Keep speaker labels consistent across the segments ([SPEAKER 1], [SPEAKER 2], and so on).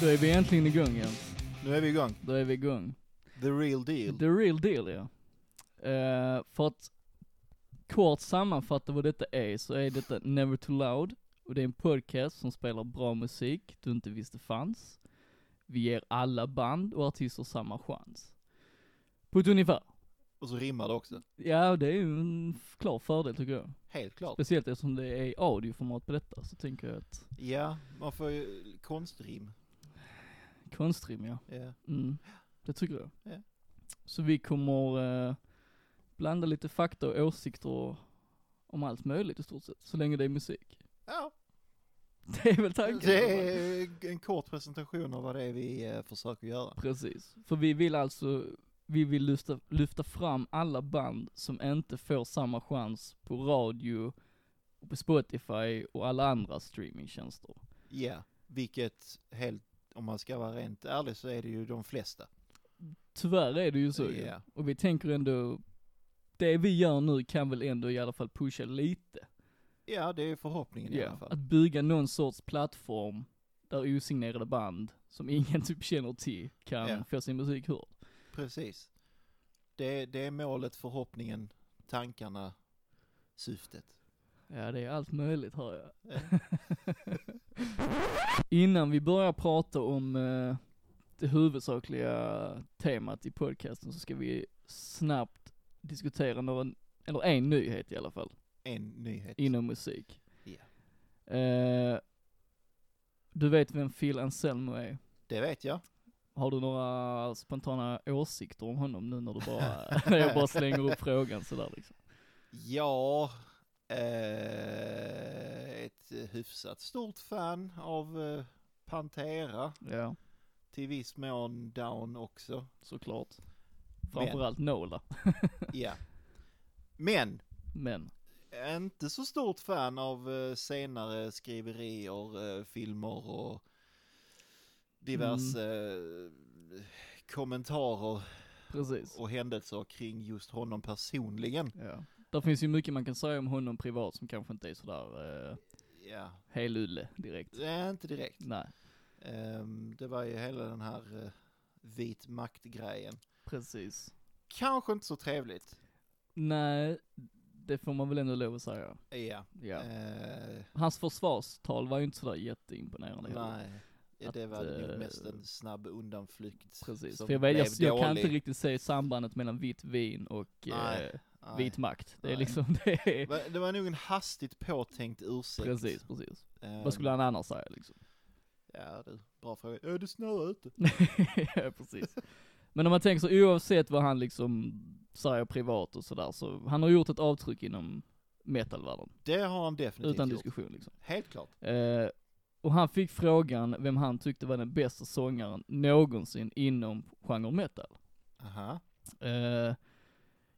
[SPEAKER 1] Då är vi äntligen igång Jens.
[SPEAKER 2] Nu är vi igång.
[SPEAKER 1] Då är vi igång.
[SPEAKER 2] The real deal.
[SPEAKER 1] The real deal ja. Eh, för att kort sammanfatta vad detta är, så är detta Never Too Loud, och det är en podcast som spelar bra musik du inte visste fanns. Vi ger alla band och artister samma chans. På ett ungefär.
[SPEAKER 2] Och så rimmar det också.
[SPEAKER 1] Ja, det är ju en f- klar fördel tycker jag.
[SPEAKER 2] Helt klart.
[SPEAKER 1] Speciellt eftersom det är audioformat på detta, så tänker jag att
[SPEAKER 2] Ja, man får ju konstrim.
[SPEAKER 1] konstrim ja.
[SPEAKER 2] Ja.
[SPEAKER 1] Mm, det tycker jag.
[SPEAKER 2] Ja.
[SPEAKER 1] Så vi kommer eh, blanda lite fakta och åsikter och, om allt möjligt i stort sett, så länge det är musik.
[SPEAKER 2] ja.
[SPEAKER 1] Det är väl tanken?
[SPEAKER 2] Det
[SPEAKER 1] eller vad?
[SPEAKER 2] är en kort presentation av vad det är vi eh, försöker göra.
[SPEAKER 1] Precis. För vi vill alltså, vi vill lyfta, lyfta fram alla band som inte får samma chans på radio, och på Spotify och alla andra streamingtjänster.
[SPEAKER 2] Ja, vilket helt, om man ska vara rent ärlig så är det ju de flesta.
[SPEAKER 1] Tyvärr är det ju så ju.
[SPEAKER 2] Ja.
[SPEAKER 1] Och vi tänker ändå, det vi gör nu kan väl ändå i alla fall pusha lite.
[SPEAKER 2] Ja, det är förhoppningen i
[SPEAKER 1] Ja,
[SPEAKER 2] alla fall.
[SPEAKER 1] Att bygga någon sorts plattform där osignerade band som ingen typ känner till kan
[SPEAKER 2] Ja.
[SPEAKER 1] få sin musik hörd.
[SPEAKER 2] Precis. Det, det är målet, förhoppningen, tankarna, syftet.
[SPEAKER 1] Ja, det är allt möjligt hör jag.
[SPEAKER 2] Ja.
[SPEAKER 1] Innan vi börjar prata om eh, det huvudsakliga temat i podcasten så ska vi snabbt diskutera någon, eller en nyhet i alla fall,
[SPEAKER 2] En nyhet.
[SPEAKER 1] inom musik.
[SPEAKER 2] Ja.
[SPEAKER 1] Eh, du vet vem Phil Anselmo är?
[SPEAKER 2] Det vet jag.
[SPEAKER 1] Har du några spontana åsikter om honom nu när du bara, när jag bara slänger upp frågan sådär liksom?
[SPEAKER 2] Ja, eh, ett hyfsat stort fan av eh, Pantera,
[SPEAKER 1] Ja,
[SPEAKER 2] till viss mån Down också.
[SPEAKER 1] såklart. Framförallt Nola,
[SPEAKER 2] Ja. Men,
[SPEAKER 1] men.
[SPEAKER 2] inte så stort fan av eh, senare skriverier, eh, filmer och diverse eh, kommentarer
[SPEAKER 1] Precis.
[SPEAKER 2] och händelser kring just honom personligen.
[SPEAKER 1] Ja. Där finns ju mycket man kan säga om honom privat som kanske inte är sådär eh,
[SPEAKER 2] Ja,
[SPEAKER 1] helulle direkt.
[SPEAKER 2] det är inte direkt.
[SPEAKER 1] Nej,
[SPEAKER 2] Ehm, det var ju hela den här eh, vit makt-grejen.
[SPEAKER 1] precis.
[SPEAKER 2] Kanske inte så trevligt.
[SPEAKER 1] Nej, det får man väl ändå lov att säga.
[SPEAKER 2] Ja.
[SPEAKER 1] Ja.
[SPEAKER 2] Eh,
[SPEAKER 1] Hans försvarstal var ju inte sådär jätteimponerande heller.
[SPEAKER 2] nej. Ja, det
[SPEAKER 1] Att,
[SPEAKER 2] var nog
[SPEAKER 1] eh,
[SPEAKER 2] mest en snabb undanflykt.
[SPEAKER 1] Precis,
[SPEAKER 2] som
[SPEAKER 1] för jag, vet, jag,
[SPEAKER 2] blev
[SPEAKER 1] jag kan
[SPEAKER 2] dålig.
[SPEAKER 1] inte riktigt se sambandet mellan vitt vin och
[SPEAKER 2] Nej.
[SPEAKER 1] eh,
[SPEAKER 2] Nej.
[SPEAKER 1] vit makt. Det är
[SPEAKER 2] Nej.
[SPEAKER 1] liksom, det är,
[SPEAKER 2] Va- Det var nog en hastigt påtänkt ursäkt.
[SPEAKER 1] Precis, precis.
[SPEAKER 2] Ehm,
[SPEAKER 1] Vad skulle han annars säga liksom?
[SPEAKER 2] Ja, du, bra fråga. Ja, det snöar ute.
[SPEAKER 1] ja, precis. Men om man tänker så, oavsett vad han liksom säger privat och sådär, så han har gjort ett avtryck inom metalvärlden.
[SPEAKER 2] Det har han definitivt
[SPEAKER 1] Utan
[SPEAKER 2] gjort.
[SPEAKER 1] diskussion liksom.
[SPEAKER 2] Helt klart.
[SPEAKER 1] Eh, och han fick frågan vem han tyckte var den bästa sångaren någonsin inom genren metal.
[SPEAKER 2] Aha.
[SPEAKER 1] Eh,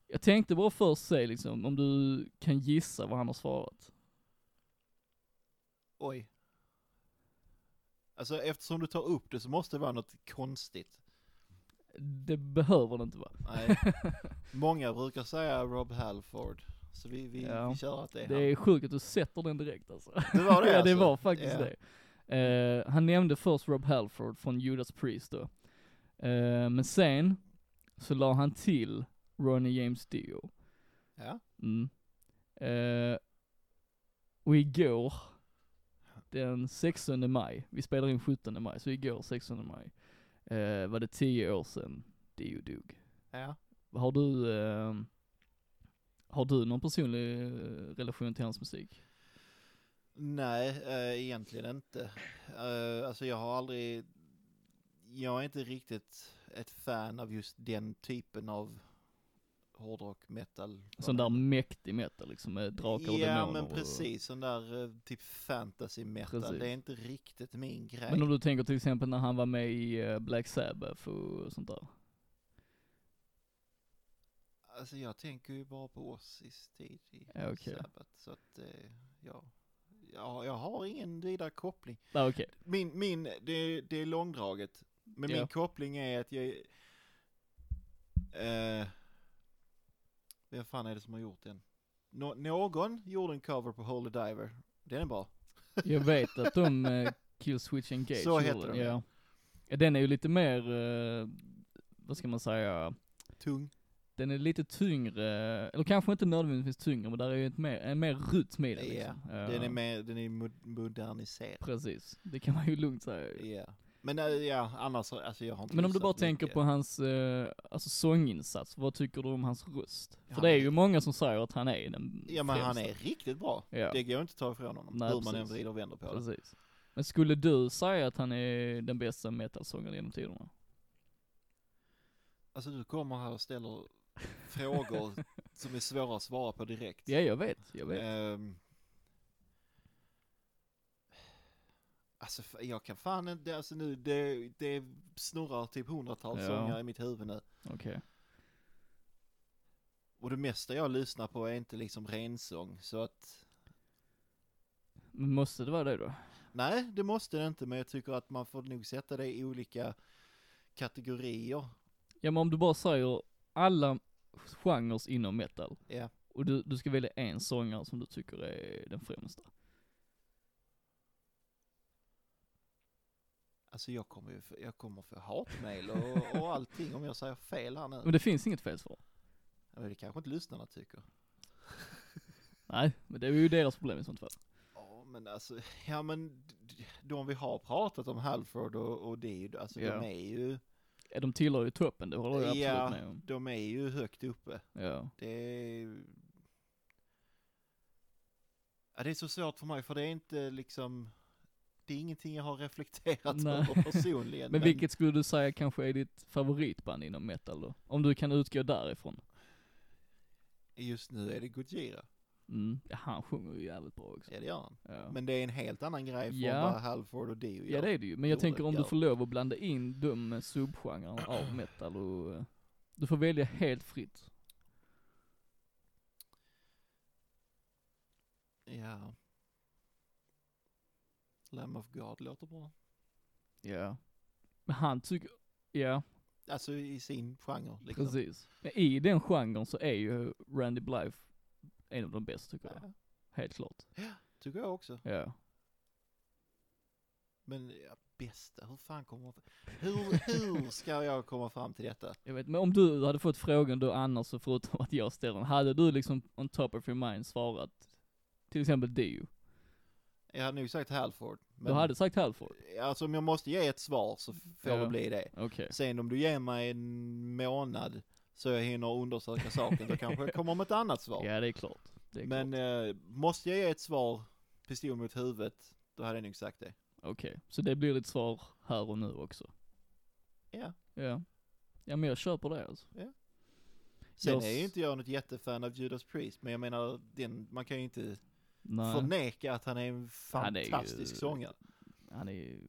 [SPEAKER 1] jag tänkte bara först se liksom, om du kan gissa vad han har svarat.
[SPEAKER 2] Oj. Alltså eftersom du tar upp det så måste det vara något konstigt.
[SPEAKER 1] Det behöver det inte vara.
[SPEAKER 2] Nej. Många brukar säga Rob Halford. Så vi, vi,
[SPEAKER 1] Ja.
[SPEAKER 2] vi kör att det är
[SPEAKER 1] Det är sjukt att du sätter den direkt alltså.
[SPEAKER 2] han. Det var det
[SPEAKER 1] ja
[SPEAKER 2] alltså.
[SPEAKER 1] det var faktiskt
[SPEAKER 2] Ja.
[SPEAKER 1] det. Eh, han nämnde först Rob Halford från Judas Priest då. Eh, men sen så la han till Ronnie James Dio.
[SPEAKER 2] Ja.
[SPEAKER 1] Mm. Eh, och igår, den 16 maj, vi spelar in 17 maj, så igår 16 maj, eh, var det 10 år sedan Dio dog.
[SPEAKER 2] ja.
[SPEAKER 1] Har du, eh, har du någon personlig eh, relation till hans musik?
[SPEAKER 2] Nej, eh, egentligen inte. Eh, alltså jag har aldrig jag är inte riktigt ett fan av just den typen av hårdrock, metal.
[SPEAKER 1] Sån där mäktig metal liksom med drakar och
[SPEAKER 2] Ja
[SPEAKER 1] demoner.
[SPEAKER 2] men
[SPEAKER 1] och-
[SPEAKER 2] precis, sån där eh, typ fantasy metal,
[SPEAKER 1] Precis.
[SPEAKER 2] det är inte riktigt min grej.
[SPEAKER 1] Men om du tänker till exempel när han var med i eh, Black Sabbath och sånt där.
[SPEAKER 2] Alltså jag tänker ju bara på Ossis tid i
[SPEAKER 1] Ja, okej.
[SPEAKER 2] Sabbath, så att eh, ja. ja, jag har ingen vidare koppling.
[SPEAKER 1] Ja, okej.
[SPEAKER 2] Min, min det, det är långdraget, men
[SPEAKER 1] Ja.
[SPEAKER 2] min koppling är att jag eh, vem fan är det som har gjort den? Nå, någon gjorde en cover på Holy Diver, den är bra.
[SPEAKER 1] Jag vet att de eh, Kill Switch Engage
[SPEAKER 2] Så heter
[SPEAKER 1] gjorde
[SPEAKER 2] de,
[SPEAKER 1] ja. ja. Den är ju lite mer, eh, vad ska man säga,
[SPEAKER 2] Tung.
[SPEAKER 1] den är lite tyngre, eller kanske inte nödvändigtvis tyngre men där är ju ett mer, en mer rytm i den
[SPEAKER 2] Ja,
[SPEAKER 1] liksom. Ja,
[SPEAKER 2] Den är mer, den är mod- moderniserad.
[SPEAKER 1] Precis, det kan man ju lugnt säga. ju.
[SPEAKER 2] Ja. Men eh, ja, annars, alltså jag har inte
[SPEAKER 1] Men om du
[SPEAKER 2] lyssnat
[SPEAKER 1] bara tänker
[SPEAKER 2] mycket.
[SPEAKER 1] på hans eh, alltså sånginsats, vad tycker du om hans röst? För
[SPEAKER 2] Han
[SPEAKER 1] det är
[SPEAKER 2] är-
[SPEAKER 1] ju många som säger att han är den
[SPEAKER 2] Ja men han
[SPEAKER 1] främsta.
[SPEAKER 2] är riktigt bra.
[SPEAKER 1] Ja.
[SPEAKER 2] Det går inte att ta ifrån honom,
[SPEAKER 1] Nej,
[SPEAKER 2] hur man än
[SPEAKER 1] precis.
[SPEAKER 2] vrider och vänder på det.
[SPEAKER 1] Precis. Men skulle du säga att han är den bästa metalsångaren genom tiderna?
[SPEAKER 2] Alltså du kommer här och ställer frågor som är svåra att svara på direkt.
[SPEAKER 1] Ja, jag vet, jag vet.
[SPEAKER 2] Ehm. Alltså f- jag kan fan inte, alltså nu, det, det snurrar typ hundratals
[SPEAKER 1] Ja.
[SPEAKER 2] sånger i mitt huvud nu.
[SPEAKER 1] Okej.
[SPEAKER 2] Och det mesta jag lyssnar på är inte liksom rensång, så att
[SPEAKER 1] Men måste det vara det då?
[SPEAKER 2] nej, det måste det inte, men jag tycker att man får nog sätta det i olika kategorier.
[SPEAKER 1] Ja men om du bara säger alla genres inom metal.
[SPEAKER 2] Ja.
[SPEAKER 1] Och du, du ska välja en sångare som du tycker är den främsta.
[SPEAKER 2] Alltså jag kommer ju, få- jag kommer få hatmejl och, och allting om jag säger fel här nu.
[SPEAKER 1] Men det finns inget fel svar.
[SPEAKER 2] Ja, Men det kanske inte lyssnarna tycker.
[SPEAKER 1] Nej, men det är ju deras problem i sånt fall.
[SPEAKER 2] Ja men alltså, ja men d- de vi har pratat om Halford och, och det är ju, alltså
[SPEAKER 1] Ja.
[SPEAKER 2] de är ju,
[SPEAKER 1] Ja, De tillhör ju toppen, det håller jag absolut
[SPEAKER 2] Ja.
[SPEAKER 1] med om.
[SPEAKER 2] de är ju högt uppe.
[SPEAKER 1] Ja.
[SPEAKER 2] Det är, ja, det är så svårt för mig för det är inte liksom, det är ingenting jag har reflekterat
[SPEAKER 1] Nej.
[SPEAKER 2] över personligen.
[SPEAKER 1] Men vilket skulle du säga kanske är ditt favoritband inom metal då? Om du kan utgå därifrån.
[SPEAKER 2] Just nu är det Gojira,
[SPEAKER 1] Mm. Ja, han sjunger ju jävligt bra också.
[SPEAKER 2] ja det gör han.
[SPEAKER 1] Ja.
[SPEAKER 2] Men det är en helt annan grej från
[SPEAKER 1] Ja.
[SPEAKER 2] vad Halford och Dio
[SPEAKER 1] Ja
[SPEAKER 2] gör.
[SPEAKER 1] det är det ju, men jag
[SPEAKER 2] Jo,
[SPEAKER 1] tänker
[SPEAKER 2] det
[SPEAKER 1] om du
[SPEAKER 2] gör.
[SPEAKER 1] får lov att blanda in de subgenrerna av metal och eh, du får välja helt fritt.
[SPEAKER 2] Ja. Lamb of God låter bra.
[SPEAKER 1] Ja. Men han tycker, ja
[SPEAKER 2] Alltså i sin genre liksom.
[SPEAKER 1] precis. Men i den genren så är ju Randy Blythe en av de bästa tycker jag.
[SPEAKER 2] Ja,
[SPEAKER 1] Helt klart.
[SPEAKER 2] tycker jag också.
[SPEAKER 1] Ja.
[SPEAKER 2] Men ja, bästa, hur fan kommer man... Hur, hur ska jag komma fram till detta?
[SPEAKER 1] Jag vet, men om du hade fått frågan då annars, så förutom att jag ställer den, hade du liksom on top of your mind svarat till exempel Dio?
[SPEAKER 2] Jag hade nog sagt Halford.
[SPEAKER 1] Du hade sagt Halford?
[SPEAKER 2] Alltså om jag måste ge ett svar så får
[SPEAKER 1] Ja.
[SPEAKER 2] det bli det.
[SPEAKER 1] Okej.
[SPEAKER 2] Sen om du ger mig en månad så jag hinner undersöka saken, då kanske jag kommer med ett annat svar.
[SPEAKER 1] Ja det är klart. Det är
[SPEAKER 2] Men
[SPEAKER 1] klart.
[SPEAKER 2] eh, måste jag ge ett svar, pistol mot huvudet, då hade jag nog sagt det.
[SPEAKER 1] Okej, så det blir ditt svar här och nu också?
[SPEAKER 2] Ja.
[SPEAKER 1] Ja. Ja men jag köper det alltså.
[SPEAKER 2] Sen
[SPEAKER 1] Jag s-
[SPEAKER 2] är ju inte jag något jättefan av Judas Priest, men jag menar, den, man kan ju inte
[SPEAKER 1] Nej,
[SPEAKER 2] förneka att han är en
[SPEAKER 1] Han är ju-
[SPEAKER 2] fantastisk sångare.
[SPEAKER 1] han är ju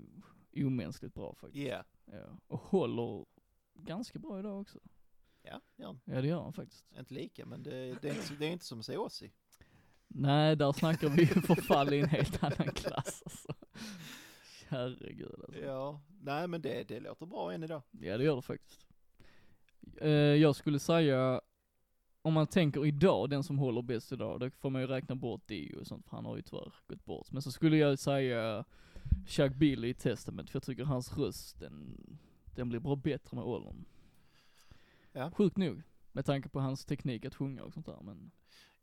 [SPEAKER 1] omänskligt bra faktiskt.
[SPEAKER 2] Yeah.
[SPEAKER 1] Ja. Och håller ganska bra idag också.
[SPEAKER 2] Ja, ja,
[SPEAKER 1] Ja det gör han faktiskt.
[SPEAKER 2] inte lika, men det, det, är, inte, det är inte som att se Ozzy.
[SPEAKER 1] Nej, där snackar vi ju förfall i en helt annan klass alltså. Herregud alltså.
[SPEAKER 2] Ja, nej men det, det låter bra än idag.
[SPEAKER 1] Ja det gör det faktiskt. Eh, jag skulle säga, om man tänker idag, den som håller bäst idag, då får man ju räkna bort Dio och sånt, för han har ju tyvärr gått bort. Men så skulle jag säga Chuck Billy i Testament, för jag tycker hans röst, den, den blir bara bättre med åldern.
[SPEAKER 2] Ja.
[SPEAKER 1] Sjukt nog, med tanke på hans teknik att sjunga och sånt där, men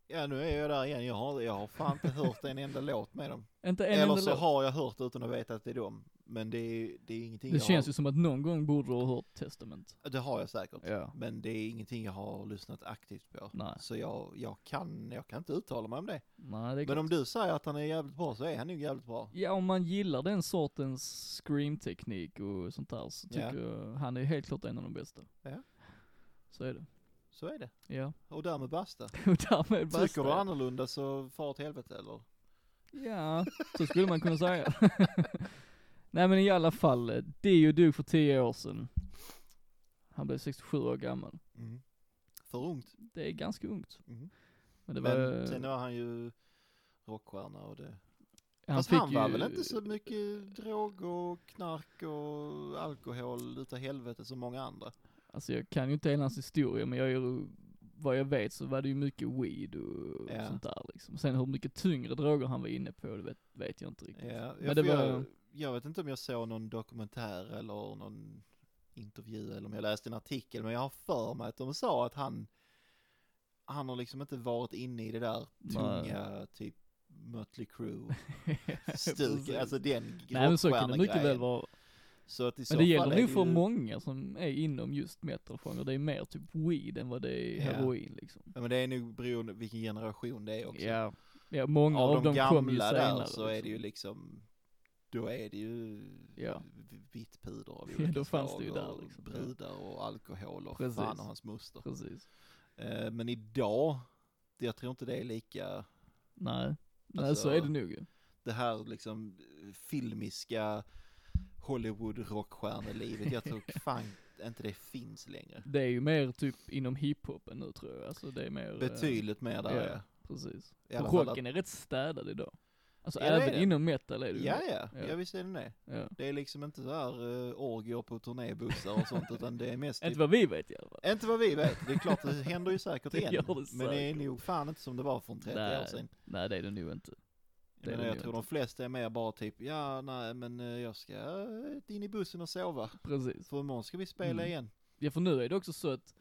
[SPEAKER 2] Ja, nu är jag där igen, jag har, jag har fan inte hört en enda låt med dem.
[SPEAKER 1] inte en
[SPEAKER 2] Eller
[SPEAKER 1] enda
[SPEAKER 2] så
[SPEAKER 1] låt.
[SPEAKER 2] har jag hört utan att veta att det är dem. Men det är, det är ingenting
[SPEAKER 1] Det
[SPEAKER 2] jag
[SPEAKER 1] känns
[SPEAKER 2] har,
[SPEAKER 1] ju som att någon gång borde du ha hört Testament.
[SPEAKER 2] Det har jag säkert.
[SPEAKER 1] Ja.
[SPEAKER 2] Men det är ingenting jag har lyssnat aktivt på.
[SPEAKER 1] Nej.
[SPEAKER 2] Så jag, jag, kan, jag kan inte uttala mig om det.
[SPEAKER 1] Nej, det är
[SPEAKER 2] Men om
[SPEAKER 1] gott.
[SPEAKER 2] du säger att han är jävligt bra så är han ju jävligt bra.
[SPEAKER 1] Ja, om man gillar den sortens scream-teknik och sånt där så
[SPEAKER 2] Ja.
[SPEAKER 1] tycker jag han är helt klart en av de bästa.
[SPEAKER 2] Ja.
[SPEAKER 1] Så är det.
[SPEAKER 2] Så är det.
[SPEAKER 1] Ja.
[SPEAKER 2] Och därmed basta.
[SPEAKER 1] Och därmed basta.
[SPEAKER 2] Tycker du annorlunda så far åt helvete eller?
[SPEAKER 1] Ja, så skulle man kunna säga. Nej men i alla fall, eh, Dio dog för 10 år sedan. Han blev 67 år gammal.
[SPEAKER 2] För ungt.
[SPEAKER 1] Det är ganska ungt.
[SPEAKER 2] Mhm.
[SPEAKER 1] Men det var...
[SPEAKER 2] Men sen var han ju rockstjärna och det.
[SPEAKER 1] han
[SPEAKER 2] Fast
[SPEAKER 1] fick
[SPEAKER 2] han var
[SPEAKER 1] ju-
[SPEAKER 2] väl inte så mycket droger och knark och alkohol utav helvete som många andra.
[SPEAKER 1] Alltså jag kan ju inte hela hans historia men jag är ju, vad jag vet så var det ju mycket weed och
[SPEAKER 2] Ja.
[SPEAKER 1] sånt där liksom. Sen hur mycket tyngre droger han var inne på det vet, vet jag inte riktigt.
[SPEAKER 2] Ja, jag,
[SPEAKER 1] Men det
[SPEAKER 2] för
[SPEAKER 1] var-
[SPEAKER 2] jag, jag vet inte om jag såg någon dokumentär eller någon intervju eller om jag läste en artikel, men jag har för mig att de sa att han, han har liksom inte varit inne i det där
[SPEAKER 1] Nej.
[SPEAKER 2] tunga, typ Mötley Crüe
[SPEAKER 1] Precis.
[SPEAKER 2] stuk, alltså den
[SPEAKER 1] Nej men så kan det mycket väl
[SPEAKER 2] rockstjärnegrejen.
[SPEAKER 1] vara.
[SPEAKER 2] Så att i så
[SPEAKER 1] Men det
[SPEAKER 2] fall
[SPEAKER 1] gäller
[SPEAKER 2] är
[SPEAKER 1] nog för
[SPEAKER 2] ju-
[SPEAKER 1] många som är inom just metalgenren. Det är mer typ weed än vad det är
[SPEAKER 2] Ja.
[SPEAKER 1] heroin liksom.
[SPEAKER 2] Ja, men det är nog beroende på vilken generation det är också.
[SPEAKER 1] Ja. ja, många av,
[SPEAKER 2] Av de
[SPEAKER 1] dem kom ju
[SPEAKER 2] gamla
[SPEAKER 1] senare.
[SPEAKER 2] där så är
[SPEAKER 1] liksom.
[SPEAKER 2] det ju liksom, då är det ju
[SPEAKER 1] Ja.
[SPEAKER 2] v- vitt puder av
[SPEAKER 1] Ja,
[SPEAKER 2] olika
[SPEAKER 1] då fanns
[SPEAKER 2] slag
[SPEAKER 1] det ju där
[SPEAKER 2] och
[SPEAKER 1] liksom.
[SPEAKER 2] brudar och alkohol och
[SPEAKER 1] Precis.
[SPEAKER 2] fan och hans moster.
[SPEAKER 1] Precis.
[SPEAKER 2] Eh, men idag, det- jag tror inte det är lika,
[SPEAKER 1] Nej. Nej
[SPEAKER 2] Alltså-
[SPEAKER 1] så är det nog ju.
[SPEAKER 2] det här liksom eh, filmiska Hollywood rockstjärnelivet, jag tror fan inte det finns längre.
[SPEAKER 1] Det är ju mer typ inom hiphopen nu tror jag. Alltså det är mer. eh,
[SPEAKER 2] Betydligt mer där
[SPEAKER 1] ja.
[SPEAKER 2] ja.
[SPEAKER 1] Precis.
[SPEAKER 2] I alla fall att-
[SPEAKER 1] Rocken är rätt städad idag. Alltså
[SPEAKER 2] Ja, det är
[SPEAKER 1] även
[SPEAKER 2] det.
[SPEAKER 1] inom metal är det ju
[SPEAKER 2] Ja,
[SPEAKER 1] det.
[SPEAKER 2] ja,
[SPEAKER 1] Ja.
[SPEAKER 2] ja visst är det det.
[SPEAKER 1] ja.
[SPEAKER 2] Det är liksom inte så här eh, orgier på turnébussar och sånt utan det är mest
[SPEAKER 1] Inte
[SPEAKER 2] typ,
[SPEAKER 1] vad vi vet i alla fall.
[SPEAKER 2] inte vad vi vet, det är klart det händer ju säkert
[SPEAKER 1] Det
[SPEAKER 2] igen.
[SPEAKER 1] gör det
[SPEAKER 2] Men det är
[SPEAKER 1] säkert.
[SPEAKER 2] nog fan inte som det var för 30 år sedan.
[SPEAKER 1] Nej det är det nog inte. Det
[SPEAKER 2] Jag,
[SPEAKER 1] är
[SPEAKER 2] menar,
[SPEAKER 1] det
[SPEAKER 2] jag
[SPEAKER 1] nog
[SPEAKER 2] tror de flesta är mer bara typ, ja nej men eh, jag ska eh, in i bussen och sova.
[SPEAKER 1] Precis.
[SPEAKER 2] För imorgon ska vi spela
[SPEAKER 1] Mm.
[SPEAKER 2] igen.
[SPEAKER 1] Ja för nu är det också så att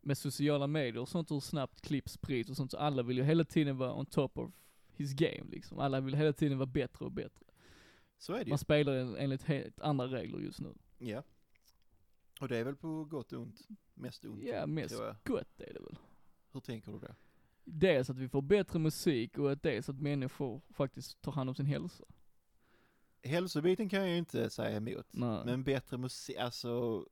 [SPEAKER 1] med sociala medier och sånt hur snabbt klipp sprids och sånt så alla vill ju hela tiden vara on top of his game liksom. Alla vill hela tiden vara bättre och bättre.
[SPEAKER 2] Så är det ju.
[SPEAKER 1] Man spelar en- enligt helt andra regler just nu.
[SPEAKER 2] Ja. Och det är väl på gott och ont? Mest ont,
[SPEAKER 1] Ja mest
[SPEAKER 2] tror jag.
[SPEAKER 1] gott är det väl.
[SPEAKER 2] Hur tänker du då?
[SPEAKER 1] Dels att vi får bättre musik och att dels att människor faktiskt tar hand om sin hälsa.
[SPEAKER 2] Hälsobiten kan jag ju inte säga emot.
[SPEAKER 1] Nej.
[SPEAKER 2] Men bättre musik, alltså...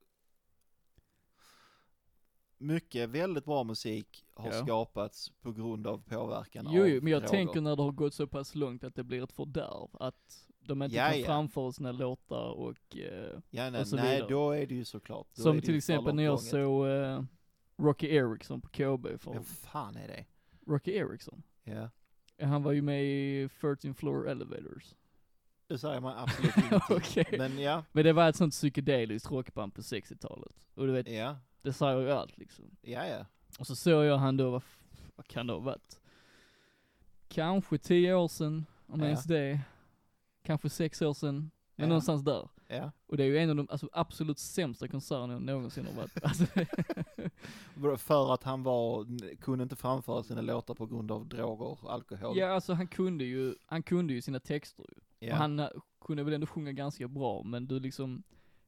[SPEAKER 2] Mycket väldigt bra musik har
[SPEAKER 1] Ja.
[SPEAKER 2] skapats på grund av påverkan
[SPEAKER 1] Jo,
[SPEAKER 2] av
[SPEAKER 1] jo, men jag
[SPEAKER 2] droger.
[SPEAKER 1] tänker när det har gått så pass långt att det blir ett fördärv, att de inte
[SPEAKER 2] Ja,
[SPEAKER 1] kan
[SPEAKER 2] ja.
[SPEAKER 1] framföra sina låtar och, eh,
[SPEAKER 2] Ja, nej,
[SPEAKER 1] och så
[SPEAKER 2] nej
[SPEAKER 1] vidare.
[SPEAKER 2] då är det ju såklart. Då är
[SPEAKER 1] som
[SPEAKER 2] det
[SPEAKER 1] till
[SPEAKER 2] ju för
[SPEAKER 1] exempel
[SPEAKER 2] långt
[SPEAKER 1] när jag
[SPEAKER 2] gånget.
[SPEAKER 1] såg eh, Rocky Ericsson på KB för,
[SPEAKER 2] Vem fan är det?
[SPEAKER 1] Rocky Ericsson,
[SPEAKER 2] Ja.
[SPEAKER 1] Eh, han var ju med i 13 Floor Elevators.
[SPEAKER 2] Det säger man absolut ingenting.
[SPEAKER 1] Okej.
[SPEAKER 2] Men ja,
[SPEAKER 1] Men det var ett sånt psykedeliskt rockband på 60-talet, och du vet,
[SPEAKER 2] ja,
[SPEAKER 1] det säger ju allt liksom.
[SPEAKER 2] ja, ja.
[SPEAKER 1] Och så såg jag han då, vad, f- vad kan det ha varit? Kanske 10 år sedan, om
[SPEAKER 2] Ja.
[SPEAKER 1] ens det. Kanske 6 år sedan, men
[SPEAKER 2] Ja.
[SPEAKER 1] någonstans där.
[SPEAKER 2] ja.
[SPEAKER 1] Och det är ju en av de alltså, absolut sämsta konserterna jag någonsin har varit på. Alltså,
[SPEAKER 2] Vadå, För att han var, kunde inte framföra sina låtar på grund av droger och alkohol.
[SPEAKER 1] ja alltså han kunde ju, han kunde ju sina texter ju.
[SPEAKER 2] Ja.
[SPEAKER 1] Och han eh, kunde väl ändå sjunga ganska bra, men du liksom,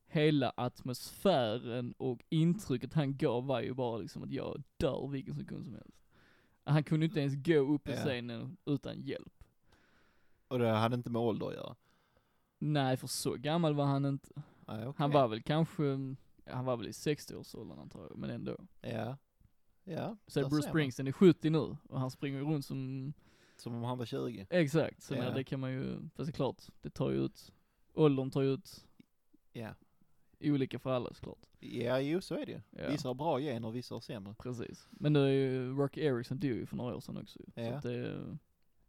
[SPEAKER 1] hela atmosfären och intrycket han gav var ju bara liksom att jag dör vilken sekund som helst. Han kunde inte ens gå upp i
[SPEAKER 2] Ja.
[SPEAKER 1] scenen utan hjälp.
[SPEAKER 2] Och det hade inte med ålder att göra.
[SPEAKER 1] Nej, för så gammal var han inte.
[SPEAKER 2] Nej, okej.
[SPEAKER 1] Han var väl kanske, ja, han var väl i 60-årsåldern antar jag, men ändå.
[SPEAKER 2] Ja. Ja,
[SPEAKER 1] Så
[SPEAKER 2] Där ser
[SPEAKER 1] Bruce
[SPEAKER 2] man.
[SPEAKER 1] Springsteen är 70 nu, och han springer runt som
[SPEAKER 2] som om han var 20.
[SPEAKER 1] Exakt, så
[SPEAKER 2] Ja.
[SPEAKER 1] nej, det kan man ju, fast det är klart, det tar ju ut, åldern tar ju ut
[SPEAKER 2] Ja.
[SPEAKER 1] olika för alla såklart.
[SPEAKER 2] Ja, jo så är det ju.
[SPEAKER 1] Ja,
[SPEAKER 2] Vissa har bra gener, vissa har sämre.
[SPEAKER 1] precis. Men nu är ju Rocky Ericsson dog ju för några år sedan också ju. Så
[SPEAKER 2] Ja.
[SPEAKER 1] att det,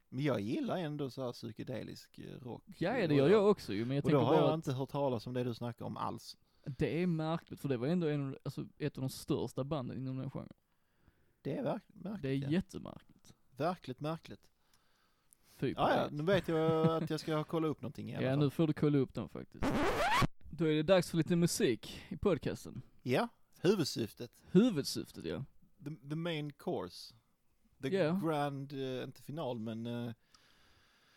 [SPEAKER 2] Men jag gillar ändå så här psykedelisk eh, rock.
[SPEAKER 1] ja det gör jag också ju, men jag
[SPEAKER 2] Och då
[SPEAKER 1] tänker
[SPEAKER 2] har jag
[SPEAKER 1] bara
[SPEAKER 2] inte hört talas om det du snackar om alls.
[SPEAKER 1] att det är märkligt, för det var ändå en, av de- alltså, ett av de största banden inom den genren.
[SPEAKER 2] Det är verk- märkligt.
[SPEAKER 1] Det är Typ
[SPEAKER 2] ja.
[SPEAKER 1] jättemärkligt.
[SPEAKER 2] Verkligt märkligt.
[SPEAKER 1] Fy på
[SPEAKER 2] Ja, ja,
[SPEAKER 1] dig.
[SPEAKER 2] nu vet jag att jag ska kolla upp någonting i alla
[SPEAKER 1] ja,
[SPEAKER 2] fall.
[SPEAKER 1] nu får du kolla upp dem faktiskt. Då är det dags för lite musik i podcasten.
[SPEAKER 2] Ja, huvudsyftet.
[SPEAKER 1] Huvudsyftet ja.
[SPEAKER 2] The, the main course. The
[SPEAKER 1] Ja.
[SPEAKER 2] grand, eh, inte final men eh,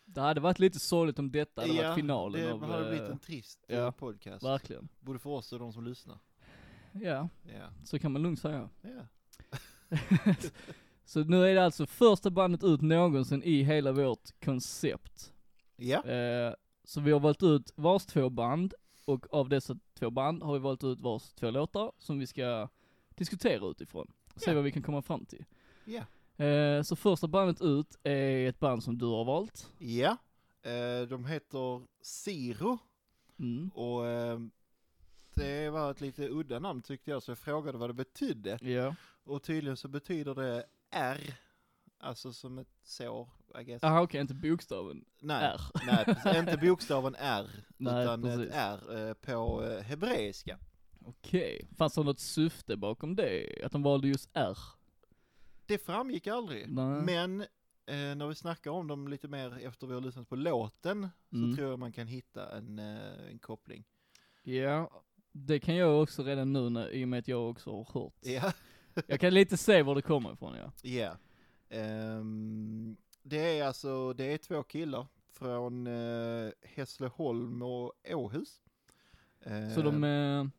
[SPEAKER 1] Det hade varit lite sorgligt om detta hade varit finalen
[SPEAKER 2] det
[SPEAKER 1] av,
[SPEAKER 2] hade
[SPEAKER 1] eh,
[SPEAKER 2] blivit en trist
[SPEAKER 1] ja.
[SPEAKER 2] eh, podcast.
[SPEAKER 1] verkligen.
[SPEAKER 2] Både för oss och de som lyssnar.
[SPEAKER 1] Ja,
[SPEAKER 2] Ja,
[SPEAKER 1] så kan man lugnt säga.
[SPEAKER 2] ja.
[SPEAKER 1] så nu är det alltså första bandet ut någonsin i hela vårt koncept.
[SPEAKER 2] ja.
[SPEAKER 1] Eh, så vi har valt ut vars två band, och av dessa två band har vi valt ut vars två låtar som vi ska diskutera utifrån. Se
[SPEAKER 2] Ja.
[SPEAKER 1] vad vi kan komma fram till.
[SPEAKER 2] ja.
[SPEAKER 1] Eh, så första bandet ut är ett band som du har valt.
[SPEAKER 2] ja. Eh, de heter Siro
[SPEAKER 1] Mm.
[SPEAKER 2] och eh, det var ett lite udda namn tyckte jag så jag frågade vad det betydde.
[SPEAKER 1] Ja.
[SPEAKER 2] Och tydligen så betyder det R, alltså som ett sår, I guess.
[SPEAKER 1] Jaha okej, inte bokstaven
[SPEAKER 2] Nej,
[SPEAKER 1] R.
[SPEAKER 2] nej precis, inte bokstaven R,
[SPEAKER 1] Nej,
[SPEAKER 2] utan
[SPEAKER 1] precis.
[SPEAKER 2] ett R eh, på eh, hebreiska.
[SPEAKER 1] Okej, fanns det något syfte bakom det? Att de valde just R?
[SPEAKER 2] Det framgick aldrig.
[SPEAKER 1] Nej.
[SPEAKER 2] Men eh, när vi snackar om dem lite mer efter vi har lyssnat på låten
[SPEAKER 1] Mm.
[SPEAKER 2] så tror jag man kan hitta en, eh, en koppling.
[SPEAKER 1] Ja, det kan jag också redan nu när, i och med att jag också har hört.
[SPEAKER 2] Ja,
[SPEAKER 1] Jag kan lite se var det kommer ifrån ja.
[SPEAKER 2] ja. Ehm, det är alltså, det är två killar från eh, Hässleholm och Åhus.
[SPEAKER 1] Så de,
[SPEAKER 2] Ehm,
[SPEAKER 1] eh,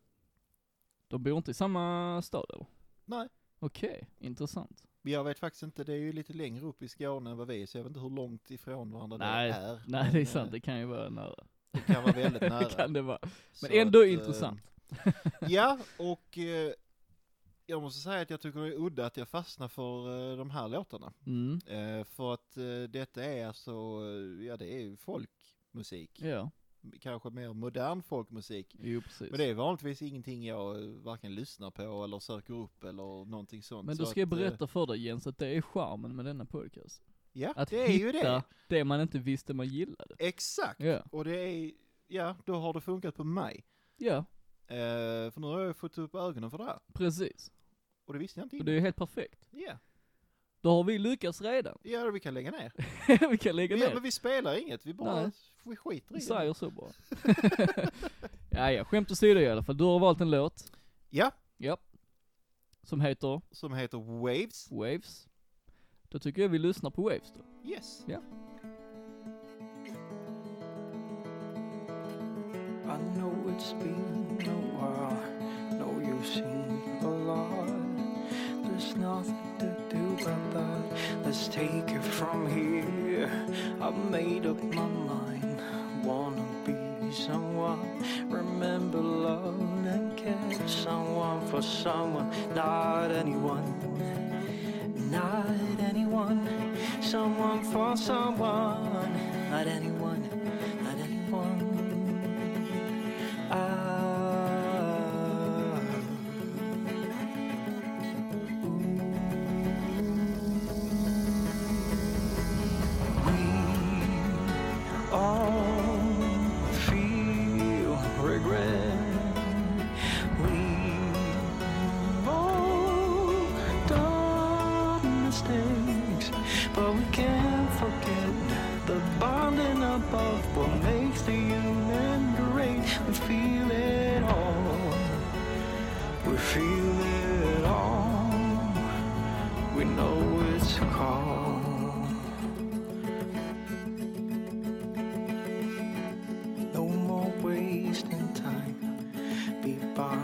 [SPEAKER 1] de bor inte i samma stad eller?
[SPEAKER 2] Nej.
[SPEAKER 1] Okej, intressant.
[SPEAKER 2] Jag vet faktiskt inte, det är ju lite längre upp i Skåne än vad vi är, så jag vet inte hur långt ifrån varandra
[SPEAKER 1] Nej,
[SPEAKER 2] det är.
[SPEAKER 1] Nej
[SPEAKER 2] men,
[SPEAKER 1] det är
[SPEAKER 2] eh,
[SPEAKER 1] sant, det kan ju vara nära.
[SPEAKER 2] Det kan vara väldigt nära.
[SPEAKER 1] kan det vara.
[SPEAKER 2] Så
[SPEAKER 1] Men ändå
[SPEAKER 2] att, eh,
[SPEAKER 1] intressant.
[SPEAKER 2] Ja, och eh, jag måste säga att jag tycker det är udda att jag fastnar för eh, de här låtarna.
[SPEAKER 1] Mm.
[SPEAKER 2] Eh, för att eh, detta är alltså, eh, ja det är ju folkmusik.
[SPEAKER 1] Ja,
[SPEAKER 2] Kanske mer modern folkmusik.
[SPEAKER 1] jo precis.
[SPEAKER 2] Men det är vanligtvis ingenting jag eh, varken lyssnar på eller söker upp eller någonting sånt.
[SPEAKER 1] Men
[SPEAKER 2] så
[SPEAKER 1] då ska jag
[SPEAKER 2] att, eh,
[SPEAKER 1] berätta för dig Jens att det är charmen med denna podcast.
[SPEAKER 2] Ja,
[SPEAKER 1] Att
[SPEAKER 2] det är
[SPEAKER 1] hitta
[SPEAKER 2] ju det.
[SPEAKER 1] det man inte visste man gillade.
[SPEAKER 2] Exakt.
[SPEAKER 1] Ja,
[SPEAKER 2] Och det är, ja, då har det funkat på mig.
[SPEAKER 1] ja
[SPEAKER 2] Eh, för nu har jag fått upp ögonen för det här.
[SPEAKER 1] precis.
[SPEAKER 2] Och det visste jag inte
[SPEAKER 1] Och det
[SPEAKER 2] innan.
[SPEAKER 1] är helt perfekt.
[SPEAKER 2] Ja,
[SPEAKER 1] Då har vi lyckats redan.
[SPEAKER 2] ja vi kan lägga ner.
[SPEAKER 1] vi kan lägga
[SPEAKER 2] Ja,
[SPEAKER 1] ner.
[SPEAKER 2] men vi spelar inget, vi bara
[SPEAKER 1] Nej.
[SPEAKER 2] vi skiter i
[SPEAKER 1] Vi
[SPEAKER 2] det.
[SPEAKER 1] säger så bara. ja, ja, skämt åsido i alla fall. Du har valt en låt.
[SPEAKER 2] Ja,
[SPEAKER 1] Ja. Som heter
[SPEAKER 2] som heter Waves.
[SPEAKER 1] Waves. Då tycker jag vi lyssnar på Waves då.
[SPEAKER 2] Yes.
[SPEAKER 3] I know it's been a while. Know you've seen a lot. There's nothing to do about that. Let's take it from here. I've made up my mind. Wanna be someone. Remember love and care. Someone for someone, not anyone. Not anyone. Someone for someone. Not anyone. Not anyone. Ah. We all feel regret. We've all done mistakes, but we can't forget the bonding above what makes the human great. We feel it all. We feel it all. We know it's a call. No more wasting time. Be by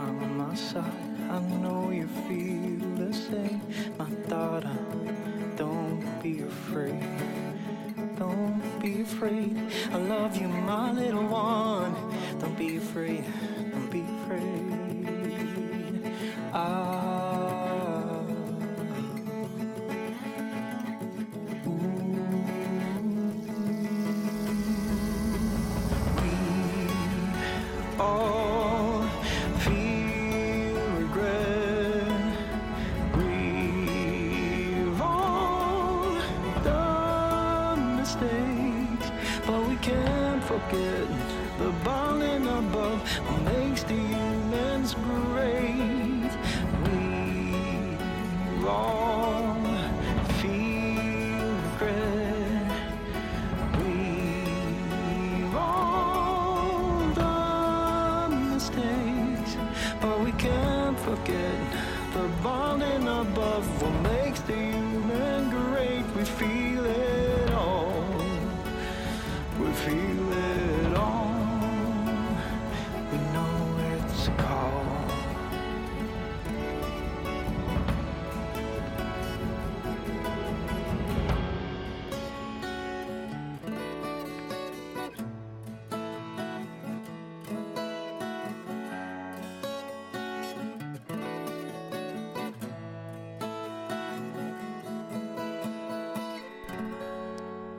[SPEAKER 3] my side. I know you feel the same, my daughter. Don't be afraid. Don't be afraid. I love you, my little one. Don't be afraid. Don't be afraid. Ah. all feel regret. We've all done mistakes, but we can't forget the bonding above what makes the humans great. We all feel regret. We've all done mistakes, but we can't forget the bonding above what makes the human great. We feel it all.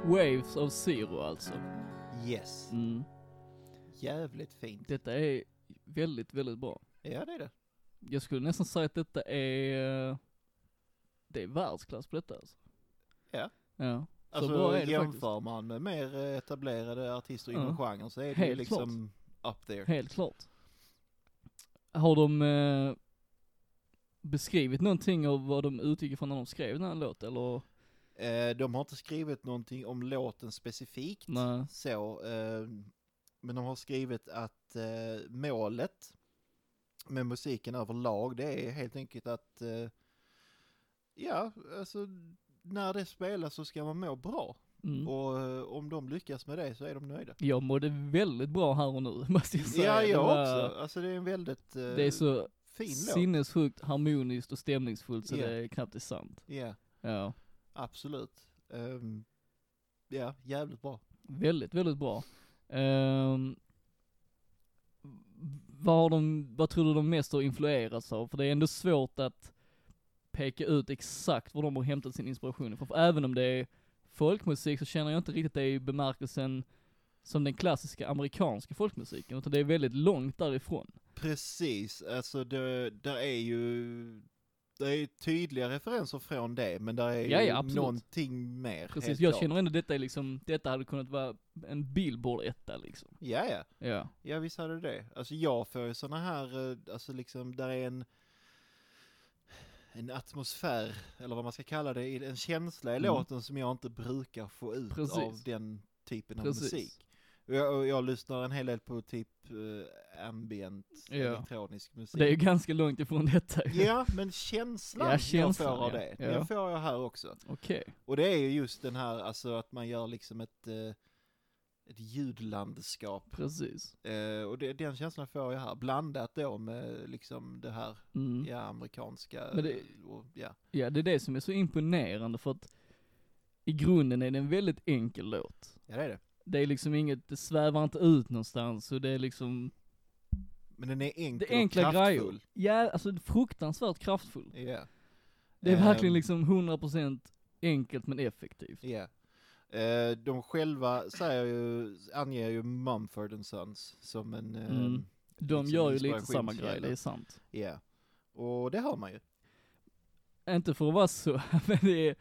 [SPEAKER 1] Waves of Zero alltså.
[SPEAKER 2] Yes.
[SPEAKER 1] Mm.
[SPEAKER 2] Jävligt fint.
[SPEAKER 1] Detta är väldigt, väldigt bra.
[SPEAKER 2] Ja, det är det.
[SPEAKER 1] Jag skulle nästan säga att detta är, eh, det är världsklass på detta alltså.
[SPEAKER 2] Ja.
[SPEAKER 1] Ja. Så bra
[SPEAKER 2] Alltså
[SPEAKER 1] är det
[SPEAKER 2] jämför man med mer eh, etablerade artister inom
[SPEAKER 1] Ja.
[SPEAKER 2] genren så är det ju
[SPEAKER 1] Helt
[SPEAKER 2] liksom up there.
[SPEAKER 1] Helt klart. Har de eh, beskrivit någonting av vad de utgick ifrån när de skrev den här låten eller?
[SPEAKER 2] Eh, de har inte skrivit någonting om låten specifikt
[SPEAKER 1] Nej.
[SPEAKER 2] så, eh, men de har skrivit att eh, målet med musiken överlag det är helt enkelt att eh, ja, alltså när det spelas så ska man må bra
[SPEAKER 1] Mm.
[SPEAKER 2] och eh, om de lyckas med det så är de nöjda.
[SPEAKER 1] Jag mådde väldigt bra här och nu måste jag säga.
[SPEAKER 2] ja,
[SPEAKER 1] Det
[SPEAKER 2] jag
[SPEAKER 1] var-
[SPEAKER 2] också. Alltså det är en väldigt eh,
[SPEAKER 1] Det är så
[SPEAKER 2] fin låt.
[SPEAKER 1] sinnessjukt harmoniskt och stämningsfullt så
[SPEAKER 2] Ja.
[SPEAKER 1] det är knappt är sant.
[SPEAKER 2] Ja,
[SPEAKER 1] Ja.
[SPEAKER 2] absolut. Ehm, ja, jävligt bra.
[SPEAKER 1] Väldigt, väldigt bra. Ehm, vad, har de, vad tror du de mest har influerats av? För det är ändå svårt att peka ut exakt var de har hämtat sin inspiration ifrån. För även om det är folkmusik så känner jag inte riktigt det i bemärkelsen som den klassiska amerikanska folkmusiken, utan det är väldigt långt därifrån.
[SPEAKER 2] Precis, alltså det, där är ju, det är ju tydliga referenser från det, men där är
[SPEAKER 1] Ja,
[SPEAKER 2] ju
[SPEAKER 1] ja, absolut.
[SPEAKER 2] någonting mer.
[SPEAKER 1] Precis,
[SPEAKER 2] helt
[SPEAKER 1] jag
[SPEAKER 2] klart.
[SPEAKER 1] känner ändå detta är liksom, detta hade kunnat vara en Billboard-etta liksom.
[SPEAKER 2] Ja, ja,
[SPEAKER 1] Ja.
[SPEAKER 2] ja visst hade du det. Alltså jag får ju sådana här, eh, alltså liksom, där är en, en atmosfär, eller vad man ska kalla det, en känsla i
[SPEAKER 1] Mm.
[SPEAKER 2] låten som jag inte brukar få ut
[SPEAKER 1] Precis.
[SPEAKER 2] av den typen av
[SPEAKER 1] Precis.
[SPEAKER 2] musik. Och Jag, och jag lyssnar en hel del på typ eh, ambient,
[SPEAKER 1] Ja.
[SPEAKER 2] elektronisk musik.
[SPEAKER 1] Det är ju ganska långt ifrån detta ju.
[SPEAKER 2] Ja, men känslan,
[SPEAKER 1] Ja, känslan,
[SPEAKER 2] jag får av
[SPEAKER 1] ja.
[SPEAKER 2] det,
[SPEAKER 1] Ja.
[SPEAKER 2] den får jag här också.
[SPEAKER 1] Okej.
[SPEAKER 2] Och det är ju just den här, alltså att man gör liksom ett, eh, ett ljudlandskap.
[SPEAKER 1] Precis.
[SPEAKER 2] Eh, och det, den känslan får jag här, blandat då med liksom det här,
[SPEAKER 1] Mm.
[SPEAKER 2] ja, amerikanska,
[SPEAKER 1] Men det-
[SPEAKER 2] eh, och, ja.
[SPEAKER 1] Ja, det är det som är så imponerande för att i grunden är det en väldigt enkel låt.
[SPEAKER 2] ja, det är det.
[SPEAKER 1] Det är liksom inget, det svävar inte ut någonstans och det är liksom,
[SPEAKER 2] Men den är enkel
[SPEAKER 1] det är enkla
[SPEAKER 2] och
[SPEAKER 1] grejer.
[SPEAKER 2] kraftfull.
[SPEAKER 1] Ja, alltså fruktansvärt kraftfull.
[SPEAKER 2] Ja.
[SPEAKER 1] Det är
[SPEAKER 2] Ehm,
[SPEAKER 1] verkligen liksom 100% enkelt men effektivt.
[SPEAKER 2] Ja. Eh, de själva säger ju, anger ju Mumford and Sons som en, eh,
[SPEAKER 1] Mm. De
[SPEAKER 2] liksom
[SPEAKER 1] gör ju lite samma
[SPEAKER 2] inspirationskälla.
[SPEAKER 1] grej, det är sant.
[SPEAKER 2] ja. Och det hör man ju.
[SPEAKER 1] Inte för att vara så, men det är,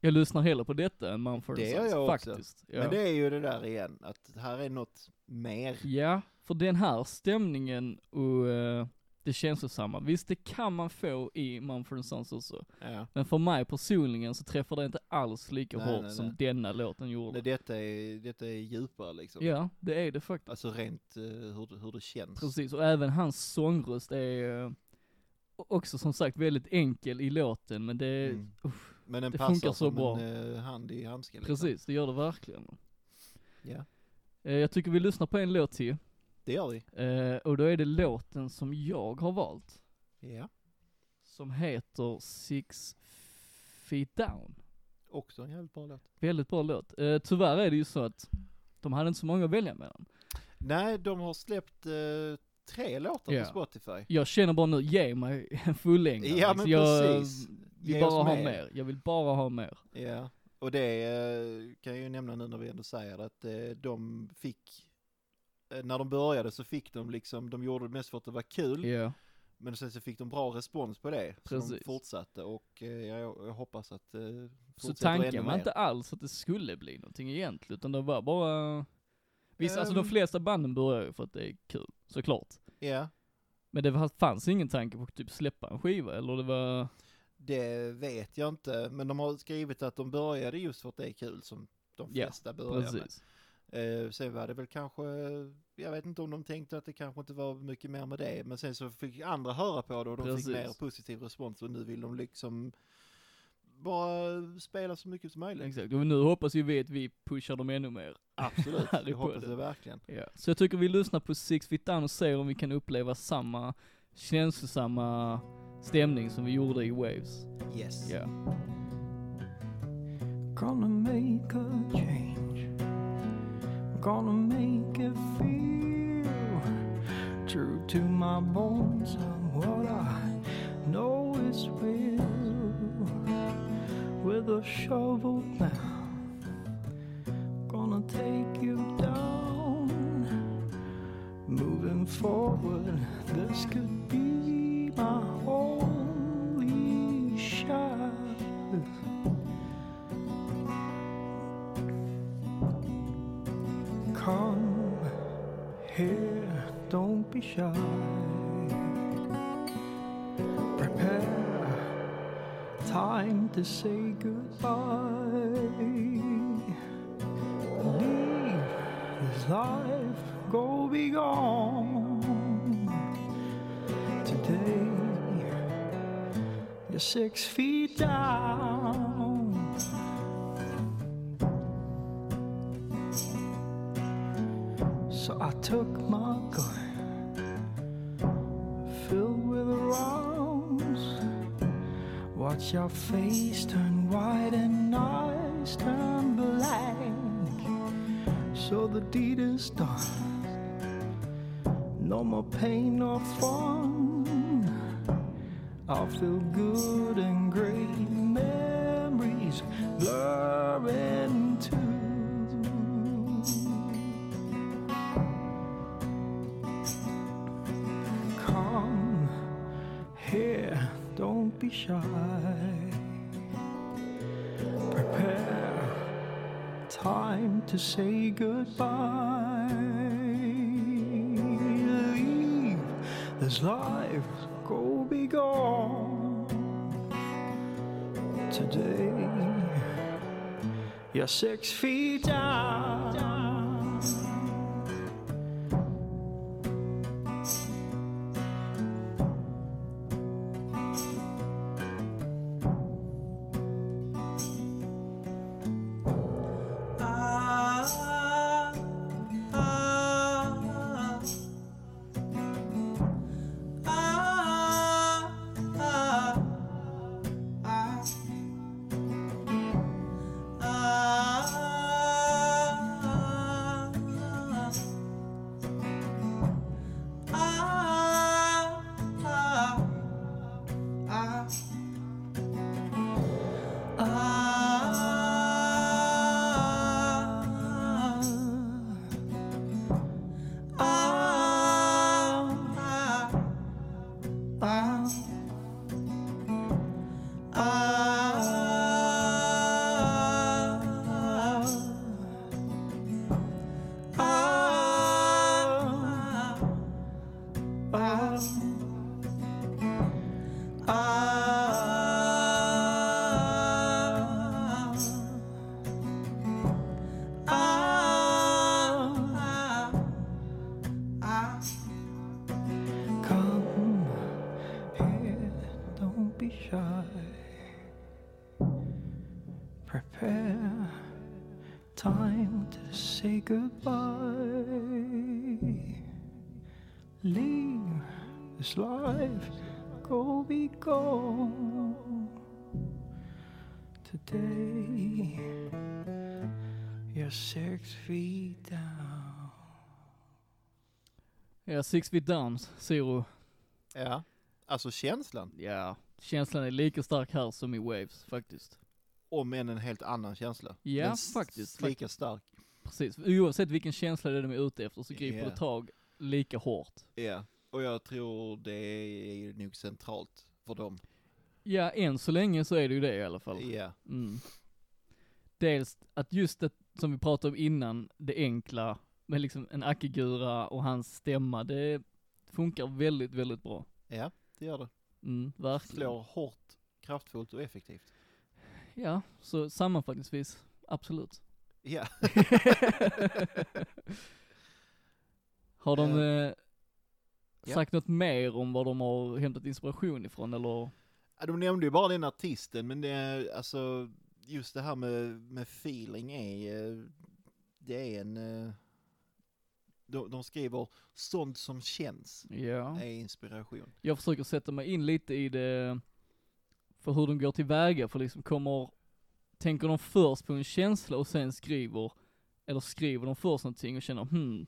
[SPEAKER 1] jag lyssnar hellre på detta än Mumford
[SPEAKER 2] Det gör
[SPEAKER 1] Sons,
[SPEAKER 2] jag också.
[SPEAKER 1] faktiskt. Ja.
[SPEAKER 2] Men det är ju det där igen, att här är något mer.
[SPEAKER 1] Ja, för den här stämningen och eh, det känslosamma, visst det kan man få i Mumford Sons också.
[SPEAKER 2] Ja.
[SPEAKER 1] Men för mig personligen så träffar det inte alls lika
[SPEAKER 2] Nej,
[SPEAKER 1] hårt
[SPEAKER 2] nej,
[SPEAKER 1] som
[SPEAKER 2] nej.
[SPEAKER 1] denna låten gjorde.
[SPEAKER 2] Nej, detta, är, detta är djupare liksom.
[SPEAKER 1] ja, det är det faktiskt.
[SPEAKER 2] Alltså rent eh, hur, det- hur det känns.
[SPEAKER 1] Precis, och även hans sångröst är eh, också som sagt väldigt enkel i låten, men det,
[SPEAKER 2] Mm.
[SPEAKER 1] uff,
[SPEAKER 2] Men den
[SPEAKER 1] Det funkar
[SPEAKER 2] passar
[SPEAKER 1] så
[SPEAKER 2] som
[SPEAKER 1] bra.
[SPEAKER 2] en eh, hand i handsken. liksom.
[SPEAKER 1] precis, det gör det verkligen.
[SPEAKER 2] Ja,
[SPEAKER 1] Eh, jag tycker vi lyssnar på en låt till,
[SPEAKER 2] det gör vi.
[SPEAKER 1] eh, och då är det låten som jag har valt,
[SPEAKER 2] Ja,
[SPEAKER 1] som heter Six Feet Down.
[SPEAKER 2] också en jävligt bra låt.
[SPEAKER 1] Väldigt bra låt. Eh, tyvärr är det ju så att de hade inte så många att välja mellan.
[SPEAKER 2] Nej, de har släppt eh, tre låtar
[SPEAKER 1] Ja.
[SPEAKER 2] på Spotify.
[SPEAKER 1] Jag känner bara nu, ge mig en fullängd.
[SPEAKER 2] Ja,
[SPEAKER 1] Alex.
[SPEAKER 2] men
[SPEAKER 1] jag
[SPEAKER 2] precis.
[SPEAKER 1] vill
[SPEAKER 2] Ge
[SPEAKER 1] bara
[SPEAKER 2] oss
[SPEAKER 1] ha
[SPEAKER 2] mer.
[SPEAKER 1] mer. Jag vill bara ha mer.
[SPEAKER 2] Ja, och det eh, kan jag ju nämna nu när vi ändå säger det, att eh, de fick, eh, när de började så fick de liksom, de gjorde det mest för att det var kul.
[SPEAKER 1] Ja,
[SPEAKER 2] Men sen så fick de bra respons på det, så
[SPEAKER 1] Precis.
[SPEAKER 2] de fortsatte och eh, jag, jag hoppas att eh,
[SPEAKER 1] så
[SPEAKER 2] fortsätter
[SPEAKER 1] tanken
[SPEAKER 2] ännu
[SPEAKER 1] var
[SPEAKER 2] mer.
[SPEAKER 1] inte alls att det skulle bli någonting egentligen, utan det var bara... Visst, alltså de
[SPEAKER 2] Ehm.
[SPEAKER 1] flesta banden börjar ju för att det är kul, såklart.
[SPEAKER 2] Ja,
[SPEAKER 1] Men det var- fanns ingen tanke på att typ släppa en skiva, eller det var...
[SPEAKER 2] det vet jag inte, men de har skrivit att de började just för att det är kul som de
[SPEAKER 1] Ja,
[SPEAKER 2] flesta börjar
[SPEAKER 1] Precis.
[SPEAKER 2] med. Eh, sen var det väl kanske, jag vet inte om de tänkte att det kanske inte var mycket mer med det, men sen så fick andra höra på det och de
[SPEAKER 1] Precis.
[SPEAKER 2] fick mer positiv respons och nu vill de liksom bara spela så mycket som möjligt.
[SPEAKER 1] Exakt, och nu hoppas ju vi att vi pushar dem ännu mer.
[SPEAKER 2] Absolut,
[SPEAKER 1] Här är
[SPEAKER 2] jag hoppas
[SPEAKER 1] podden.
[SPEAKER 2] det verkligen.
[SPEAKER 1] Ja. Så jag tycker vi lyssnar på Six Feet Down och ser om vi kan uppleva samma känslosamma stämning som vi gjorde i Waves.
[SPEAKER 2] Yes.
[SPEAKER 1] Ja.
[SPEAKER 3] Gonna make a change. Gonna make it feel true to my bones and what I know is real. With a shovel now, gonna take you down. Moving forward, this could be my only shot. Come here, don't be shy. Prepare time to say goodbye. Leave this life, go be gone. Today, you're six feet down. So I took my gun, filled with rounds. Watch your face turn white and eyes turn black. So the deed is done. No more pain or fun. I'll feel good and great memories blur into. Come here, don't be shy. Prepare time to say goodbye. Leave this life, go be gone. Today, you're six feet down.
[SPEAKER 4] Ah, ah, ah, ah. Ah, ah.
[SPEAKER 3] Come here, don't be shy. Prepare time to say goodbye. Leave this life, go be gone. Today, you're six feet down.
[SPEAKER 1] Ja, Six Feet Down, Zero.
[SPEAKER 2] Ja, alltså känslan.
[SPEAKER 1] Ja, känslan är lika stark här som i Waves faktiskt.
[SPEAKER 2] Om än en helt annan känsla.
[SPEAKER 1] Ja,
[SPEAKER 2] Den s-
[SPEAKER 1] faktiskt,
[SPEAKER 2] Lika
[SPEAKER 1] faktiskt.
[SPEAKER 2] stark.
[SPEAKER 1] Precis, oavsett vilken känsla det är de är ute efter så griper
[SPEAKER 2] Ja.
[SPEAKER 1] det tag lika hårt.
[SPEAKER 2] Ja, och jag tror det är nog centralt för dem.
[SPEAKER 1] Ja, än så länge så är det ju det i alla fall.
[SPEAKER 2] Ja,
[SPEAKER 1] Mm. Dels att just det som vi pratade om innan, det enkla med liksom en Akigura och hans stämma, det funkar väldigt, väldigt bra.
[SPEAKER 2] ja det gör det.
[SPEAKER 1] Mm, verkligen.
[SPEAKER 2] Slår hårt, kraftfullt och effektivt.
[SPEAKER 1] Ja, så sammanfattningsvis, absolut.
[SPEAKER 2] Ja,
[SPEAKER 1] har de
[SPEAKER 2] Eh,
[SPEAKER 1] eh, sagt något mer om var de har hämtat inspiration ifrån eller?
[SPEAKER 2] Ja, de nämnde ju bara den artisten, men det är alltså just det här med, med feeling är, eh, det är en, eh, de, de skriver sånt som känns
[SPEAKER 1] Ja.
[SPEAKER 2] är inspiration.
[SPEAKER 1] Jag försöker sätta mig in lite i det, för hur de går tillväga, för liksom kommer, tänker de först på en känsla och sen skriver, eller skriver de först någonting och känner hmm,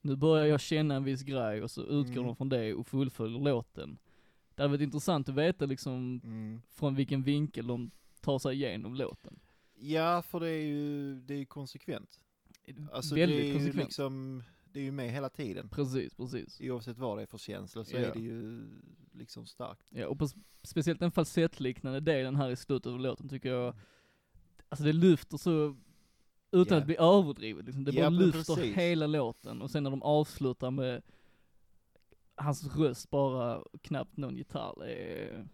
[SPEAKER 1] nu börjar jag känna en viss grej och så utgår
[SPEAKER 2] Mm.
[SPEAKER 1] de från det och fullföljer låten. Det hade varit intressant att veta liksom från vilken vinkel de tar sig igenom låten.
[SPEAKER 2] Ja, för det är ju, det är ju konsekvent. Alltså
[SPEAKER 1] väldigt
[SPEAKER 2] det är ju
[SPEAKER 1] konsekvent.
[SPEAKER 2] liksom, det är ju med hela tiden.
[SPEAKER 1] Precis, precis.
[SPEAKER 2] Oavsett vad det är för känsla så
[SPEAKER 1] Ja.
[SPEAKER 2] är det ju liksom starkt.
[SPEAKER 1] Ja, och på, speciellt den falsettliknande delen här i slutet av låten tycker jag, alltså det lyfter så, utan
[SPEAKER 2] Ja.
[SPEAKER 1] att bli överdrivet liksom. Det
[SPEAKER 2] Ja,
[SPEAKER 1] bara
[SPEAKER 2] men
[SPEAKER 1] lyfter
[SPEAKER 2] precis.
[SPEAKER 1] hela låten, och sen när de avslutar med hans röst bara, knappt någon gitarr, det är,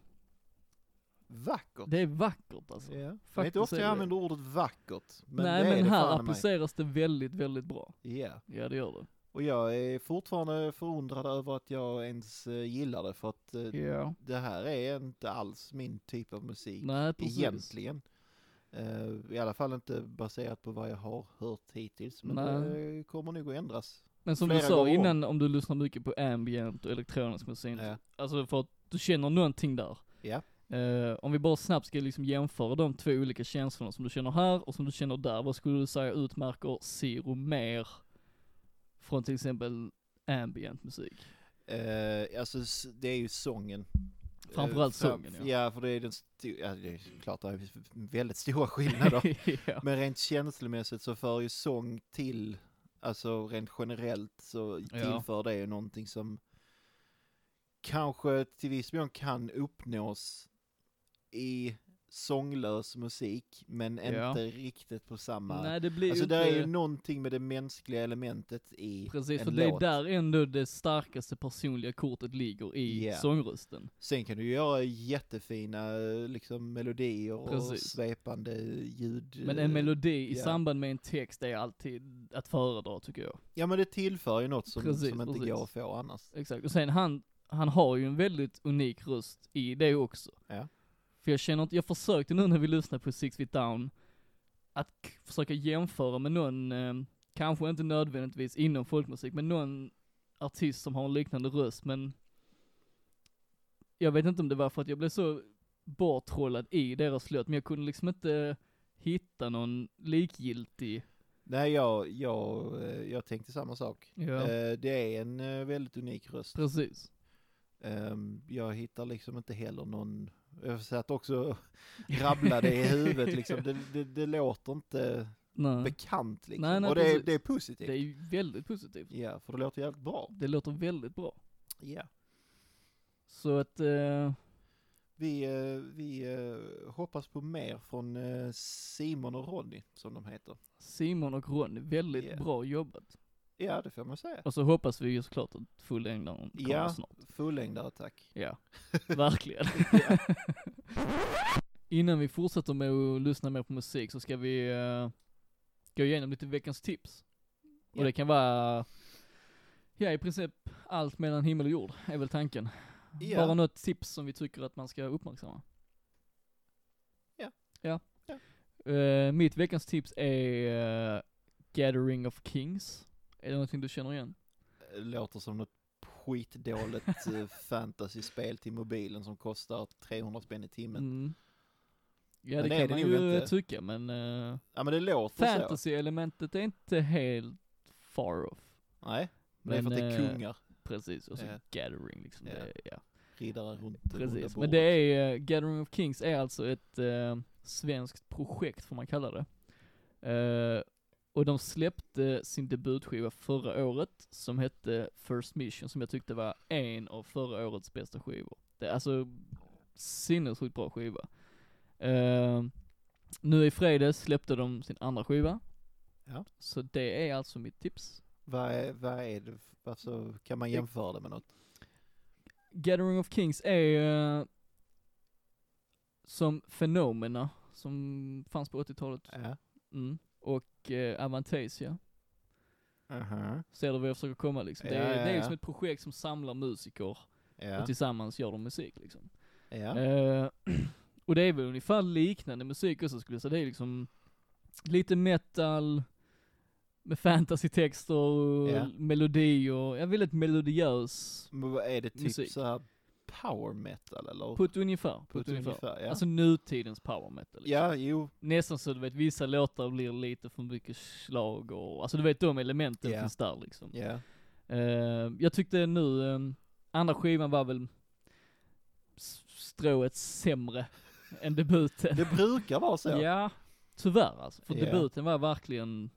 [SPEAKER 2] Vackert!
[SPEAKER 1] det är vackert alltså.
[SPEAKER 2] ja. Det är
[SPEAKER 1] faktiskt
[SPEAKER 2] inte ofta
[SPEAKER 1] är
[SPEAKER 2] jag
[SPEAKER 1] det-
[SPEAKER 2] använder ordet vackert. Men
[SPEAKER 1] Nej
[SPEAKER 2] det är
[SPEAKER 1] men
[SPEAKER 2] det
[SPEAKER 1] här
[SPEAKER 2] fan i mig.
[SPEAKER 1] appliceras det väldigt, väldigt bra.
[SPEAKER 2] Ja.
[SPEAKER 1] Ja det gör det.
[SPEAKER 2] Och jag är fortfarande förundrad över att jag ens eh, gillar det för att eh,
[SPEAKER 1] Ja.
[SPEAKER 2] det här är inte alls min typ av musik.
[SPEAKER 1] Nej precis.
[SPEAKER 2] egentligen. Eh, I alla fall inte baserat på vad jag har hört hittills. Men
[SPEAKER 1] Nej.
[SPEAKER 2] det kommer nog att ändras.
[SPEAKER 1] Men som du
[SPEAKER 2] Flera
[SPEAKER 1] sa
[SPEAKER 2] gånger om.
[SPEAKER 1] innan, om du lyssnar mycket på ambient och elektronisk musik,
[SPEAKER 2] Ja.
[SPEAKER 1] alltså för att du känner någonting där.
[SPEAKER 2] Ja.
[SPEAKER 1] Eh, om vi bara snabbt ska liksom jämföra de två olika känslorna som du känner här och som du känner där, vad skulle du säga utmärker Zero mer från till exempel ambient musik?
[SPEAKER 2] Eh, alltså s- det är ju sången.
[SPEAKER 1] Framförallt
[SPEAKER 2] Eh,
[SPEAKER 1] sången, ja.
[SPEAKER 2] Ja, för det är den sto- ja, det är klart det är väldigt stora skillnader.
[SPEAKER 1] ja.
[SPEAKER 2] Men rent känslomässigt så för ju sång till, alltså rent generellt så tillför det ju någonting som kanske till viss mån kan uppnås i sånglös musik men
[SPEAKER 1] Ja.
[SPEAKER 2] inte riktigt på samma...
[SPEAKER 1] Nej det blir
[SPEAKER 2] alltså
[SPEAKER 1] ju
[SPEAKER 2] det är ju
[SPEAKER 1] inte,
[SPEAKER 2] någonting med det mänskliga elementet i
[SPEAKER 1] precis,
[SPEAKER 2] en
[SPEAKER 1] för det är
[SPEAKER 2] låt.
[SPEAKER 1] där ändå det starkaste personliga kortet ligger i
[SPEAKER 2] Ja.
[SPEAKER 1] sångrösten.
[SPEAKER 2] Sen kan du göra jättefina eh, liksom melodier och
[SPEAKER 1] Precis.
[SPEAKER 2] svepande ljud.
[SPEAKER 1] Men en melodi i
[SPEAKER 2] Eh, ja.
[SPEAKER 1] samband med en text är alltid att föredra tycker jag.
[SPEAKER 2] Ja men det tillför ju något som,
[SPEAKER 1] Precis,
[SPEAKER 2] som inte
[SPEAKER 1] precis.
[SPEAKER 2] går att få annars.
[SPEAKER 1] Exakt, och sen han, han har ju en väldigt unik röst i det också.
[SPEAKER 2] Ja.
[SPEAKER 1] För jag känner inte, jag försökte nu när vi lyssnade på Six Feet Down, att k- försöka jämföra med någon, eh, kanske inte nödvändigtvis inom folkmusik, men någon artist som har en liknande röst, men jag vet inte om det var för att jag blev så borttrollad i deras låt, men jag kunde liksom inte hitta någon likgiltig.
[SPEAKER 2] Nej, jag, jag, eh, jag tänkte samma sak.
[SPEAKER 1] Ja.
[SPEAKER 2] Eh, Det är en eh, väldigt unik röst.
[SPEAKER 1] Precis.
[SPEAKER 2] Ehm, Jag hittar liksom inte heller någon, jag satt också och rabblade i huvudet liksom. Det, det, det låter inte
[SPEAKER 1] Nej.
[SPEAKER 2] bekant liksom.
[SPEAKER 1] Nej, nej,
[SPEAKER 2] och det är,
[SPEAKER 1] precis.
[SPEAKER 2] det är positivt.
[SPEAKER 1] Det är ju väldigt positivt.
[SPEAKER 2] Ja, för det låter jävligt bra.
[SPEAKER 1] Det låter väldigt bra.
[SPEAKER 2] Ja.
[SPEAKER 1] Så att, eh,
[SPEAKER 2] Vi, eh, vi eh, hoppas på mer från eh, Simon och Ronny, som de heter.
[SPEAKER 1] Simon och Ronny, väldigt
[SPEAKER 2] Yeah.
[SPEAKER 1] bra jobbat.
[SPEAKER 2] Ja, det får man säga.
[SPEAKER 1] Och så hoppas vi ju såklart att fullängdaren kommer
[SPEAKER 2] Ja.
[SPEAKER 1] snart.
[SPEAKER 2] Fullängdare, tack.
[SPEAKER 1] Ja, verkligen. Innan vi fortsätter med att lyssna mer på musik så ska vi eh, gå igenom lite veckans tips. Och
[SPEAKER 2] Ja.
[SPEAKER 1] det kan vara, ja i princip allt mellan himmel och jord är väl tanken.
[SPEAKER 2] Ja.
[SPEAKER 1] Bara något tips som vi tycker att man ska uppmärksamma.
[SPEAKER 2] Ja.
[SPEAKER 1] Ja.
[SPEAKER 2] Ja.
[SPEAKER 1] Eh, mitt veckans tips är eh, Gathering of Kings. Är det någonting du känner igen?
[SPEAKER 2] låter som något skitdåligt eh, fantasyspel till mobilen som kostar 300 spänn i timmen.
[SPEAKER 1] Mm. Ja
[SPEAKER 2] Men
[SPEAKER 1] det
[SPEAKER 2] det är
[SPEAKER 1] kan
[SPEAKER 2] det
[SPEAKER 1] man
[SPEAKER 2] nog
[SPEAKER 1] ju
[SPEAKER 2] inte.
[SPEAKER 1] tycka men eh,
[SPEAKER 2] Ja men det låter så.
[SPEAKER 1] fantasy-elementet är inte helt far off.
[SPEAKER 2] Nej, men, det är för
[SPEAKER 1] Men,
[SPEAKER 2] att det
[SPEAKER 1] eh,
[SPEAKER 2] är kungar,
[SPEAKER 1] Precis, och så
[SPEAKER 2] Ja.
[SPEAKER 1] gathering liksom.
[SPEAKER 2] Ja.
[SPEAKER 1] Det, är- ja.
[SPEAKER 2] riddare runt det runda
[SPEAKER 1] Precis, men
[SPEAKER 2] Typ bordet.
[SPEAKER 1] det är, eh, Gathering of Kings är alltså ett eh, svenskt projekt får man kalla det. Eh, och de släppte sin debutskiva förra året som hette First Mission som jag tyckte var en av förra årets bästa skivor. Det är alltså sinnessjukt bra skiva. Eh, nu i fredags släppte de sin andra skiva.
[SPEAKER 2] Ja.
[SPEAKER 1] Så det är alltså mitt tips.
[SPEAKER 2] Vad är, vad är det, f- alltså kan man jämföra det med något?
[SPEAKER 1] Gathering of Kings är eh, som Fenomena, som fanns på 80-talet,
[SPEAKER 2] Ja.
[SPEAKER 1] mm. och eh, Avantasia.
[SPEAKER 2] uh
[SPEAKER 1] Ser du vad jag försöker komma liksom? det,
[SPEAKER 2] Ja,
[SPEAKER 1] är,
[SPEAKER 2] ja,
[SPEAKER 1] det är
[SPEAKER 2] ja.
[SPEAKER 1] liksom ett projekt som samlar musiker
[SPEAKER 2] Ja,
[SPEAKER 1] och tillsammans gör de musik liksom.
[SPEAKER 2] ja,
[SPEAKER 1] Eh, och det är väl ungefär liknande musik också skulle jag säga. Det är liksom lite metal, med fantasy-texter och
[SPEAKER 2] Ja.
[SPEAKER 1] melodier, jag vill ett melodiös,
[SPEAKER 2] men vad är det typ
[SPEAKER 1] musik.
[SPEAKER 2] så här power metal eller?
[SPEAKER 1] på ett ungefär, på
[SPEAKER 2] På
[SPEAKER 1] ett
[SPEAKER 2] ett
[SPEAKER 1] ungefär.
[SPEAKER 2] ja.
[SPEAKER 1] Alltså nutidens power metal liksom.
[SPEAKER 2] ja, jo,
[SPEAKER 1] nästan så du vet, vissa låtar blir lite för mycket slag och, alltså du vet de elementen
[SPEAKER 2] Ja.
[SPEAKER 1] finns där liksom.
[SPEAKER 2] ja,
[SPEAKER 1] Eh, jag tyckte nu, ehm, andra skivan var väl s- strået sämre än debuten.
[SPEAKER 2] det brukar vara så.
[SPEAKER 1] ja, tyvärr alltså. För
[SPEAKER 2] Ja.
[SPEAKER 1] debuten var verkligen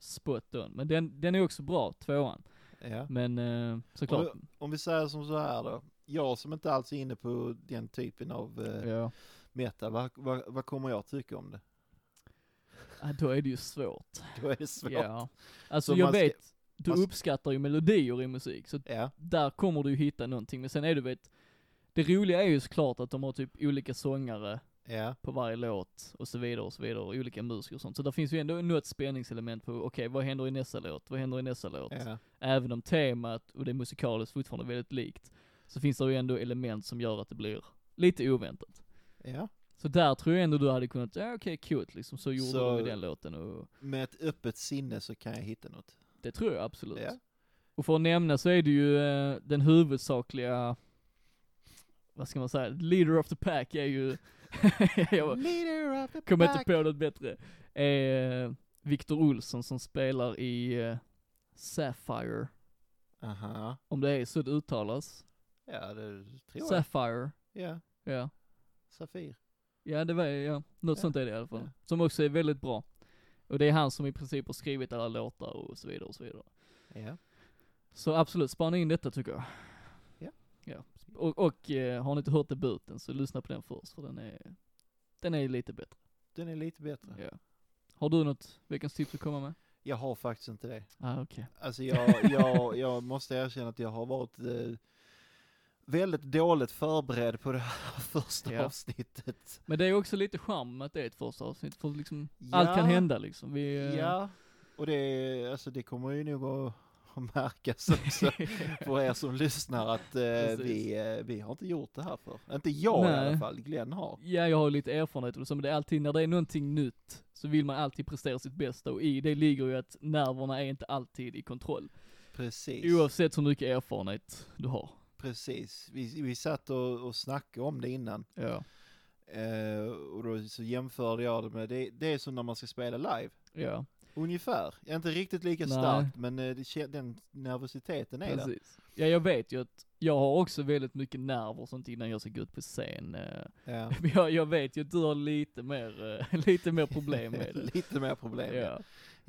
[SPEAKER 1] spot on. Men den, den är också bra, tvåan.
[SPEAKER 2] Ja.
[SPEAKER 1] Men eh, såklart,
[SPEAKER 2] Om vi säger som så här då. Jag som inte alls är inne på den typen av eh,
[SPEAKER 1] ja.
[SPEAKER 2] meta, vad, vad, vad kommer jag tycka om det?
[SPEAKER 1] Ah, då är det ju svårt.
[SPEAKER 2] Då är det svårt.
[SPEAKER 1] Ja. Alltså
[SPEAKER 2] Så
[SPEAKER 1] jag
[SPEAKER 2] man ska-
[SPEAKER 1] vet, du
[SPEAKER 2] man ska-
[SPEAKER 1] uppskattar ju melodier i musik, så
[SPEAKER 2] Ja.
[SPEAKER 1] där kommer du ju hitta någonting. Men sen är du vet, det roliga är ju såklart att de har typ olika sångare
[SPEAKER 2] Ja.
[SPEAKER 1] på varje låt och så vidare och så vidare, och olika musiker och sånt. Så där finns ju ändå något spänningselement på, okej vad händer i nästa låt, vad händer i nästa låt?
[SPEAKER 2] Ja.
[SPEAKER 1] Även om temat och det musikaliskt fortfarande är väldigt likt, så finns det ju ändå element som gör att det blir lite oväntat.
[SPEAKER 2] ja.
[SPEAKER 1] Så där tror jag ändå du hade kunnat, ja okej cute liksom, så gjorde
[SPEAKER 2] Så-
[SPEAKER 1] de i den låten och
[SPEAKER 2] Med ett öppet sinne så kan jag hitta något.
[SPEAKER 1] det tror jag absolut.
[SPEAKER 2] Ja.
[SPEAKER 1] Och för att nämna så är det ju eh, den huvudsakliga, vad ska man säga, leader of the pack är ju, jag
[SPEAKER 2] Leader of the
[SPEAKER 1] kommer inte
[SPEAKER 2] pack.
[SPEAKER 1] på något bättre, eh, Viktor Olsson som spelar i eh, Sapphire,
[SPEAKER 2] Aha.
[SPEAKER 1] om det är så det uttalas.
[SPEAKER 2] Ja, det tror jag.
[SPEAKER 1] Sapphire,
[SPEAKER 2] Ja.
[SPEAKER 1] ja.
[SPEAKER 2] Safir.
[SPEAKER 1] Ja det var, ja, något
[SPEAKER 2] Ja,
[SPEAKER 1] sånt är det i alla fall.
[SPEAKER 2] ja.
[SPEAKER 1] Som också är väldigt bra. Och det är han som i princip har skrivit alla låtar och så vidare och så vidare.
[SPEAKER 2] Ja.
[SPEAKER 1] Så absolut, spana in detta tycker jag.
[SPEAKER 2] Ja.
[SPEAKER 1] ja. Och, och eh, har ni inte hört debuten så lyssna på den först för den är, den är lite bättre.
[SPEAKER 2] Den är lite bättre.
[SPEAKER 1] Ja. Har du något veckans tips att komma med?
[SPEAKER 2] Jag har faktiskt inte det.
[SPEAKER 1] Ah, okej.
[SPEAKER 2] Alltså jag, jag, jag måste erkänna att jag har varit eh, väldigt dåligt förberedd på det här första
[SPEAKER 1] Ja.
[SPEAKER 2] avsnittet.
[SPEAKER 1] Men det är också lite charm med att det är ett första avsnitt för liksom,
[SPEAKER 2] Ja.
[SPEAKER 1] allt kan hända liksom. Vi, eh,
[SPEAKER 2] Ja, och det, alltså det kommer ju nog att, att märkas också för er som lyssnar att eh,
[SPEAKER 1] Precis.
[SPEAKER 2] vi, eh, vi har inte gjort det här för. Inte jag i
[SPEAKER 1] Nej.
[SPEAKER 2] alla fall, Glenn har.
[SPEAKER 1] Ja, jag har lite erfarenhet av det, så, men det är alltid, när det är någonting nytt, så vill man alltid prestera sitt bästa och i det ligger ju att nerverna är inte alltid i kontroll.
[SPEAKER 2] Precis.
[SPEAKER 1] Oavsett hur mycket erfarenhet du har.
[SPEAKER 2] Precis. Vi, vi satt och, och snackade om det innan.
[SPEAKER 1] Ja.
[SPEAKER 2] Eh, och då så jämförde jag det med, det, det är som när man ska spela live.
[SPEAKER 1] Ja,
[SPEAKER 2] Ungefär. Inte riktigt lika
[SPEAKER 1] Nej.
[SPEAKER 2] starkt, men eh, det, kä- den nervositeten är där.
[SPEAKER 1] precis. Ja, jag vet ju att jag har också väldigt mycket nerver och sånt innan jag ska gå ut på scen. eh.
[SPEAKER 2] Ja.
[SPEAKER 1] Men jag, jag vet ju att du har lite mer, eh, lite mer problem med det.
[SPEAKER 2] Lite mer problem. Ja.
[SPEAKER 1] Ja.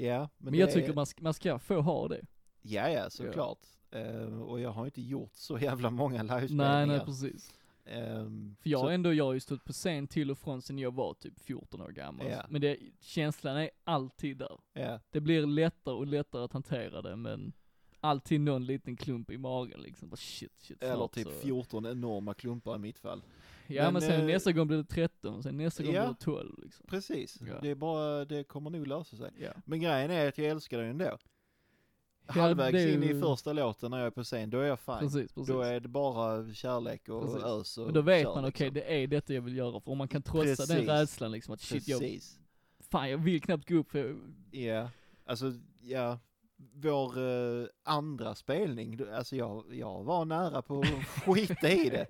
[SPEAKER 2] Ja,
[SPEAKER 1] Men,
[SPEAKER 2] det
[SPEAKER 1] jag
[SPEAKER 2] är-
[SPEAKER 1] tycker man, ska- man ska få ha det.
[SPEAKER 2] Ja, ja, såklart. Eh, och jag har inte gjort så jävla många
[SPEAKER 1] Nej,
[SPEAKER 2] livespelningar.
[SPEAKER 1] nej precis.
[SPEAKER 2] Ehm,
[SPEAKER 1] För jag
[SPEAKER 2] så,
[SPEAKER 1] har ändå, jag har ju stått på scen till och från sen jag var typ 14 år gammal.
[SPEAKER 2] Ja.
[SPEAKER 1] Men det, känslan är alltid där.
[SPEAKER 2] ja,
[SPEAKER 1] Det blir lättare och lättare att hantera det men alltid någon liten klump i magen liksom. Bara shit, shit.
[SPEAKER 2] eller
[SPEAKER 1] snart
[SPEAKER 2] typ
[SPEAKER 1] så-
[SPEAKER 2] 14 enorma klumpar i mitt fall.
[SPEAKER 1] Ja men,
[SPEAKER 2] men,
[SPEAKER 1] sen
[SPEAKER 2] eh,
[SPEAKER 1] nästa gång blir det 13, och sen nästa gång
[SPEAKER 2] ja.
[SPEAKER 1] blir det 12 liksom.
[SPEAKER 2] Precis,
[SPEAKER 1] Ja.
[SPEAKER 2] det är bara, det kommer nog lösa sig.
[SPEAKER 1] Ja.
[SPEAKER 2] Men grejen är att jag älskar den ändå.
[SPEAKER 1] Ja,
[SPEAKER 2] Halvvägs
[SPEAKER 1] det är
[SPEAKER 2] in
[SPEAKER 1] ju-
[SPEAKER 2] i första låten när jag är på scen, då är jag fine.
[SPEAKER 1] Precis, precis.
[SPEAKER 2] Då är det bara kärlek och
[SPEAKER 1] Precis.
[SPEAKER 2] ös och
[SPEAKER 1] men då vet
[SPEAKER 2] kör,
[SPEAKER 1] man, okej
[SPEAKER 2] liksom.
[SPEAKER 1] det är detta jag vill göra, för om man kan trotsa den
[SPEAKER 2] Precis.
[SPEAKER 1] rädslan liksom att shit, jag,
[SPEAKER 2] Precis.
[SPEAKER 1] fan jag vill knappt gå upp för jag,
[SPEAKER 2] Ja, alltså ja, vår eh, andra spelning, då- alltså jag, jag var nära på att skita i det.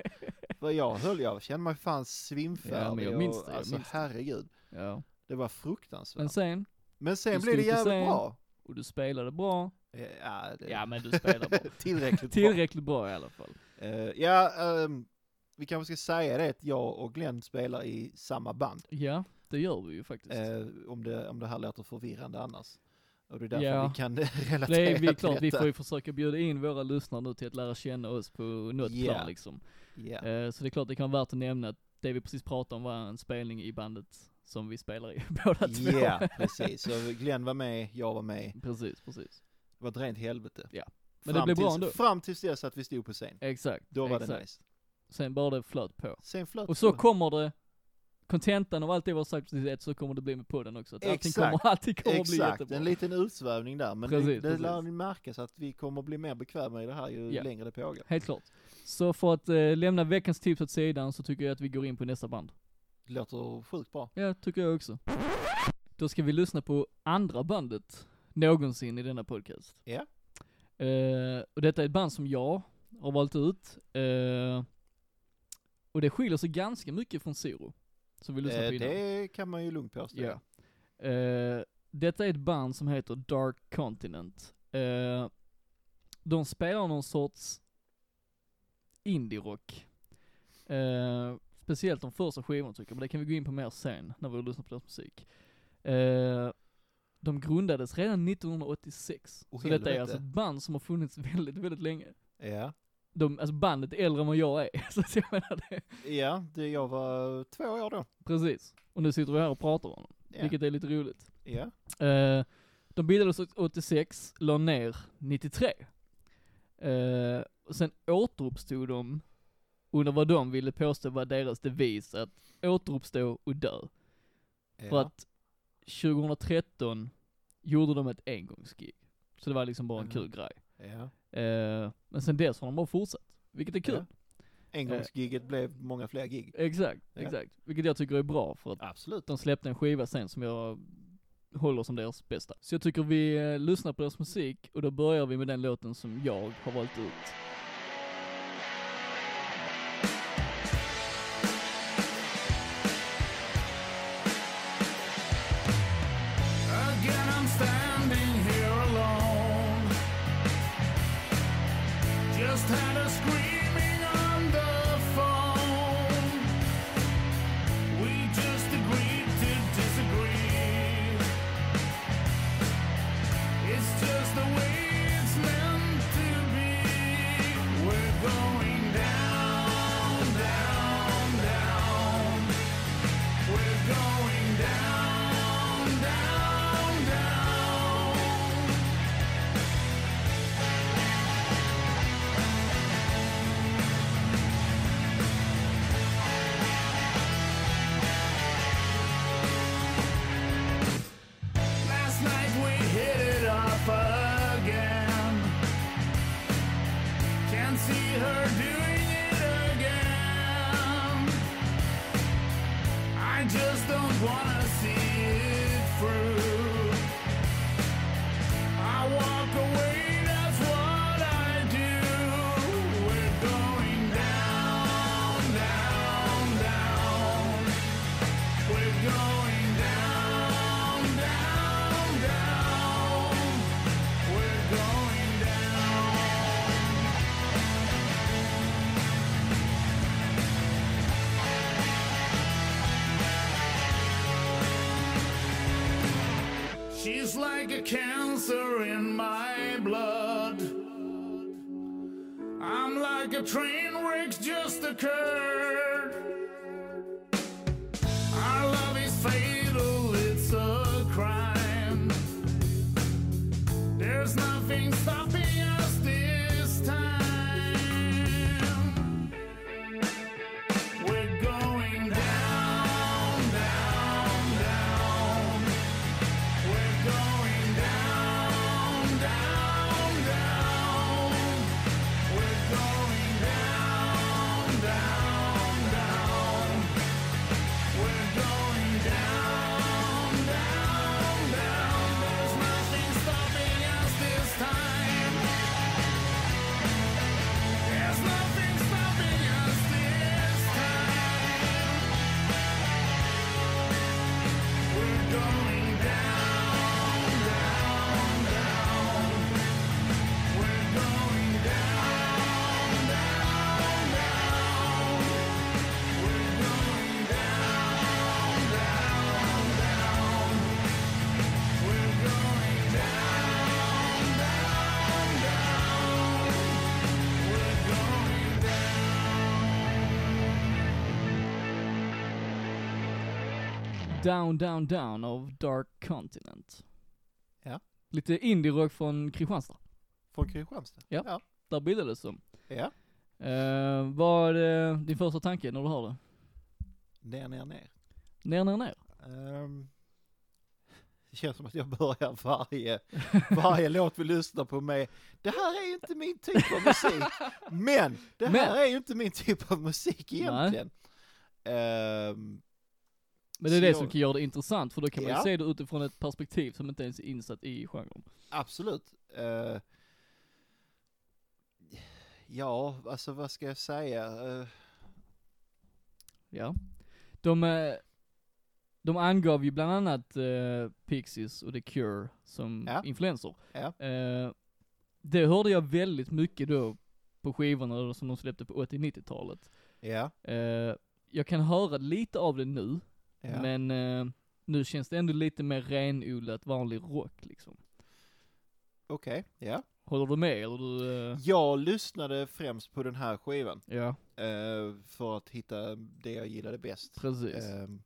[SPEAKER 2] För jag höll, jag kände mig fan svimfärdig.
[SPEAKER 1] Ja, men jag minns det,
[SPEAKER 2] och,
[SPEAKER 1] jag
[SPEAKER 2] alltså
[SPEAKER 1] minns det.
[SPEAKER 2] herregud,
[SPEAKER 1] ja.
[SPEAKER 2] det var fruktansvärt.
[SPEAKER 1] Men
[SPEAKER 2] Men,
[SPEAKER 1] sen,
[SPEAKER 2] sen
[SPEAKER 1] du
[SPEAKER 2] blev det
[SPEAKER 1] skulle på
[SPEAKER 2] jävligt
[SPEAKER 1] scen.
[SPEAKER 2] bra.
[SPEAKER 1] och du spelade bra,
[SPEAKER 2] Eh, Ja, det,
[SPEAKER 1] ja men du spelade bra.
[SPEAKER 2] tillräckligt bra.
[SPEAKER 1] Tillräckligt bra i alla fall.
[SPEAKER 2] Eh, ja, ehm, vi kanske ska säga det att jag och Glenn spelar i samma band.
[SPEAKER 1] Ja, det gör vi ju faktiskt.
[SPEAKER 2] Eh, om, det, om det här låter förvirrande annars. Och det är därför
[SPEAKER 1] Ja.
[SPEAKER 2] vi kan relatera
[SPEAKER 1] Det är vi,
[SPEAKER 2] till
[SPEAKER 1] klart, vi
[SPEAKER 2] detta.
[SPEAKER 1] får ju försöka bjuda in våra lyssnare nu till att lära känna oss på något
[SPEAKER 2] Ja.
[SPEAKER 1] plan liksom.
[SPEAKER 2] Ja.
[SPEAKER 1] Eh, Så det är klart det kan vara värt att nämna att det vi precis pratade om var en spelning i bandet som vi spelar i båda två.
[SPEAKER 2] Ja, precis. Så Glenn var med, jag var med.
[SPEAKER 1] Precis, precis.
[SPEAKER 2] Det var ett rent helvete.
[SPEAKER 1] Ja. Men
[SPEAKER 2] Fram
[SPEAKER 1] det blev bra
[SPEAKER 2] tills,
[SPEAKER 1] ändå.
[SPEAKER 2] Fram tills dess att vi stod på scen.
[SPEAKER 1] Exakt.
[SPEAKER 2] Då var
[SPEAKER 1] exakt.
[SPEAKER 2] det nice.
[SPEAKER 1] Sen bara det flöt på.
[SPEAKER 2] Sen flöt
[SPEAKER 1] Och så
[SPEAKER 2] det.
[SPEAKER 1] kommer det, kontentan av allt det vi har sagt precis ett, så kommer det bli med podden också. Att allting
[SPEAKER 2] Exakt.
[SPEAKER 1] kommer, allting kommer att bli
[SPEAKER 2] Exakt,
[SPEAKER 1] jättebra.
[SPEAKER 2] en liten utsvävning där. Men
[SPEAKER 1] Precis,
[SPEAKER 2] det, det
[SPEAKER 1] precis.
[SPEAKER 2] lär ni märkas att vi kommer bli mer bekväma i det här ju
[SPEAKER 1] Ja.
[SPEAKER 2] längre det pågår.
[SPEAKER 1] Helt klart. Så för att eh, lämna veckans tips åt sidan så tycker jag att vi går in på nästa band.
[SPEAKER 2] Det låter sjukt bra.
[SPEAKER 1] Ja, tycker jag också. Då ska vi lyssna på andra bandet någonsin i denna podcast.
[SPEAKER 2] Ja.
[SPEAKER 1] Eh, och detta är ett band som jag har valt ut. eh, och det skiljer sig ganska mycket från Zero, som vi lyssnade på
[SPEAKER 2] Eh,
[SPEAKER 1] innan.
[SPEAKER 2] det kan man ju lugnt påstå.
[SPEAKER 1] Ja. Eh, detta är ett band som heter Dark Continent. Eh, de spelar någon sorts indie-rock. Eh, speciellt de första skivorna tycker jag, men det kan vi gå in på mer sen, när vi har lyssnat på deras musik. Eh, De grundades redan 1986.
[SPEAKER 2] Åh,
[SPEAKER 1] så detta är
[SPEAKER 2] helvete.
[SPEAKER 1] alltså ett band som har funnits väldigt, väldigt länge.
[SPEAKER 2] Ja.
[SPEAKER 1] De, alltså bandet är äldre än vad jag är, så att jag menar det.
[SPEAKER 2] Ja, det, jag var två år då.
[SPEAKER 1] Precis. Och nu sitter vi här och pratar om dem,
[SPEAKER 2] Ja.
[SPEAKER 1] vilket är lite roligt.
[SPEAKER 2] Ja.
[SPEAKER 1] Eh, de bildades 86, la ner 93. Eh, och sen återuppstod de under vad de ville påstå var deras devis, att återuppstå och dö. För
[SPEAKER 2] ja.
[SPEAKER 1] att 2013 gjorde de ett engångsgig. Så det var liksom bara en
[SPEAKER 2] Ja.
[SPEAKER 1] kul grej.
[SPEAKER 2] ja.
[SPEAKER 1] Eh, men sen dess har de bara fortsatt, vilket är kul.
[SPEAKER 2] Ja.
[SPEAKER 1] Eh.
[SPEAKER 2] Engångsgigget blev många fler gig.
[SPEAKER 1] Exakt,
[SPEAKER 2] Ja.
[SPEAKER 1] exakt. Vilket jag tycker är bra för att
[SPEAKER 2] Absolut.
[SPEAKER 1] de släppte en skiva sen som jag håller som deras bästa. Så jag tycker vi eh, lyssnar på deras musik och då börjar vi med den låten som jag har valt ut.
[SPEAKER 4] Again, I'm standing here alone. Just had a screaming on the phone. We just agreed to disagree. It's just the way it's meant to be. We're going down, down, down. We're going down, down, down. Last night we hit it off again. Can see her doing it again. I just don't wanna see it through. I walk away, that's what I do. We're going down, down, down. We're going down, down, down. We're going down. She's like a cancer in my blood. I'm like a train wreck's just occurred. Our love is fatal, it's a crime. There's nothing stopping us this time. We're going down, down, down. We're going down, down, down. We're going down, down, down. We're going down, down, down. There's nothing stopping us this time. There's nothing stopping us this time. We're going down, down, down. We're going down, down, down. We're going down, down, down. We're going down, down, down. We're going
[SPEAKER 1] Down, down, down av Dark Continent.
[SPEAKER 2] Ja.
[SPEAKER 1] Lite indie-rock från Kristianstad.
[SPEAKER 2] Från Kristianstad.
[SPEAKER 1] Ja.
[SPEAKER 2] Ja.
[SPEAKER 1] Där bildades de.
[SPEAKER 2] ja.
[SPEAKER 1] Uh, vad är eh, din första tanke när du hör det?
[SPEAKER 2] Ner, ner, ner.
[SPEAKER 1] Ner, ner, ner.
[SPEAKER 2] Ehm, det känns som att jag börjar varje, varje låt vi lyssnar på med Det här är ju inte min typ av musik. Men det här
[SPEAKER 1] Men.
[SPEAKER 2] är ju inte min typ av musik egentligen. Ehm,
[SPEAKER 1] Men det är
[SPEAKER 2] Så
[SPEAKER 1] det
[SPEAKER 2] jag-
[SPEAKER 1] som kan göra det intressant, för då kan man ju
[SPEAKER 2] Ja.
[SPEAKER 1] se det utifrån ett perspektiv som inte ens är insatt i genren.
[SPEAKER 2] absolut. Ehm, ja, alltså vad ska jag säga? Ehm,
[SPEAKER 1] Ja. De, eh, de angav ju bland annat eh, Pixies och The Cure som
[SPEAKER 2] Ja.
[SPEAKER 1] influenser.
[SPEAKER 2] Ja.
[SPEAKER 1] Eh, det hörde jag väldigt mycket då på skivorna som de släppte på 80-90-talet.
[SPEAKER 2] ja,
[SPEAKER 1] Eh, jag kan höra lite av det nu,
[SPEAKER 2] ja.
[SPEAKER 1] men eh, Nu känns det ändå lite mer renodlat vanlig rock liksom.
[SPEAKER 2] Okej, ja.
[SPEAKER 1] Håller du med eller du? eh,
[SPEAKER 2] Jag lyssnade främst på den här skivan
[SPEAKER 1] ja,
[SPEAKER 2] eh, för att hitta det jag gillade bäst.
[SPEAKER 1] precis.
[SPEAKER 2] Ehm,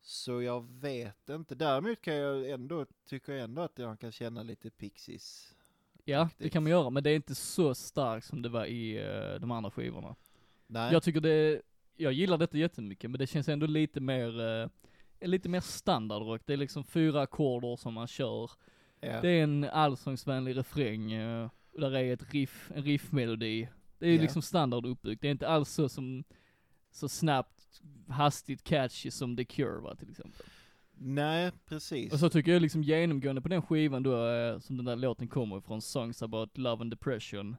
[SPEAKER 2] så jag vet inte. Däremot kan jag ändå, tycker jag ändå att jag kan känna lite Pixies.
[SPEAKER 1] ja, det
[SPEAKER 2] riktigt.
[SPEAKER 1] kan man göra, men det är inte så starkt som det var i eh, de andra skivorna.
[SPEAKER 2] Nej,
[SPEAKER 1] Jag tycker det, jag gillar detta jättemycket, men det känns ändå lite mer, eh, lite mer standardrock. Det är liksom fyra ackorder som man kör.
[SPEAKER 2] ja.
[SPEAKER 1] Det är en allsångsvänlig refräng, eh, och där är ett riff, en riffmelodi. Det är ju
[SPEAKER 2] Ja.
[SPEAKER 1] liksom standard uppbyggt, det är inte alls så som, så snabbt, hastigt, catchy som The Cure va, till exempel.
[SPEAKER 2] Nej precis.
[SPEAKER 1] Och så tycker jag liksom genomgående på den skivan då, eh, som den där låten kommer ifrån, Songs about Love and Depression.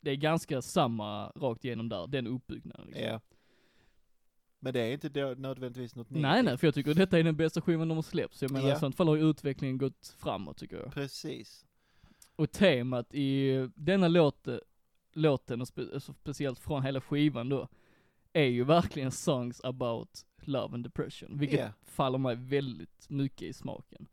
[SPEAKER 1] Det är ganska samma rakt igenom där, den uppbyggnaden liksom.
[SPEAKER 2] ja. Men det är inte då- nödvändigtvis något nytt.
[SPEAKER 1] Nej nej, för jag tycker detta är den bästa skivan de har släppt, så jag menar
[SPEAKER 2] Ja.
[SPEAKER 1] i sånt fall har ju utvecklingen gått framåt tycker jag.
[SPEAKER 2] Precis.
[SPEAKER 1] Och temat i denna låt, låten, och spe, alltså speciellt från hela skivan då, är ju verkligen songs about love and depression, vilket
[SPEAKER 2] Ja.
[SPEAKER 1] faller mig väldigt mycket i smaken.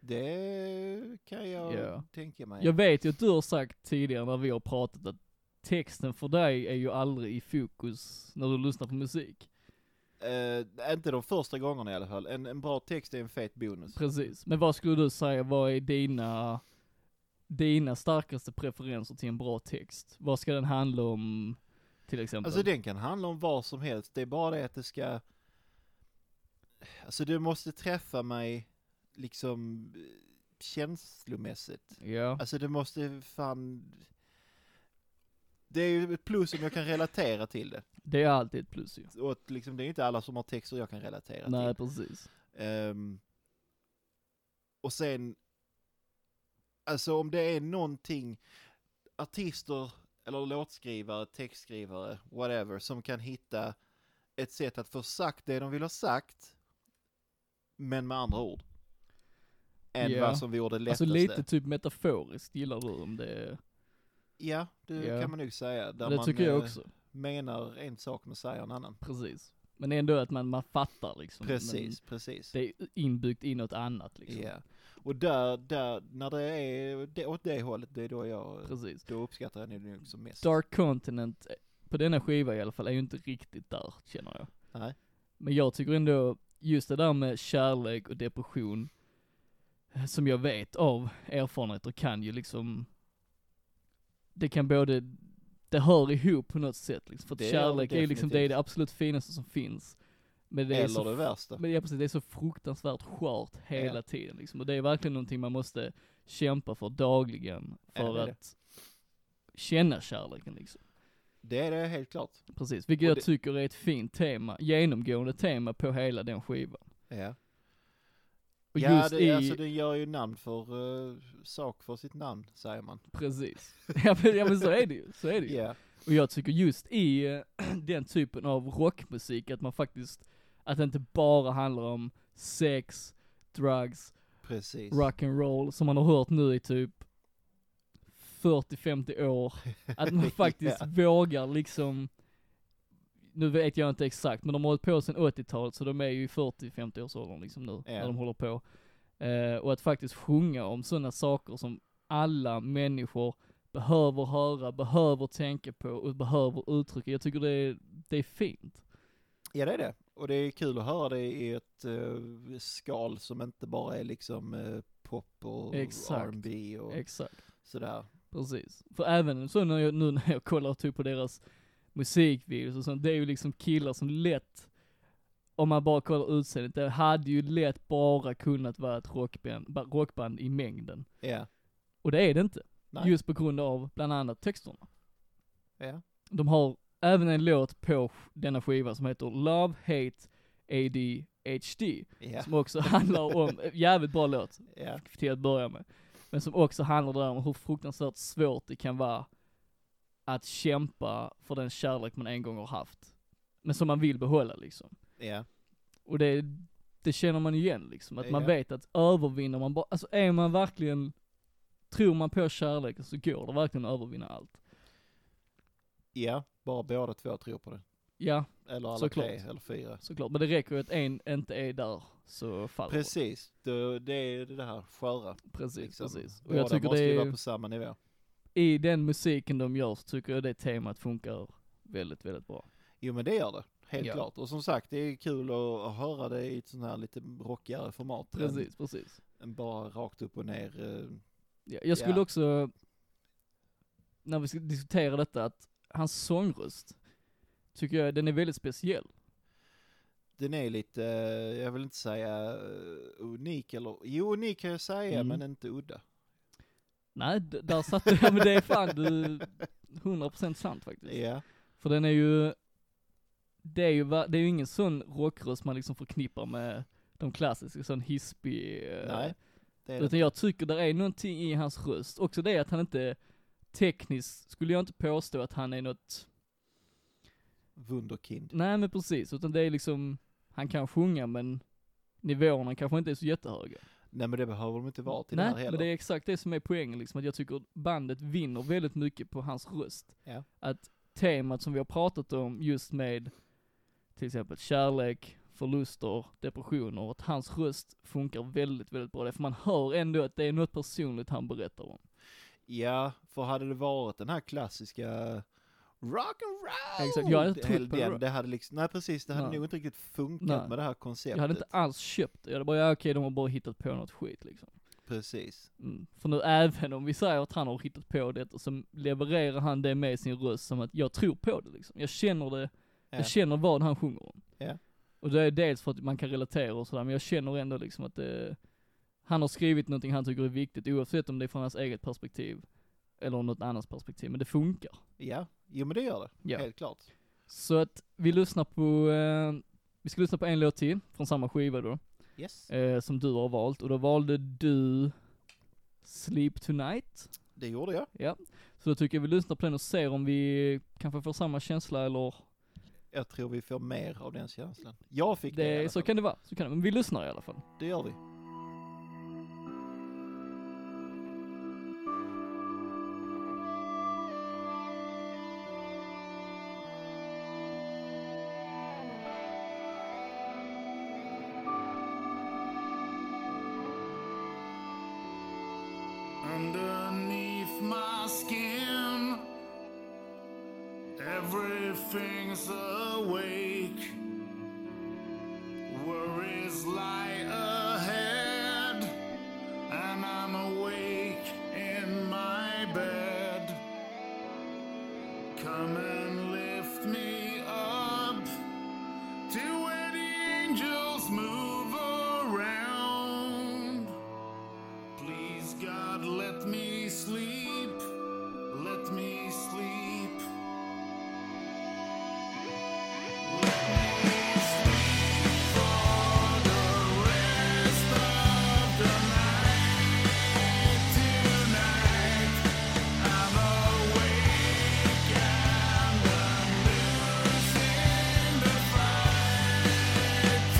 [SPEAKER 2] Det kan jag
[SPEAKER 1] Ja.
[SPEAKER 2] tänka mig.
[SPEAKER 1] Jag vet ju att du har sagt tidigare när vi har pratat att texten för dig är ju aldrig i fokus när du lyssnar på musik.
[SPEAKER 2] Eh, inte de första gångerna i alla fall. En, en bra text är en fet bonus.
[SPEAKER 1] Precis. Men vad skulle du säga, vad är dina, dina starkaste preferenser till en bra text? Vad ska den handla om, till exempel?
[SPEAKER 2] Alltså den kan handla om vad som helst, det är bara det att det ska... Alltså det måste träffa mig liksom eh, känslomässigt.
[SPEAKER 1] Ja.
[SPEAKER 2] Alltså det måste fan... Det är ju ett plus om jag kan relatera till det.
[SPEAKER 1] Det är alltid ett plus ju.
[SPEAKER 2] Och att liksom, det är inte alla som har texter jag kan relatera
[SPEAKER 1] Nej,
[SPEAKER 2] till.
[SPEAKER 1] precis.
[SPEAKER 2] Ehm, och sen, alltså om det är någonting, artister eller låtskrivare, textskrivare, whatever, som kan hitta ett sätt att få sagt det de vill ha sagt, men med andra ord. Än
[SPEAKER 1] Ja.
[SPEAKER 2] vad som vore det lättaste.
[SPEAKER 1] Alltså lite typ metaforiskt gillar du om det,
[SPEAKER 2] Ja, det
[SPEAKER 1] Ja.
[SPEAKER 2] kan man nog säga. Där
[SPEAKER 1] det
[SPEAKER 2] man
[SPEAKER 1] tycker jag
[SPEAKER 2] eh,
[SPEAKER 1] också,
[SPEAKER 2] menar en sak men säger en annan.
[SPEAKER 1] precis. Men ändå att man, man fattar liksom. Men
[SPEAKER 2] Precis, precis.
[SPEAKER 1] det är inbyggt i något annat liksom.
[SPEAKER 2] Ja. Och där, där, när det är det, åt det hållet, det är då jag
[SPEAKER 1] Precis.
[SPEAKER 2] Då uppskattar jag den nog som mest.
[SPEAKER 1] Dark Continent, eh, på denna skiva i alla fall, är ju inte riktigt där, känner jag.
[SPEAKER 2] Nej.
[SPEAKER 1] Men jag tycker ändå, just det där med kärlek och depression, eh, som jag vet av erfarenheter kan ju liksom, det kan både, det hör ihop på något sätt liksom, för att
[SPEAKER 2] Det gör det
[SPEAKER 1] kärlek är ju liksom, det är
[SPEAKER 2] definitivt.
[SPEAKER 1] det absolut finaste som finns. Men det är
[SPEAKER 2] Eller
[SPEAKER 1] så
[SPEAKER 2] det värsta.
[SPEAKER 1] Men ja precis, det är så fruktansvärt skört hela
[SPEAKER 2] Ja.
[SPEAKER 1] tiden liksom. Och det är verkligen någonting man måste kämpa för dagligen för
[SPEAKER 2] Ja, det är det.
[SPEAKER 1] att känna kärleken liksom.
[SPEAKER 2] Det är det helt klart.
[SPEAKER 1] Precis, vilket
[SPEAKER 2] Och
[SPEAKER 1] jag
[SPEAKER 2] det-
[SPEAKER 1] tycker är ett fint tema, genomgående tema på hela den skivan.
[SPEAKER 2] Ja,
[SPEAKER 1] Och
[SPEAKER 2] ja
[SPEAKER 1] just
[SPEAKER 2] det,
[SPEAKER 1] i,
[SPEAKER 2] alltså den gör ju namn för, eh, sak för sitt namn, säger man.
[SPEAKER 1] precis. ja, men, ja men så är det ju, så är det ju.
[SPEAKER 2] Ja,
[SPEAKER 1] Och jag tycker just i eh, den typen av rockmusik att man faktiskt, att det inte bara handlar om sex, drugs,
[SPEAKER 2] precis.
[SPEAKER 1] rock'n'roll som man har hört nu i typ 40-50 år. Att man faktiskt vågar liksom, nu vet jag inte exakt, men de har hållit på sedan 80-talet så de är ju i 40-50 årsåldern liksom nu,
[SPEAKER 2] Ja.
[SPEAKER 1] när de håller på. Eh, och att faktiskt sjunga om sådana saker som alla människor behöver höra, behöver tänka på och behöver uttrycka. Jag tycker det är, det är fint.
[SPEAKER 2] Ja, det är det. Och det är kul att höra det i ett eh, skal som inte bara är liksom eh, pop och
[SPEAKER 1] Exakt.
[SPEAKER 2] R&B och
[SPEAKER 1] Exakt.
[SPEAKER 2] sådär.
[SPEAKER 1] Precis. För även så när jag, nu när jag kollar typ på deras musikvideos och sånt, det är ju liksom killar som lätt, om man bara kollar utseendet, det hade ju lätt bara kunnat vara ett rockband, ba- rockband i mängden.
[SPEAKER 2] Ja,
[SPEAKER 1] Och det är det inte.
[SPEAKER 2] Nej.
[SPEAKER 1] Just på grund av bland annat texterna.
[SPEAKER 2] ja,
[SPEAKER 1] De har även en låt på sk- denna skiva som heter Love, Hate, ADHD,
[SPEAKER 2] ja,
[SPEAKER 1] som också handlar om, jävligt bra låt
[SPEAKER 2] ja,
[SPEAKER 1] till att börja med. Men som också handlar där om hur fruktansvärt svårt det kan vara att kämpa för den kärlek man en gång har haft. Men som man vill behålla liksom.
[SPEAKER 2] ja,
[SPEAKER 1] Och det, det känner man igen liksom, att man
[SPEAKER 2] Ja.
[SPEAKER 1] vet att övervinner man bara, alltså är man verkligen, tror man på kärleken så går det verkligen att övervinna allt.
[SPEAKER 2] ja. Bara båda två tror på det.
[SPEAKER 1] Ja,
[SPEAKER 2] Eller alla
[SPEAKER 1] Såklart.
[SPEAKER 2] tre eller fyra.
[SPEAKER 1] såklart. Men det räcker ju att en inte är där så faller det.
[SPEAKER 2] Precis, det, det är det här sköra.
[SPEAKER 1] Precis,
[SPEAKER 2] liksom.
[SPEAKER 1] precis. Och
[SPEAKER 2] Båda
[SPEAKER 1] jag tycker
[SPEAKER 2] måste
[SPEAKER 1] det
[SPEAKER 2] ju
[SPEAKER 1] är,
[SPEAKER 2] vara
[SPEAKER 1] ju-
[SPEAKER 2] på samma nivå.
[SPEAKER 1] i den musiken de gör så tycker jag det temat funkar väldigt, väldigt bra.
[SPEAKER 2] Jo men det gör det, helt
[SPEAKER 1] Ja.
[SPEAKER 2] klart. Och som sagt, det är kul att, att höra det i ett sånt här lite rockigare format. än-
[SPEAKER 1] Precis, precis.
[SPEAKER 2] Än bara rakt upp och ner. eh,
[SPEAKER 1] Ja, jag skulle
[SPEAKER 2] Ja.
[SPEAKER 1] också, när vi ska diskutera detta, att hans sångröst, tycker jag den är väldigt speciell.
[SPEAKER 2] Den är lite, eh, jag vill inte säga eh, unik eller, jo unik kan jag säga
[SPEAKER 1] Mm.
[SPEAKER 2] men inte udda.
[SPEAKER 1] Nej, d- där satte jag, men det är fan du, 100% sant faktiskt.
[SPEAKER 2] Ja,
[SPEAKER 1] För den är ju, det är ju, va- det är ju ingen sån rockröst man liksom förknippar med de klassiska, sån hispig. eh,
[SPEAKER 2] nej. Det är det.
[SPEAKER 1] Utan jag tycker det är någonting i hans röst. Också det att han inte, tekniskt skulle jag inte påstå att han är något,
[SPEAKER 2] Wunderkind.
[SPEAKER 1] nej men precis, utan det är liksom, han kan sjunga men nivåerna kanske inte är så jättehöga.
[SPEAKER 2] Nej men det behöver de inte vara till
[SPEAKER 1] Nej,
[SPEAKER 2] den här heller.
[SPEAKER 1] men det är exakt det som är poängen liksom, att jag tycker bandet vinner väldigt mycket på hans röst.
[SPEAKER 2] Ja.
[SPEAKER 1] Att temat som vi har pratat om just med till exempel kärlek, förluster, depressioner, att hans röst funkar väldigt, väldigt bra. Därför man hör ändå att det är något personligt han berättar om.
[SPEAKER 2] Ja, för hade det varit den här klassiska rock and roll!
[SPEAKER 1] Exakt, jag hade inte
[SPEAKER 2] Hel-
[SPEAKER 1] trott på
[SPEAKER 2] den,
[SPEAKER 1] rock.
[SPEAKER 2] det hade liksom, nej precis, det hade
[SPEAKER 1] Nej.
[SPEAKER 2] nog inte riktigt funkat
[SPEAKER 1] Nej.
[SPEAKER 2] med det här
[SPEAKER 1] Jag
[SPEAKER 2] konceptet.
[SPEAKER 1] hade inte alls köpt det, jag hade bara, ja, okej de har bara hittat på något skit liksom.
[SPEAKER 2] Precis.
[SPEAKER 1] Mm. För nu även om vi säger att han har hittat på det och så levererar han det med sin röst som att jag tror på det liksom. Jag känner det,
[SPEAKER 2] Ja.
[SPEAKER 1] jag känner vad han sjunger om.
[SPEAKER 2] Ja.
[SPEAKER 1] Och det är dels för att man kan relatera och sådär, men jag känner ändå liksom att det, han har skrivit någonting han tycker är viktigt oavsett om det är från hans eget perspektiv eller något annans perspektiv, men det funkar.
[SPEAKER 2] Ja, jo men det gör det,
[SPEAKER 1] Ja.
[SPEAKER 2] helt klart.
[SPEAKER 1] Så att vi lyssnar på, eh, vi ska lyssna på en låt till från samma skiva då.
[SPEAKER 2] Yes,
[SPEAKER 1] eh, som du har valt och då valde du Sleep Tonight.
[SPEAKER 2] det gjorde jag.
[SPEAKER 1] Ja, så då tycker jag vi lyssnar på den och ser om vi kanske får samma känsla eller
[SPEAKER 2] Jag tror vi får mer av den känslan. Jag fick det, i alla
[SPEAKER 1] det, så
[SPEAKER 2] fall.
[SPEAKER 1] kan det vara, så kan det, men vi lyssnar i alla fall.
[SPEAKER 2] Det gör vi.
[SPEAKER 4] Underneath my skin, everything's awake. Worries lie ahead, and I'm awake in my bed. Come and lift me up to where the angels move around. Please, God, let me sleep. Let me sleep. Let me sleep for the rest of the night. Tonight, I'm awake and I'm losing the fight.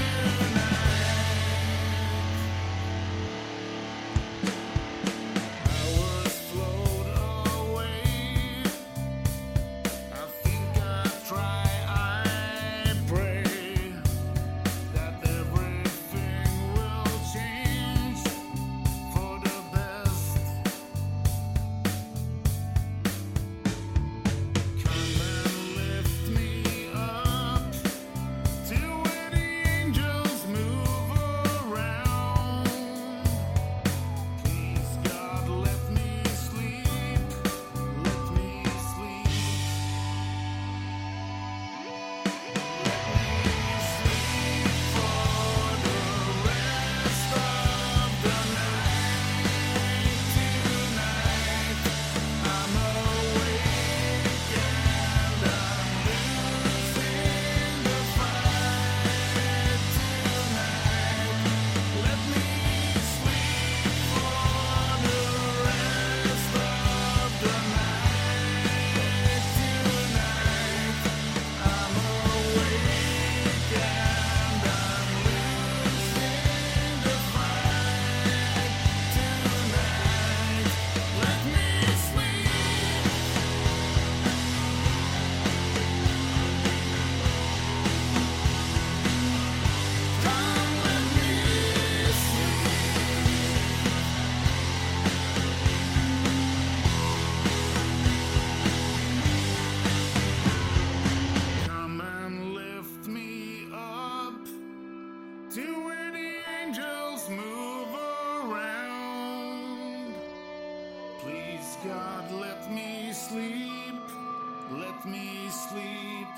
[SPEAKER 4] make me sleep.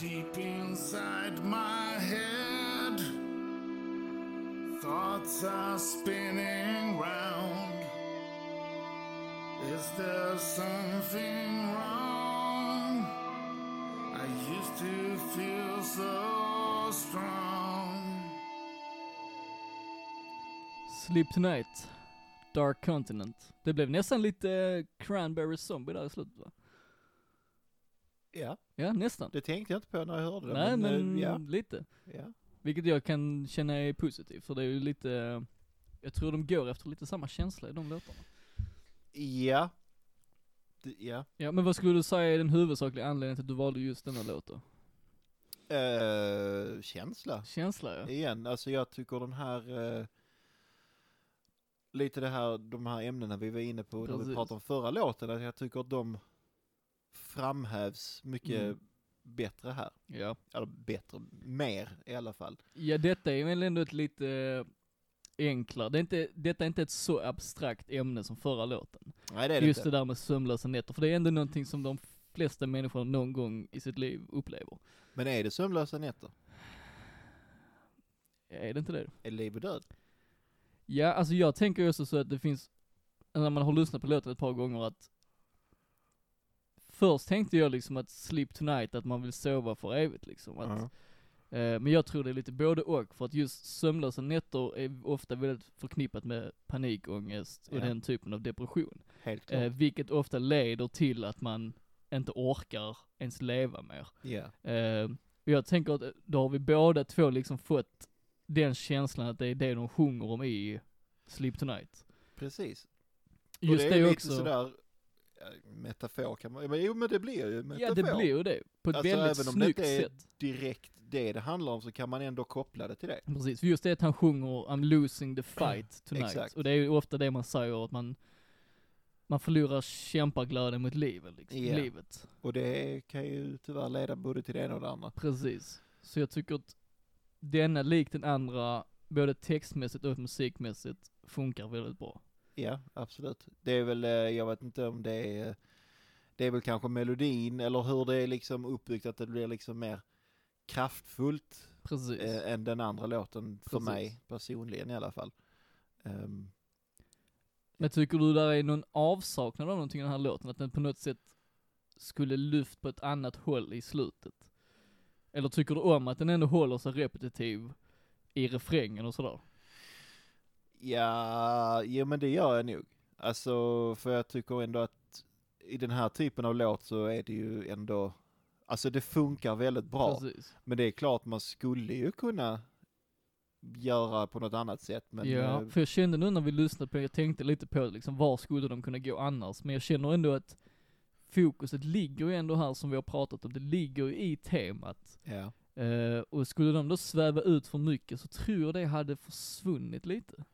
[SPEAKER 4] Deep inside my head, thoughts are spinning round. Is there something wrong? I used to feel so strong.
[SPEAKER 1] Sleep Tonight, Dark Continent. Det blev nästan lite eh, Cranberry Zombie där i slutet va?
[SPEAKER 2] Ja,
[SPEAKER 1] Ja, nästan.
[SPEAKER 2] det tänkte jag inte på när jag hörde det.
[SPEAKER 1] Nej
[SPEAKER 2] men, eh,
[SPEAKER 1] men
[SPEAKER 2] ja,
[SPEAKER 1] lite.
[SPEAKER 2] ja.
[SPEAKER 1] Vilket jag kan känna är positivt, för det är ju lite, eh, jag tror de går efter lite samma känsla i de låtarna.
[SPEAKER 2] Ja. Det- ja.
[SPEAKER 1] Ja men vad skulle du säga är den huvudsakliga anledningen till att du valde just denna låt då?
[SPEAKER 2] Eh, känsla.
[SPEAKER 1] Känsla ja.
[SPEAKER 2] Igen, alltså jag tycker de här, eh, lite det här, de här ämnena vi var inne på när vi
[SPEAKER 1] Precis.
[SPEAKER 2] pratade om förra låten, att jag tycker att de framhävs mycket
[SPEAKER 1] Mm.
[SPEAKER 2] bättre här.
[SPEAKER 1] Ja.
[SPEAKER 2] Eller bättre, mer i alla fall.
[SPEAKER 1] Ja detta är väl ändå ett lite eh, enklare, det är inte, detta är inte ett så abstrakt ämne som förra låten.
[SPEAKER 2] Nej det är det
[SPEAKER 1] Just
[SPEAKER 2] inte.
[SPEAKER 1] det där med sömnlösa nätter, för det är ändå någonting som de flesta människor någon gång i sitt liv upplever.
[SPEAKER 2] Men är det sömnlösa nätter?
[SPEAKER 1] Är det inte det?
[SPEAKER 2] Är det liv och död?
[SPEAKER 1] Ja, alltså jag tänker också så att det finns, när man har lyssnat på låten ett par gånger att Först tänkte jag liksom att Sleep Tonight, att man vill sova för evigt liksom. Att,
[SPEAKER 2] Ja.
[SPEAKER 1] eh, men jag tror det är lite både och, för att just sömnlösa nätter är ofta väldigt förknippat med panikångest och
[SPEAKER 2] Ja.
[SPEAKER 1] den typen av depression.
[SPEAKER 2] Helt klart.
[SPEAKER 1] Eh, vilket ofta leder till att man inte orkar ens leva mer.
[SPEAKER 2] ja.
[SPEAKER 1] Eh, och jag tänker att då har vi båda två liksom fått den känslan att det är det de sjunger om i Sleep Tonight.
[SPEAKER 2] Precis. Och
[SPEAKER 1] Just det,
[SPEAKER 2] är lite
[SPEAKER 1] också.
[SPEAKER 2] sådär, eh, metafor kan man, men jo men det blir ju metafor.
[SPEAKER 1] ja det blir ju det. På ett
[SPEAKER 2] Alltså,
[SPEAKER 1] väldigt
[SPEAKER 2] även om det
[SPEAKER 1] snyggt
[SPEAKER 2] inte är-
[SPEAKER 1] sätt.
[SPEAKER 2] Direkt det det handlar om så kan man ändå koppla det till det.
[SPEAKER 1] Precis, för just det att han sjunger I'm losing the fight tonight.
[SPEAKER 2] Exakt.
[SPEAKER 1] Och det är ju ofta det man säger att man, man förlorar kämpaglöden mot livet liksom.
[SPEAKER 2] Ja.
[SPEAKER 1] Livet.
[SPEAKER 2] Och det kan ju tyvärr leda både till det ena och det andra.
[SPEAKER 1] Precis. Så jag tycker att denna lik den andra, både textmässigt och musikmässigt, funkar väldigt bra.
[SPEAKER 2] Ja, absolut. Det är väl, eh, jag vet inte om det är, eh, det är väl kanske melodin eller hur det är liksom uppbyggt att det blir liksom mer kraftfullt
[SPEAKER 1] Precis.
[SPEAKER 2] eh, än den andra låten för
[SPEAKER 1] Precis.
[SPEAKER 2] mig personligen i alla fall. Ehm,
[SPEAKER 1] Men tycker du där är någon avsaknad av någonting i den här låten? Att den på något sätt skulle lyft på ett annat håll i slutet? Eller tycker du om att den ändå håller sig repetitiv i refrängen och sådär?
[SPEAKER 2] Ja, jo men det gör jag nog. Alltså, för jag tycker ändå att i den här typen av låt så är det ju ändå, alltså det funkar väldigt bra.
[SPEAKER 1] Precis.
[SPEAKER 2] Men det är klart man skulle ju kunna göra på något annat sätt. Men
[SPEAKER 1] ja,
[SPEAKER 2] eh,
[SPEAKER 1] för jag kände nu när vi lyssnade på det, jag tänkte lite på liksom, var skulle de kunna gå annars? Men jag känner ändå att fokuset ligger ju ändå här som vi har pratat om, det ligger ju i temat.
[SPEAKER 2] ja.
[SPEAKER 1] Eh, och skulle de då sväva ut för mycket så tror jag det hade försvunnit lite.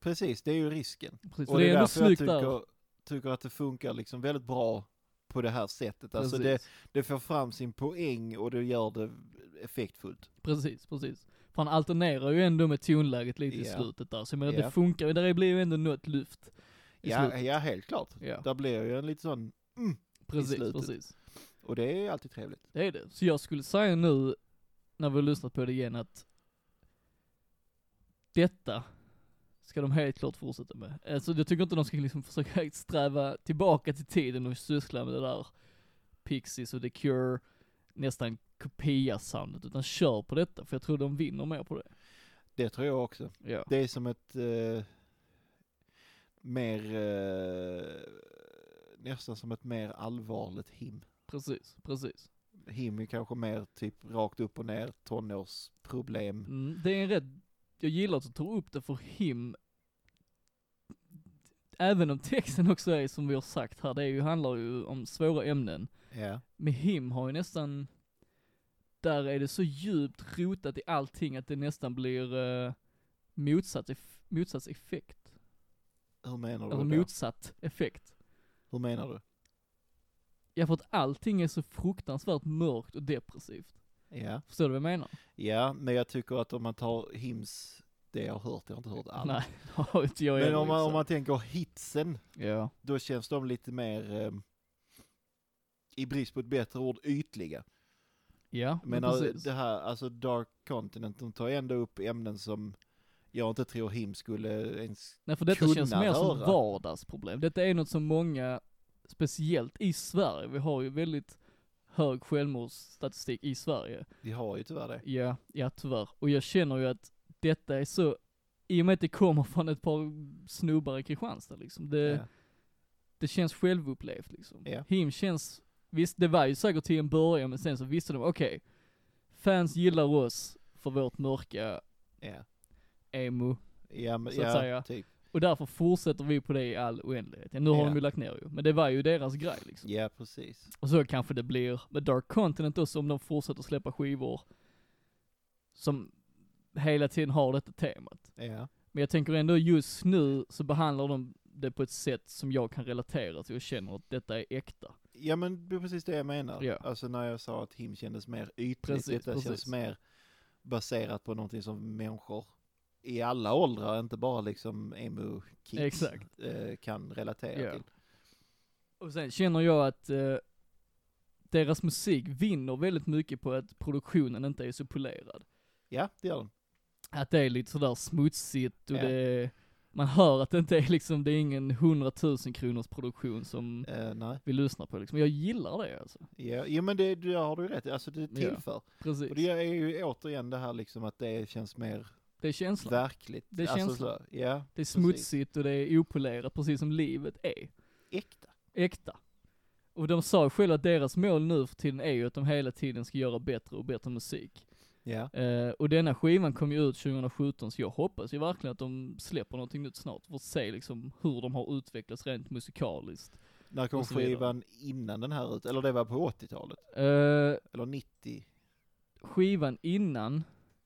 [SPEAKER 2] precis det är ju risken.
[SPEAKER 1] Precis,
[SPEAKER 2] Och
[SPEAKER 1] för
[SPEAKER 2] det är
[SPEAKER 1] ändå
[SPEAKER 2] därför jag
[SPEAKER 1] snyggt där.
[SPEAKER 2] tycker, tycker att det funkar liksom väldigt bra på det här sättet. Alltså
[SPEAKER 1] Precis.
[SPEAKER 2] det, det får fram sin poäng och det gör det effektfullt.
[SPEAKER 1] Precis, precis. För han alternerar ju ändå med tonläget lite
[SPEAKER 2] Ja.
[SPEAKER 1] i slutet där, så jag menar
[SPEAKER 2] Ja.
[SPEAKER 1] det funkar ju, där blir ju ändå något lyft. I
[SPEAKER 2] Ja,
[SPEAKER 1] slutet.
[SPEAKER 2] ja, helt klart.
[SPEAKER 1] Ja,
[SPEAKER 2] Där blir ju en lite sån, mm,
[SPEAKER 1] precis,
[SPEAKER 2] slutet.
[SPEAKER 1] precis.
[SPEAKER 2] och det är alltid trevligt.
[SPEAKER 1] Det är det. Så jag skulle säga nu, när vi har lyssnat på det igen, att detta ska de helt klart fortsätta med. Eh, Så jag tycker inte de ska liksom försöka sträva tillbaka till tiden och syssla med det där Pixies och The Cure, nästan kopia-soundet, utan kör på detta, för jag tror de vinner mer på det.
[SPEAKER 2] Det tror jag också.
[SPEAKER 1] Ja.
[SPEAKER 2] Det är som ett eh, mer, eh, nästan som ett mer allvarligt him.
[SPEAKER 1] Precis, precis.
[SPEAKER 2] Him är kanske mer typ rakt upp och ner, tonårsproblem.
[SPEAKER 1] Mm, det är en rätt, jag gillar att du tar upp det för him, även om texten också är som vi har sagt här, det är ju, handlar ju om svåra ämnen.
[SPEAKER 2] Ja.
[SPEAKER 1] med him har ju nästan, där är det så djupt rotat i allting att det nästan blir eh, motsatt, eff- motsatt effekt.
[SPEAKER 2] Hur menar du?
[SPEAKER 1] Eller
[SPEAKER 2] då?
[SPEAKER 1] motsatt effekt.
[SPEAKER 2] Hur menar du?
[SPEAKER 1] Ja för att allting är så fruktansvärt mörkt och depressivt.
[SPEAKER 2] Ja.
[SPEAKER 1] Förstår du vad jag menar?
[SPEAKER 2] ja, men jag tycker att om man tar hims, det jag har hört, jag har inte hört allt.
[SPEAKER 1] Nej, det liksom- har inte jag
[SPEAKER 2] Men
[SPEAKER 1] heller
[SPEAKER 2] om man,
[SPEAKER 1] gjort
[SPEAKER 2] om
[SPEAKER 1] så.
[SPEAKER 2] man tänker hitsen,
[SPEAKER 1] Ja,
[SPEAKER 2] då känns de lite mer, ehm, i brist på ett bättre ord, ytliga.
[SPEAKER 1] ja men
[SPEAKER 2] Men eh,
[SPEAKER 1] precis.
[SPEAKER 2] det här, alltså Dark Continent, de tar ändå upp ämnen som jag inte tror him skulle ens,
[SPEAKER 1] Nej för detta
[SPEAKER 2] kunna
[SPEAKER 1] känns mer som
[SPEAKER 2] höra.
[SPEAKER 1] vardagsproblem. Detta är något som många, speciellt i Sverige, vi har ju väldigt hög självmordsstatistik i Sverige.
[SPEAKER 2] vi har ju tyvärr det.
[SPEAKER 1] Ja, ja tyvärr. Och jag känner ju att detta är så, i och med att det kommer från ett par snubbar i Kristianstad liksom, det,
[SPEAKER 2] Ja.
[SPEAKER 1] det känns självupplevt liksom.
[SPEAKER 2] Ja.
[SPEAKER 1] Him känns, visst det var ju säkert till en början men sen så visste de, okej, fans gillar oss för vårt mörka
[SPEAKER 2] Ja.
[SPEAKER 1] emo.
[SPEAKER 2] Ja, men,
[SPEAKER 1] Så att säga.
[SPEAKER 2] ja, typ.
[SPEAKER 1] Och därför fortsätter vi på det i all oändlighet. Ja, nu har
[SPEAKER 2] Ja.
[SPEAKER 1] de ju lagt ner ju, men det var ju deras grej liksom.
[SPEAKER 2] Ja, precis.
[SPEAKER 1] Och så kanske det blir med Dark Continent också om de fortsätter släppa skivor som hela tiden har detta temat.
[SPEAKER 2] Ja.
[SPEAKER 1] Men jag tänker ändå just nu så behandlar de det på ett sätt som jag kan relatera till och känner att detta är äkta.
[SPEAKER 2] Ja men det är precis det jag menar.
[SPEAKER 1] Ja.
[SPEAKER 2] Alltså när jag sa att him kändes mer ytligt,
[SPEAKER 1] Precis,
[SPEAKER 2] detta
[SPEAKER 1] precis.
[SPEAKER 2] känns mer baserat på någonting som människor i alla åldrar, inte bara liksom emo-kids,
[SPEAKER 1] Exakt.
[SPEAKER 2] eh, kan relatera
[SPEAKER 1] Ja.
[SPEAKER 2] till.
[SPEAKER 1] Och sen känner jag att eh, deras musik vinner väldigt mycket på att produktionen inte är så polerad.
[SPEAKER 2] Ja, det gör den.
[SPEAKER 1] Att det är lite sådär smutsigt och
[SPEAKER 2] Ja.
[SPEAKER 1] det, man hör att det inte är liksom, det är ingen 100 000 kronors produktion som
[SPEAKER 2] Eh, nej.
[SPEAKER 1] vi lyssnar på liksom. Jag gillar det alltså.
[SPEAKER 2] Ja, jo men det, det har du rätt i. alltså det tillför.
[SPEAKER 1] Precis.
[SPEAKER 2] Och det är ju återigen det här liksom att det känns mer
[SPEAKER 1] Det är känslan.
[SPEAKER 2] verkligt.
[SPEAKER 1] Det är
[SPEAKER 2] alltså,
[SPEAKER 1] känslan.
[SPEAKER 2] så, ja,
[SPEAKER 1] det är smutsigt och det är opolerat, precis som livet är.
[SPEAKER 2] äkta.
[SPEAKER 1] Äkta. Och de sa ju själva att deras mål nu för tiden är ju att de hela tiden ska göra bättre och bättre musik.
[SPEAKER 2] Ja.
[SPEAKER 1] Eh, och denna skivan kom ju ut 2017, så jag hoppas ju verkligen att de släpper någonting nytt snart, för att se liksom hur de har utvecklats rent musikaliskt.
[SPEAKER 2] När kom
[SPEAKER 1] Och så vidare.
[SPEAKER 2] skivan innan den här ut? Eller det var på 80-talet?
[SPEAKER 1] Eh,
[SPEAKER 2] Eller 90?
[SPEAKER 1] skivan innan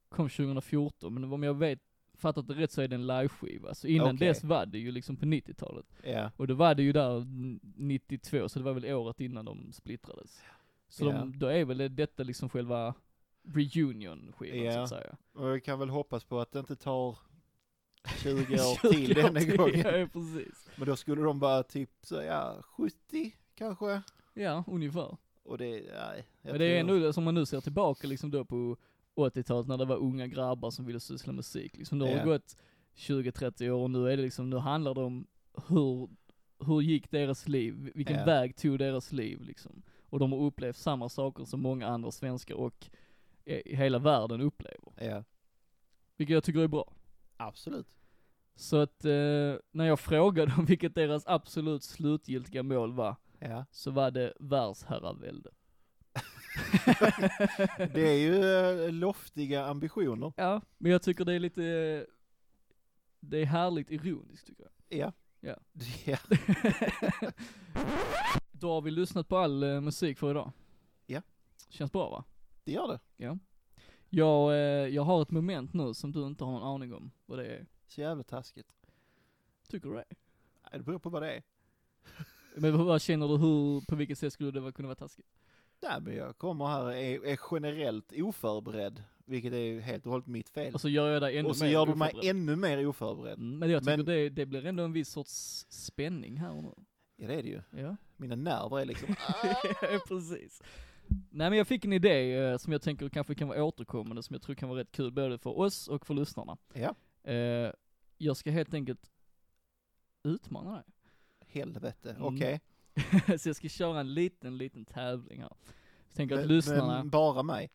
[SPEAKER 1] kom 2014, men om jag vet, fattat det rätt så är det en liveskiva. Så innan
[SPEAKER 2] Okej.
[SPEAKER 1] dess var det ju liksom på 90-talet.
[SPEAKER 2] Ja.
[SPEAKER 1] Och då var det ju där n- 92, så det var väl året innan de splittrades. Så
[SPEAKER 2] Ja.
[SPEAKER 1] de, då är väl det- detta liksom själva reunion-skivan så
[SPEAKER 2] Ja.
[SPEAKER 1] att säga.
[SPEAKER 2] Och jag kan väl hoppas på att det inte tar 20 år till denna gången.
[SPEAKER 1] Ja, precis.
[SPEAKER 2] Men då skulle de bara typ så ja, 70 kanske?
[SPEAKER 1] Ja, ungefär.
[SPEAKER 2] Och det, nej. jag
[SPEAKER 1] Men det är
[SPEAKER 2] tror-
[SPEAKER 1] ändå det som man nu ser tillbaka liksom då på 80-talet när det var unga grabbar som ville syssla med musik. Liksom, nu har
[SPEAKER 2] Ja.
[SPEAKER 1] det gått 20-30 år och nu är det liksom, nu handlar det om hur, hur gick deras liv? Vilken
[SPEAKER 2] Ja.
[SPEAKER 1] väg tog deras liv liksom? Och de har upplevt samma saker som många andra svenskar och eh, i hela världen upplever.
[SPEAKER 2] Ja,
[SPEAKER 1] Vilket jag tycker är bra.
[SPEAKER 2] absolut.
[SPEAKER 1] Så att eh, när jag frågade om vilket deras absolut slutgiltiga mål var,
[SPEAKER 2] Ja.
[SPEAKER 1] så var det världsherravälde.
[SPEAKER 2] Det är ju eh, loftiga ambitioner.
[SPEAKER 1] Ja, men jag tycker det är lite, det är härligt ironiskt tycker jag.
[SPEAKER 2] Ja.
[SPEAKER 1] Ja.
[SPEAKER 2] ja.
[SPEAKER 1] Då har vi lyssnat på all eh, musik för idag.
[SPEAKER 2] Ja.
[SPEAKER 1] Känns bra va?
[SPEAKER 2] Det gör det.
[SPEAKER 1] Jag, eh, jag har ett moment nu som du inte har en aning om vad det är.
[SPEAKER 2] Så jävla taskigt.
[SPEAKER 1] Tycker du det?
[SPEAKER 2] Nej, Det beror på vad det är.
[SPEAKER 1] Men vad- vad känner du, hur, på vilket sätt skulle det vara- kunna vara taskigt?
[SPEAKER 2] Nej, men jag kommer här är, är generellt oförberedd, vilket är ju helt och hållet mitt fel.
[SPEAKER 1] Och så Alltså, gör jag dig ännu
[SPEAKER 2] Och så
[SPEAKER 1] mer
[SPEAKER 2] gör du mig
[SPEAKER 1] oförberedd.
[SPEAKER 2] ännu mer oförberedd.
[SPEAKER 1] Mm, Men jag tycker
[SPEAKER 2] Men-
[SPEAKER 1] det, det blir ändå en viss sorts spänning här och nu.
[SPEAKER 2] Ja, det är det ju.
[SPEAKER 1] Ja.
[SPEAKER 2] Mina nerver är liksom,
[SPEAKER 1] Ja, precis. Nej men jag fick en idé eh, som jag tänker kanske kan vara återkommande, som jag tror kan vara rätt kul både för oss och för lyssnarna.
[SPEAKER 2] Ja.
[SPEAKER 1] Eh, jag ska helt enkelt utmana dig.
[SPEAKER 2] Helvete,
[SPEAKER 1] Mm.
[SPEAKER 2] okej.
[SPEAKER 1] så jag ska köra en liten, liten tävling här. Så tänker jag att
[SPEAKER 2] Men-
[SPEAKER 1] lyssnarna,
[SPEAKER 2] men Bara mig?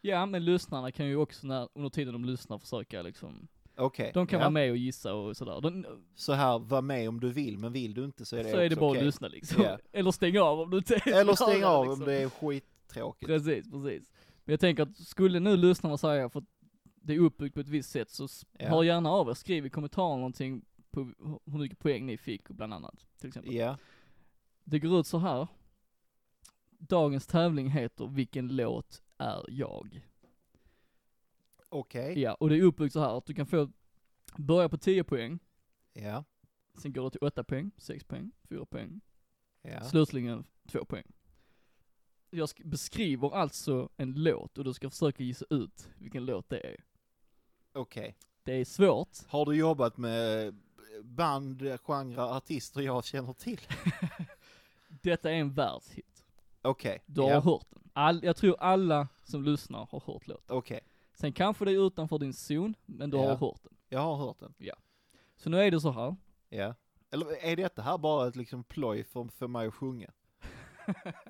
[SPEAKER 1] ja men lyssnarna kan ju också när, under tiden de lyssnar försöka liksom,
[SPEAKER 2] Okej.
[SPEAKER 1] de kan
[SPEAKER 2] ja.
[SPEAKER 1] vara med och gissa och sådär. De,
[SPEAKER 2] Så här, var med om du vill, men vill du inte så är det
[SPEAKER 1] så är det
[SPEAKER 2] också
[SPEAKER 1] bara att
[SPEAKER 2] okej.
[SPEAKER 1] lyssna liksom.
[SPEAKER 2] Ja.
[SPEAKER 1] Eller stäng av om du inte
[SPEAKER 2] Eller stäng av
[SPEAKER 1] liksom.
[SPEAKER 2] om det är skittråkigt.
[SPEAKER 1] Precis, precis. Men jag tänker att skulle nu lyssnarna säga, för att det är uppbyggt på ett visst sätt, så s-
[SPEAKER 2] Ja.
[SPEAKER 1] hör gärna av er, skriv i kommentaren någonting på hur mycket poäng ni fick, bland annat, till exempel.
[SPEAKER 2] Ja,
[SPEAKER 1] Det går ut så här. Dagens tävling heter Vilken låt är jag?
[SPEAKER 2] okej.
[SPEAKER 1] Ja, och det är uppbyggt så här att du kan få börja på 10 poäng,
[SPEAKER 2] Ja,
[SPEAKER 1] sen går det till 8 poäng, 6 poäng, 4 poäng,
[SPEAKER 2] ja.
[SPEAKER 1] slutligen 2 poäng. Jag sk- beskriver alltså en låt och du ska försöka gissa ut vilken låt det är.
[SPEAKER 2] Okej.
[SPEAKER 1] Det är svårt.
[SPEAKER 2] Har du jobbat med band, genrer, artister jag känner till?
[SPEAKER 1] Detta är en världshit.
[SPEAKER 2] Okej.
[SPEAKER 1] Du har
[SPEAKER 2] Ja,
[SPEAKER 1] hört den. All, jag tror alla som lyssnar har hört låten.
[SPEAKER 2] Okej.
[SPEAKER 1] Sen kanske det är utanför din zon, men du
[SPEAKER 2] Ja.
[SPEAKER 1] har hört den.
[SPEAKER 2] Jag har hört den.
[SPEAKER 1] Så nu är det så här.
[SPEAKER 2] Ja. Eller är detta här bara ett liksom ploj för, för mig att sjunga?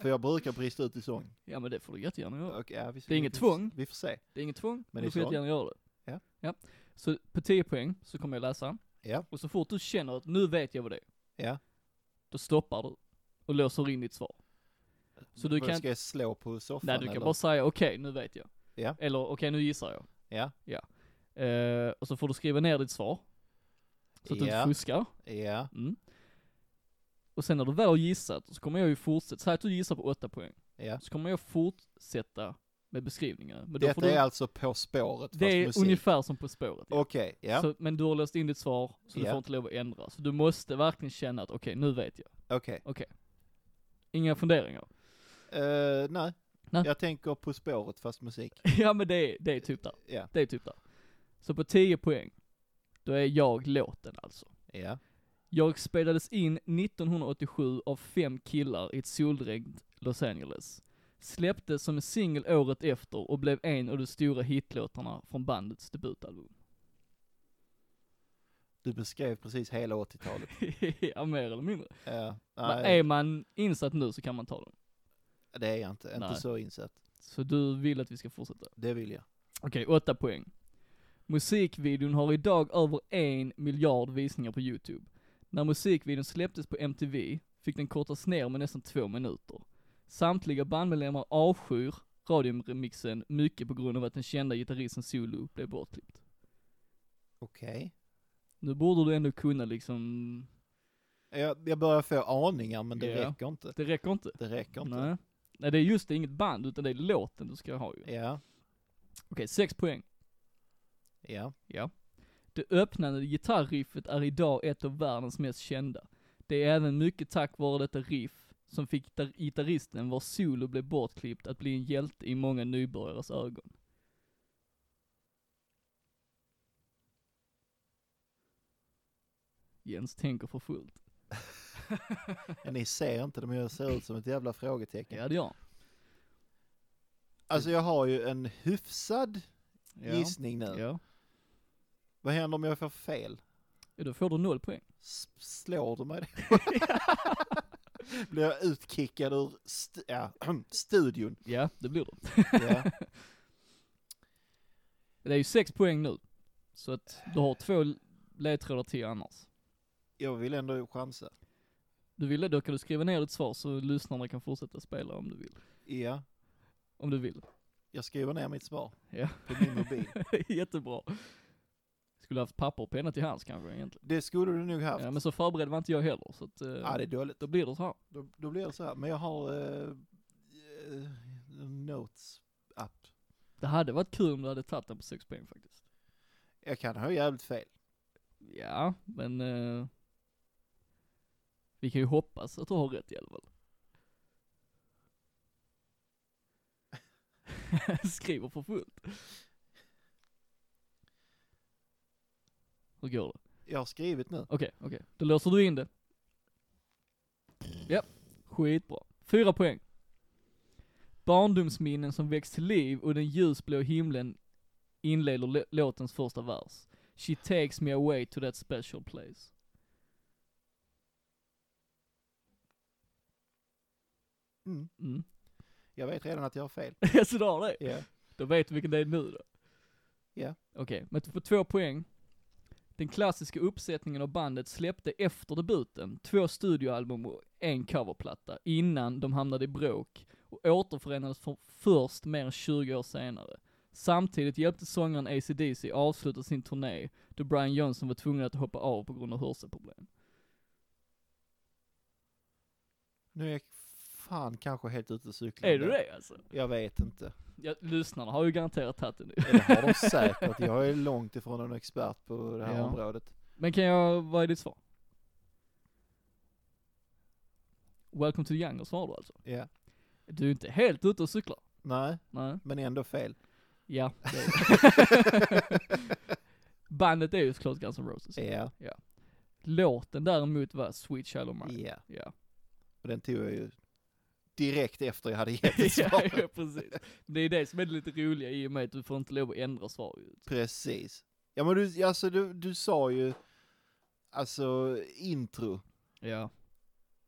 [SPEAKER 2] för jag brukar brista ut i sång.
[SPEAKER 1] Ja men det får du jättegärna göra.
[SPEAKER 2] Okej, ja, vi,
[SPEAKER 1] Det är inget
[SPEAKER 2] vi,
[SPEAKER 1] tvång.
[SPEAKER 2] Vi får se.
[SPEAKER 1] Det är inget tvång, men du
[SPEAKER 2] det är
[SPEAKER 1] får
[SPEAKER 2] så.
[SPEAKER 1] jättegärna göra det.
[SPEAKER 2] Ja.
[SPEAKER 1] ja. Så på 10 poäng så kommer jag läsa.
[SPEAKER 2] Ja.
[SPEAKER 1] Och så fort du känner att nu vet jag vad det är.
[SPEAKER 2] Ja.
[SPEAKER 1] Då stoppar du och låser in ditt svar. Så du
[SPEAKER 2] Vad
[SPEAKER 1] kan-
[SPEAKER 2] Ska jag slå på soffan
[SPEAKER 1] Nej du kan
[SPEAKER 2] eller?
[SPEAKER 1] bara säga okej, nu vet jag.
[SPEAKER 2] Ja.
[SPEAKER 1] Eller okej, nu gissar jag.
[SPEAKER 2] Ja,
[SPEAKER 1] Eh, och så får du skriva ner ditt svar. Så att du
[SPEAKER 2] Ja.
[SPEAKER 1] inte fuskar.
[SPEAKER 2] ja,
[SPEAKER 1] Mm. Och sen när du väl har gissat, så kommer jag ju fortsätta, säg att du gissar på 8 poäng,
[SPEAKER 2] ja.
[SPEAKER 1] så kommer jag fortsätta med beskrivningarna. Men då
[SPEAKER 2] Detta
[SPEAKER 1] får du,
[SPEAKER 2] är alltså På spåret
[SPEAKER 1] det
[SPEAKER 2] fast
[SPEAKER 1] är
[SPEAKER 2] musik.
[SPEAKER 1] ungefär som På spåret. ja.
[SPEAKER 2] Okej, ja,
[SPEAKER 1] Så, men du har löst in ditt svar, så du
[SPEAKER 2] Ja.
[SPEAKER 1] får inte lov att ändra. Så du måste verkligen känna att okej, nu vet jag.
[SPEAKER 2] okej.
[SPEAKER 1] Inga funderingar.
[SPEAKER 2] Eh, nej.
[SPEAKER 1] Nej.
[SPEAKER 2] jag tänker På spåret fast musik.
[SPEAKER 1] ja men det är, det är typ där.
[SPEAKER 2] Ja,
[SPEAKER 1] Det är typ där. Så på 10 poäng, då är jag låten alltså.
[SPEAKER 2] ja,
[SPEAKER 1] Jag spelades in 1987 av fem killar i ett solregn Los Angeles. Släpptes som en singel året efter och blev en av de stora hitlåtarna från bandets debutalbum.
[SPEAKER 2] du beskrev precis hela 80-talet.
[SPEAKER 1] ja, mer eller mindre.
[SPEAKER 2] Ja,
[SPEAKER 1] Men
[SPEAKER 2] nej,
[SPEAKER 1] är man insatt nu så kan man ta dem.
[SPEAKER 2] det är jag inte. Inte
[SPEAKER 1] Nej.
[SPEAKER 2] så insatt.
[SPEAKER 1] Så du vill att vi ska fortsätta?
[SPEAKER 2] Det vill jag.
[SPEAKER 1] Okej, åtta poäng. Musikvideon har idag över en miljard visningar på YouTube. När musikvideon släpptes på MTV fick den kortas ner med nästan två minuter. Samtliga bandmedlemmar avskyr radioremixen mycket på grund av att den kända gitarristen Zulu blev bortklippt.
[SPEAKER 2] Okej.
[SPEAKER 1] Nu borde du ändå kunna liksom,
[SPEAKER 2] Jag, jag börjar få aningar men det
[SPEAKER 1] Ja.
[SPEAKER 2] räcker inte.
[SPEAKER 1] det räcker inte.
[SPEAKER 2] Det räcker inte.
[SPEAKER 1] Nej. Nej, det är just det, inget band, utan det är låten du ska ha ju.
[SPEAKER 2] Ja,
[SPEAKER 1] Okej, sex poäng.
[SPEAKER 2] ja,
[SPEAKER 1] Ja. Det öppnande gitarrriffet är idag ett av världens mest kända. Det är även mycket tack vare detta riff som fick gitar- gitarristen vars solo blev bortklippt att bli en hjälte i många nybörjares ögon. Jens tänker för fullt.
[SPEAKER 2] ja. Ni ser inte det men jag ser ut som ett jävla frågetecken.
[SPEAKER 1] Ja det gör han.
[SPEAKER 2] Alltså jag har ju en hyfsad
[SPEAKER 1] ja.
[SPEAKER 2] gissning nu.
[SPEAKER 1] ja.
[SPEAKER 2] Vad händer om jag får fel?
[SPEAKER 1] Ja, Då får du noll poäng.
[SPEAKER 2] S- slår du mig då? Blir jag utkickad ur st- ja, studion?
[SPEAKER 1] Ja, det blir du.
[SPEAKER 2] Ja.
[SPEAKER 1] Det är ju sex poäng nu. Så att du har två ledtrådar till annars.
[SPEAKER 2] Jag vill ändå chansa.
[SPEAKER 1] Du vill det, då kan du skriva ner ditt svar så lyssnarna kan fortsätta spela om du vill.
[SPEAKER 2] Ja,
[SPEAKER 1] Om du vill.
[SPEAKER 2] jag skriver ner mitt svar
[SPEAKER 1] Ja.
[SPEAKER 2] på min mobil.
[SPEAKER 1] Jättebra. Skulle haft papper och penna till hands kanske egentligen.
[SPEAKER 2] Det skulle du nog haft.
[SPEAKER 1] Ja, men så förberedd var inte jag heller, så att, eh,
[SPEAKER 2] Ja, det är dåligt.
[SPEAKER 1] då blir det så här.
[SPEAKER 2] Då, då blir det så här, men jag har eh, eh, notes app.
[SPEAKER 1] Det hade varit kul om du hade tagit den på sex poäng faktiskt.
[SPEAKER 2] Jag kan ha jävligt fel.
[SPEAKER 1] Ja, men eh, vi kan ju hoppas att du har rätt i alla fall. Skriver för fullt. Hur går det?
[SPEAKER 2] Jag har skrivit nu.
[SPEAKER 1] Okej, okej. Då låser du in det. Ja, skitbra. Fyra poäng. Barndomsminnen som väcks till liv och den ljusblå himlen inleder lå- låtens första vers. She takes me away to that special place.
[SPEAKER 2] Mm.
[SPEAKER 1] Mm.
[SPEAKER 2] Jag vet redan att jag har fel.
[SPEAKER 1] så du har det?
[SPEAKER 2] Ja.
[SPEAKER 1] Då vet vi vilken det är nu då.
[SPEAKER 2] Ja.
[SPEAKER 1] Okej, men du får två poäng. Den klassiska uppsättningen av bandet släppte efter debuten två studioalbum och en coverplatta innan de hamnade i bråk och återförenades för först mer än 20 år senare. Samtidigt hjälpte sångaren AC/DC avsluta sin turné då Brian Johnson var tvungen att hoppa av på grund av hörselproblem.
[SPEAKER 2] Nu är jag fan kanske helt ute och cyklar.
[SPEAKER 1] Är du
[SPEAKER 2] där.
[SPEAKER 1] det alltså?
[SPEAKER 2] Jag vet inte.
[SPEAKER 1] Ja, lyssnarna har ju garanterat tagit det nu.
[SPEAKER 2] Det har de säkert. Jag är långt ifrån någon expert på det här
[SPEAKER 1] Ja.
[SPEAKER 2] området.
[SPEAKER 1] Men kan jag, vad är ditt svar? Welcome to the jungle svarar du alltså?
[SPEAKER 2] Ja.
[SPEAKER 1] Du är inte helt ute och cyklar?
[SPEAKER 2] Nej,
[SPEAKER 1] Nej.
[SPEAKER 2] men ändå fel.
[SPEAKER 1] Ja, det är Bandet är ju såklart Guns N' Roses.
[SPEAKER 2] Ja.
[SPEAKER 1] Låten däremot var Sweet Child O' Mine.
[SPEAKER 2] Ja.
[SPEAKER 1] Ja.
[SPEAKER 2] Och den tog jag ju direkt efter jag hade gett ett
[SPEAKER 1] ja,
[SPEAKER 2] svar.
[SPEAKER 1] ja, precis. Det är det som är det lite roliga i och med att du får inte lov att ändra svar ju.
[SPEAKER 2] Precis. Ja men du, alltså du, du sa ju, alltså intro.
[SPEAKER 1] Ja.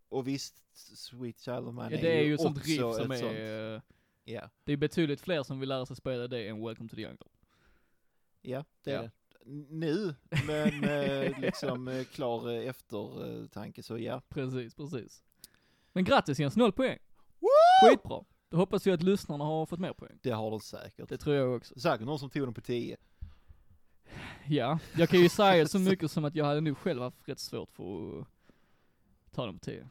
[SPEAKER 2] Och visst, Sweet Child of Mine
[SPEAKER 1] ja det är ju ett sånt
[SPEAKER 2] också
[SPEAKER 1] riff som
[SPEAKER 2] ett sånt.
[SPEAKER 1] är, eh,
[SPEAKER 2] Ja,
[SPEAKER 1] det är betydligt fler som vill lära sig spela det än Welcome to the Jungle.
[SPEAKER 2] ja det
[SPEAKER 1] Ja.
[SPEAKER 2] är det. N- Nu, men eh, liksom eh, klar eh, eftertanke så ja.
[SPEAKER 1] Precis, precis. Men grattis Jens, noll poäng.
[SPEAKER 2] Woo!
[SPEAKER 1] Skitbra. Då hoppas jag att lyssnarna har fått mer poäng.
[SPEAKER 2] Det har de säkert.
[SPEAKER 1] Det tror jag också.
[SPEAKER 2] Säkert någon som tog den på 10.
[SPEAKER 1] Ja, jag kan ju säga så mycket som att jag hade nog själv haft rätt svårt för att ta dem till.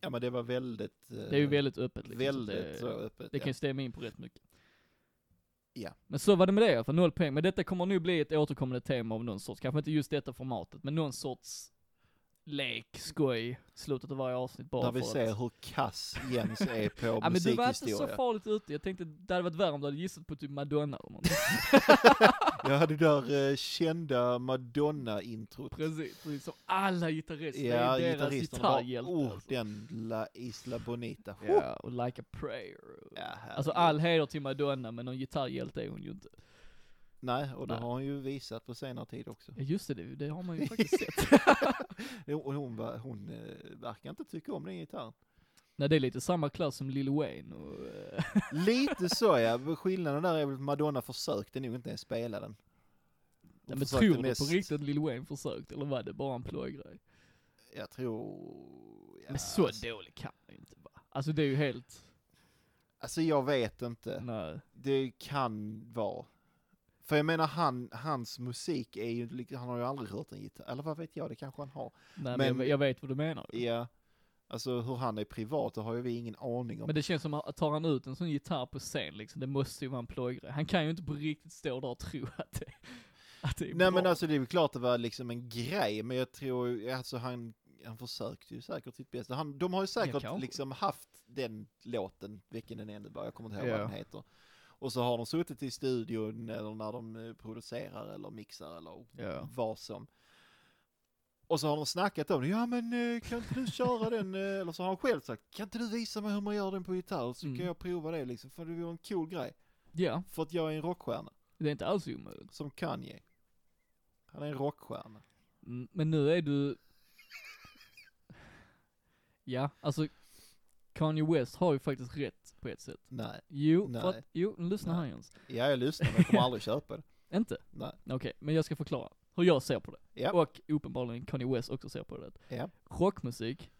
[SPEAKER 2] Ja men det var väldigt... eh,
[SPEAKER 1] Det är ju väldigt öppet liksom. så
[SPEAKER 2] Väldigt
[SPEAKER 1] det,
[SPEAKER 2] så öppet.
[SPEAKER 1] Det
[SPEAKER 2] ja.
[SPEAKER 1] kan ju stämma in på rätt mycket.
[SPEAKER 2] Ja.
[SPEAKER 1] Men så var det med det i alla fall, noll poäng. Men detta kommer nu bli ett återkommande tema av någon sorts, kanske inte just detta formatet, men någon sorts lek, skoj, slutet av varje avsnitt bara
[SPEAKER 2] När
[SPEAKER 1] för
[SPEAKER 2] vi
[SPEAKER 1] att...
[SPEAKER 2] ser hur kass Jens är på
[SPEAKER 1] Ja men du var inte så
[SPEAKER 2] musikhistoria.
[SPEAKER 1] farligt ute, jag tänkte det hade varit värre om du hade gissat på typ Madonna eller någonting.
[SPEAKER 2] Jag hade där eh, kända Madonna-introt.
[SPEAKER 1] Precis, precis som alla gitarrister,
[SPEAKER 2] Ja,
[SPEAKER 1] det är deras
[SPEAKER 2] gitarristerna bara,
[SPEAKER 1] gitarrhjälte.
[SPEAKER 2] oh
[SPEAKER 1] alltså.
[SPEAKER 2] den La Isla Bonita. Oh.
[SPEAKER 1] Ja, och Like a Prayer.
[SPEAKER 2] Ja, herregud.
[SPEAKER 1] Alltså all heder till Madonna, men någon gitarrhjälte är hon ju inte.
[SPEAKER 2] Nej, och det
[SPEAKER 1] Nej.
[SPEAKER 2] har hon ju visat på senare tid också.
[SPEAKER 1] Ja just det, det, det har man ju faktiskt sett.
[SPEAKER 2] Hon, hon, var, hon eh, verkar inte tycka om den gitarren.
[SPEAKER 1] Nej det är lite samma klass som Lil Wayne och... eh,
[SPEAKER 2] Lite så ja, men skillnaden där är väl att Madonna försökte nog inte ens spela den. Hon
[SPEAKER 1] Nej, men
[SPEAKER 2] försökte
[SPEAKER 1] tror du
[SPEAKER 2] mest-
[SPEAKER 1] på riktigt att Lil Wayne försökte, eller var det bara en plågrej?
[SPEAKER 2] Jag tror... Ja,
[SPEAKER 1] Men så
[SPEAKER 2] alltså,
[SPEAKER 1] dålig kan man ju inte vara. Alltså det är ju helt...
[SPEAKER 2] alltså jag vet inte.
[SPEAKER 1] Nej.
[SPEAKER 2] Det kan vara. För jag menar han, hans musik är ju, lik- han har ju aldrig hört en gitarr, eller vad vet jag, det kanske han har.
[SPEAKER 1] Nej men,
[SPEAKER 2] Men-
[SPEAKER 1] jag, jag vet vad du menar.
[SPEAKER 2] Ja, alltså hur han är privat, det har ju vi ingen aning om.
[SPEAKER 1] Men det känns som att tar han ut en sån gitarr på scen liksom, det måste ju vara en plågrej. Han kan ju inte på riktigt stå där och tro att det, att det är
[SPEAKER 2] Nej
[SPEAKER 1] bra.
[SPEAKER 2] men alltså det är väl klart det var liksom en grej, men jag tror ju, alltså han, han försökte ju säkert sitt bästa. Han, de har ju säkert
[SPEAKER 1] kanske.
[SPEAKER 2] liksom haft den låten, vilken den än var, jag kommer inte ihåg
[SPEAKER 1] Ja.
[SPEAKER 2] vad den heter. Och så har de suttit i studion eller när de eh, producerar eller mixar eller
[SPEAKER 1] Ja.
[SPEAKER 2] vad som. Och så har de snackat om det, ja men eh, kan inte du köra den, eh?" eller så har han själv sagt, kan inte du visa mig hur man gör den på gitarr så
[SPEAKER 1] Mm.
[SPEAKER 2] kan jag prova det liksom, för det vore en cool grej.
[SPEAKER 1] Ja,
[SPEAKER 2] För att jag är en rockstjärna,
[SPEAKER 1] det är inte alls omöjligt.
[SPEAKER 2] som Kanye. Han är en rockstjärna.
[SPEAKER 1] Mm, Men nu är du... Ja, alltså Kanye West har ju faktiskt rätt på ett sätt.
[SPEAKER 2] Nej.
[SPEAKER 1] Jo, för
[SPEAKER 2] Nej.
[SPEAKER 1] att, jo, nu lyssnar
[SPEAKER 2] Nej.
[SPEAKER 1] här Jens.
[SPEAKER 2] Ja, jag lyssnar men jag kommer aldrig köpa det.
[SPEAKER 1] Inte?
[SPEAKER 2] Nej.
[SPEAKER 1] Okej, men jag ska förklara hur jag ser på det.
[SPEAKER 2] Ja.
[SPEAKER 1] Och uppenbarligen Kanye West också ser på det.
[SPEAKER 2] Ja.
[SPEAKER 1] Rockmusik,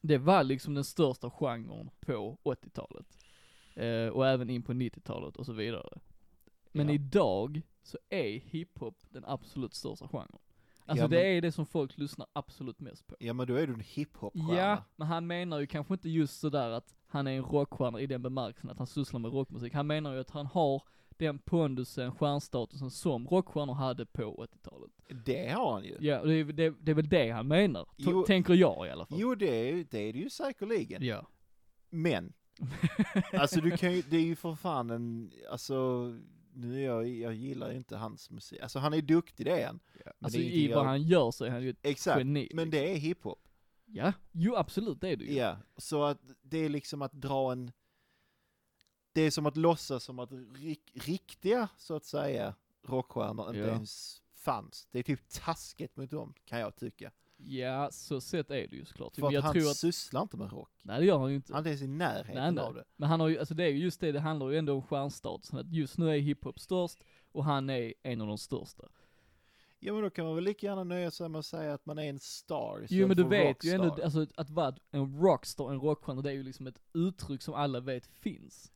[SPEAKER 1] det var liksom den största genren på 80-talet. Eh, och även in på 90-talet och så vidare. Men
[SPEAKER 2] Ja.
[SPEAKER 1] idag så är hiphop den absolut största genren. Alltså
[SPEAKER 2] Ja,
[SPEAKER 1] det
[SPEAKER 2] men-
[SPEAKER 1] är det som folk lyssnar absolut mest på.
[SPEAKER 2] Ja, men då är du en hiphop-stjärna.
[SPEAKER 1] Ja, men han menar ju kanske inte just sådär att han är en rockstjärna i den bemärkelsen att han sysslar med rockmusik. Han menar ju att han har den pondusen, stjärnstatusen som rockstjärnor hade på 80-talet.
[SPEAKER 2] Det har han ju.
[SPEAKER 1] Ja, och det är, det, det är väl det han menar, t-
[SPEAKER 2] Jo.
[SPEAKER 1] tänker jag i alla fall.
[SPEAKER 2] Jo, det är, ju- det är det ju säkerligen.
[SPEAKER 1] Ja.
[SPEAKER 2] Men, alltså du kan ju, det är ju för fan en, alltså, nu är jag, jag gillar ju inte hans musik. Alltså han är duktig, det är han. Men
[SPEAKER 1] Alltså
[SPEAKER 2] det är ingenting
[SPEAKER 1] i vad
[SPEAKER 2] jag-
[SPEAKER 1] han gör så är han ju ett
[SPEAKER 2] Exakt,
[SPEAKER 1] geni.
[SPEAKER 2] men det är hiphop.
[SPEAKER 1] Ja, jo absolut det är det ju.
[SPEAKER 2] Ja, så att det är liksom att dra en, det är som att låtsas som att rik, riktiga, så att säga, rockstjärnor inte
[SPEAKER 1] Ja.
[SPEAKER 2] ens fanns. Det är typ taskigt mot dem, kan jag tycka.
[SPEAKER 1] Ja, så sett är det ju såklart.
[SPEAKER 2] För
[SPEAKER 1] Men
[SPEAKER 2] att
[SPEAKER 1] Typ, jag
[SPEAKER 2] han
[SPEAKER 1] tror att,
[SPEAKER 2] sysslar inte med rock.
[SPEAKER 1] nej det gör han ju inte.
[SPEAKER 2] Han är inte ens i närheten
[SPEAKER 1] Nej, nej.
[SPEAKER 2] av det.
[SPEAKER 1] Men han har ju, alltså det är ju just det, det handlar ju ändå om stjärnstatusen, att just nu är hiphop störst och han är en av de största.
[SPEAKER 2] Ja men då kan man väl lika gärna nöja sig med att säga att man är en star
[SPEAKER 1] Jo
[SPEAKER 2] istället
[SPEAKER 1] men du
[SPEAKER 2] för
[SPEAKER 1] vet
[SPEAKER 2] rockstar.
[SPEAKER 1] ju ändå, alltså att vara en rockstar, en rockstjärna, det är ju liksom ett uttryck som alla vet finns.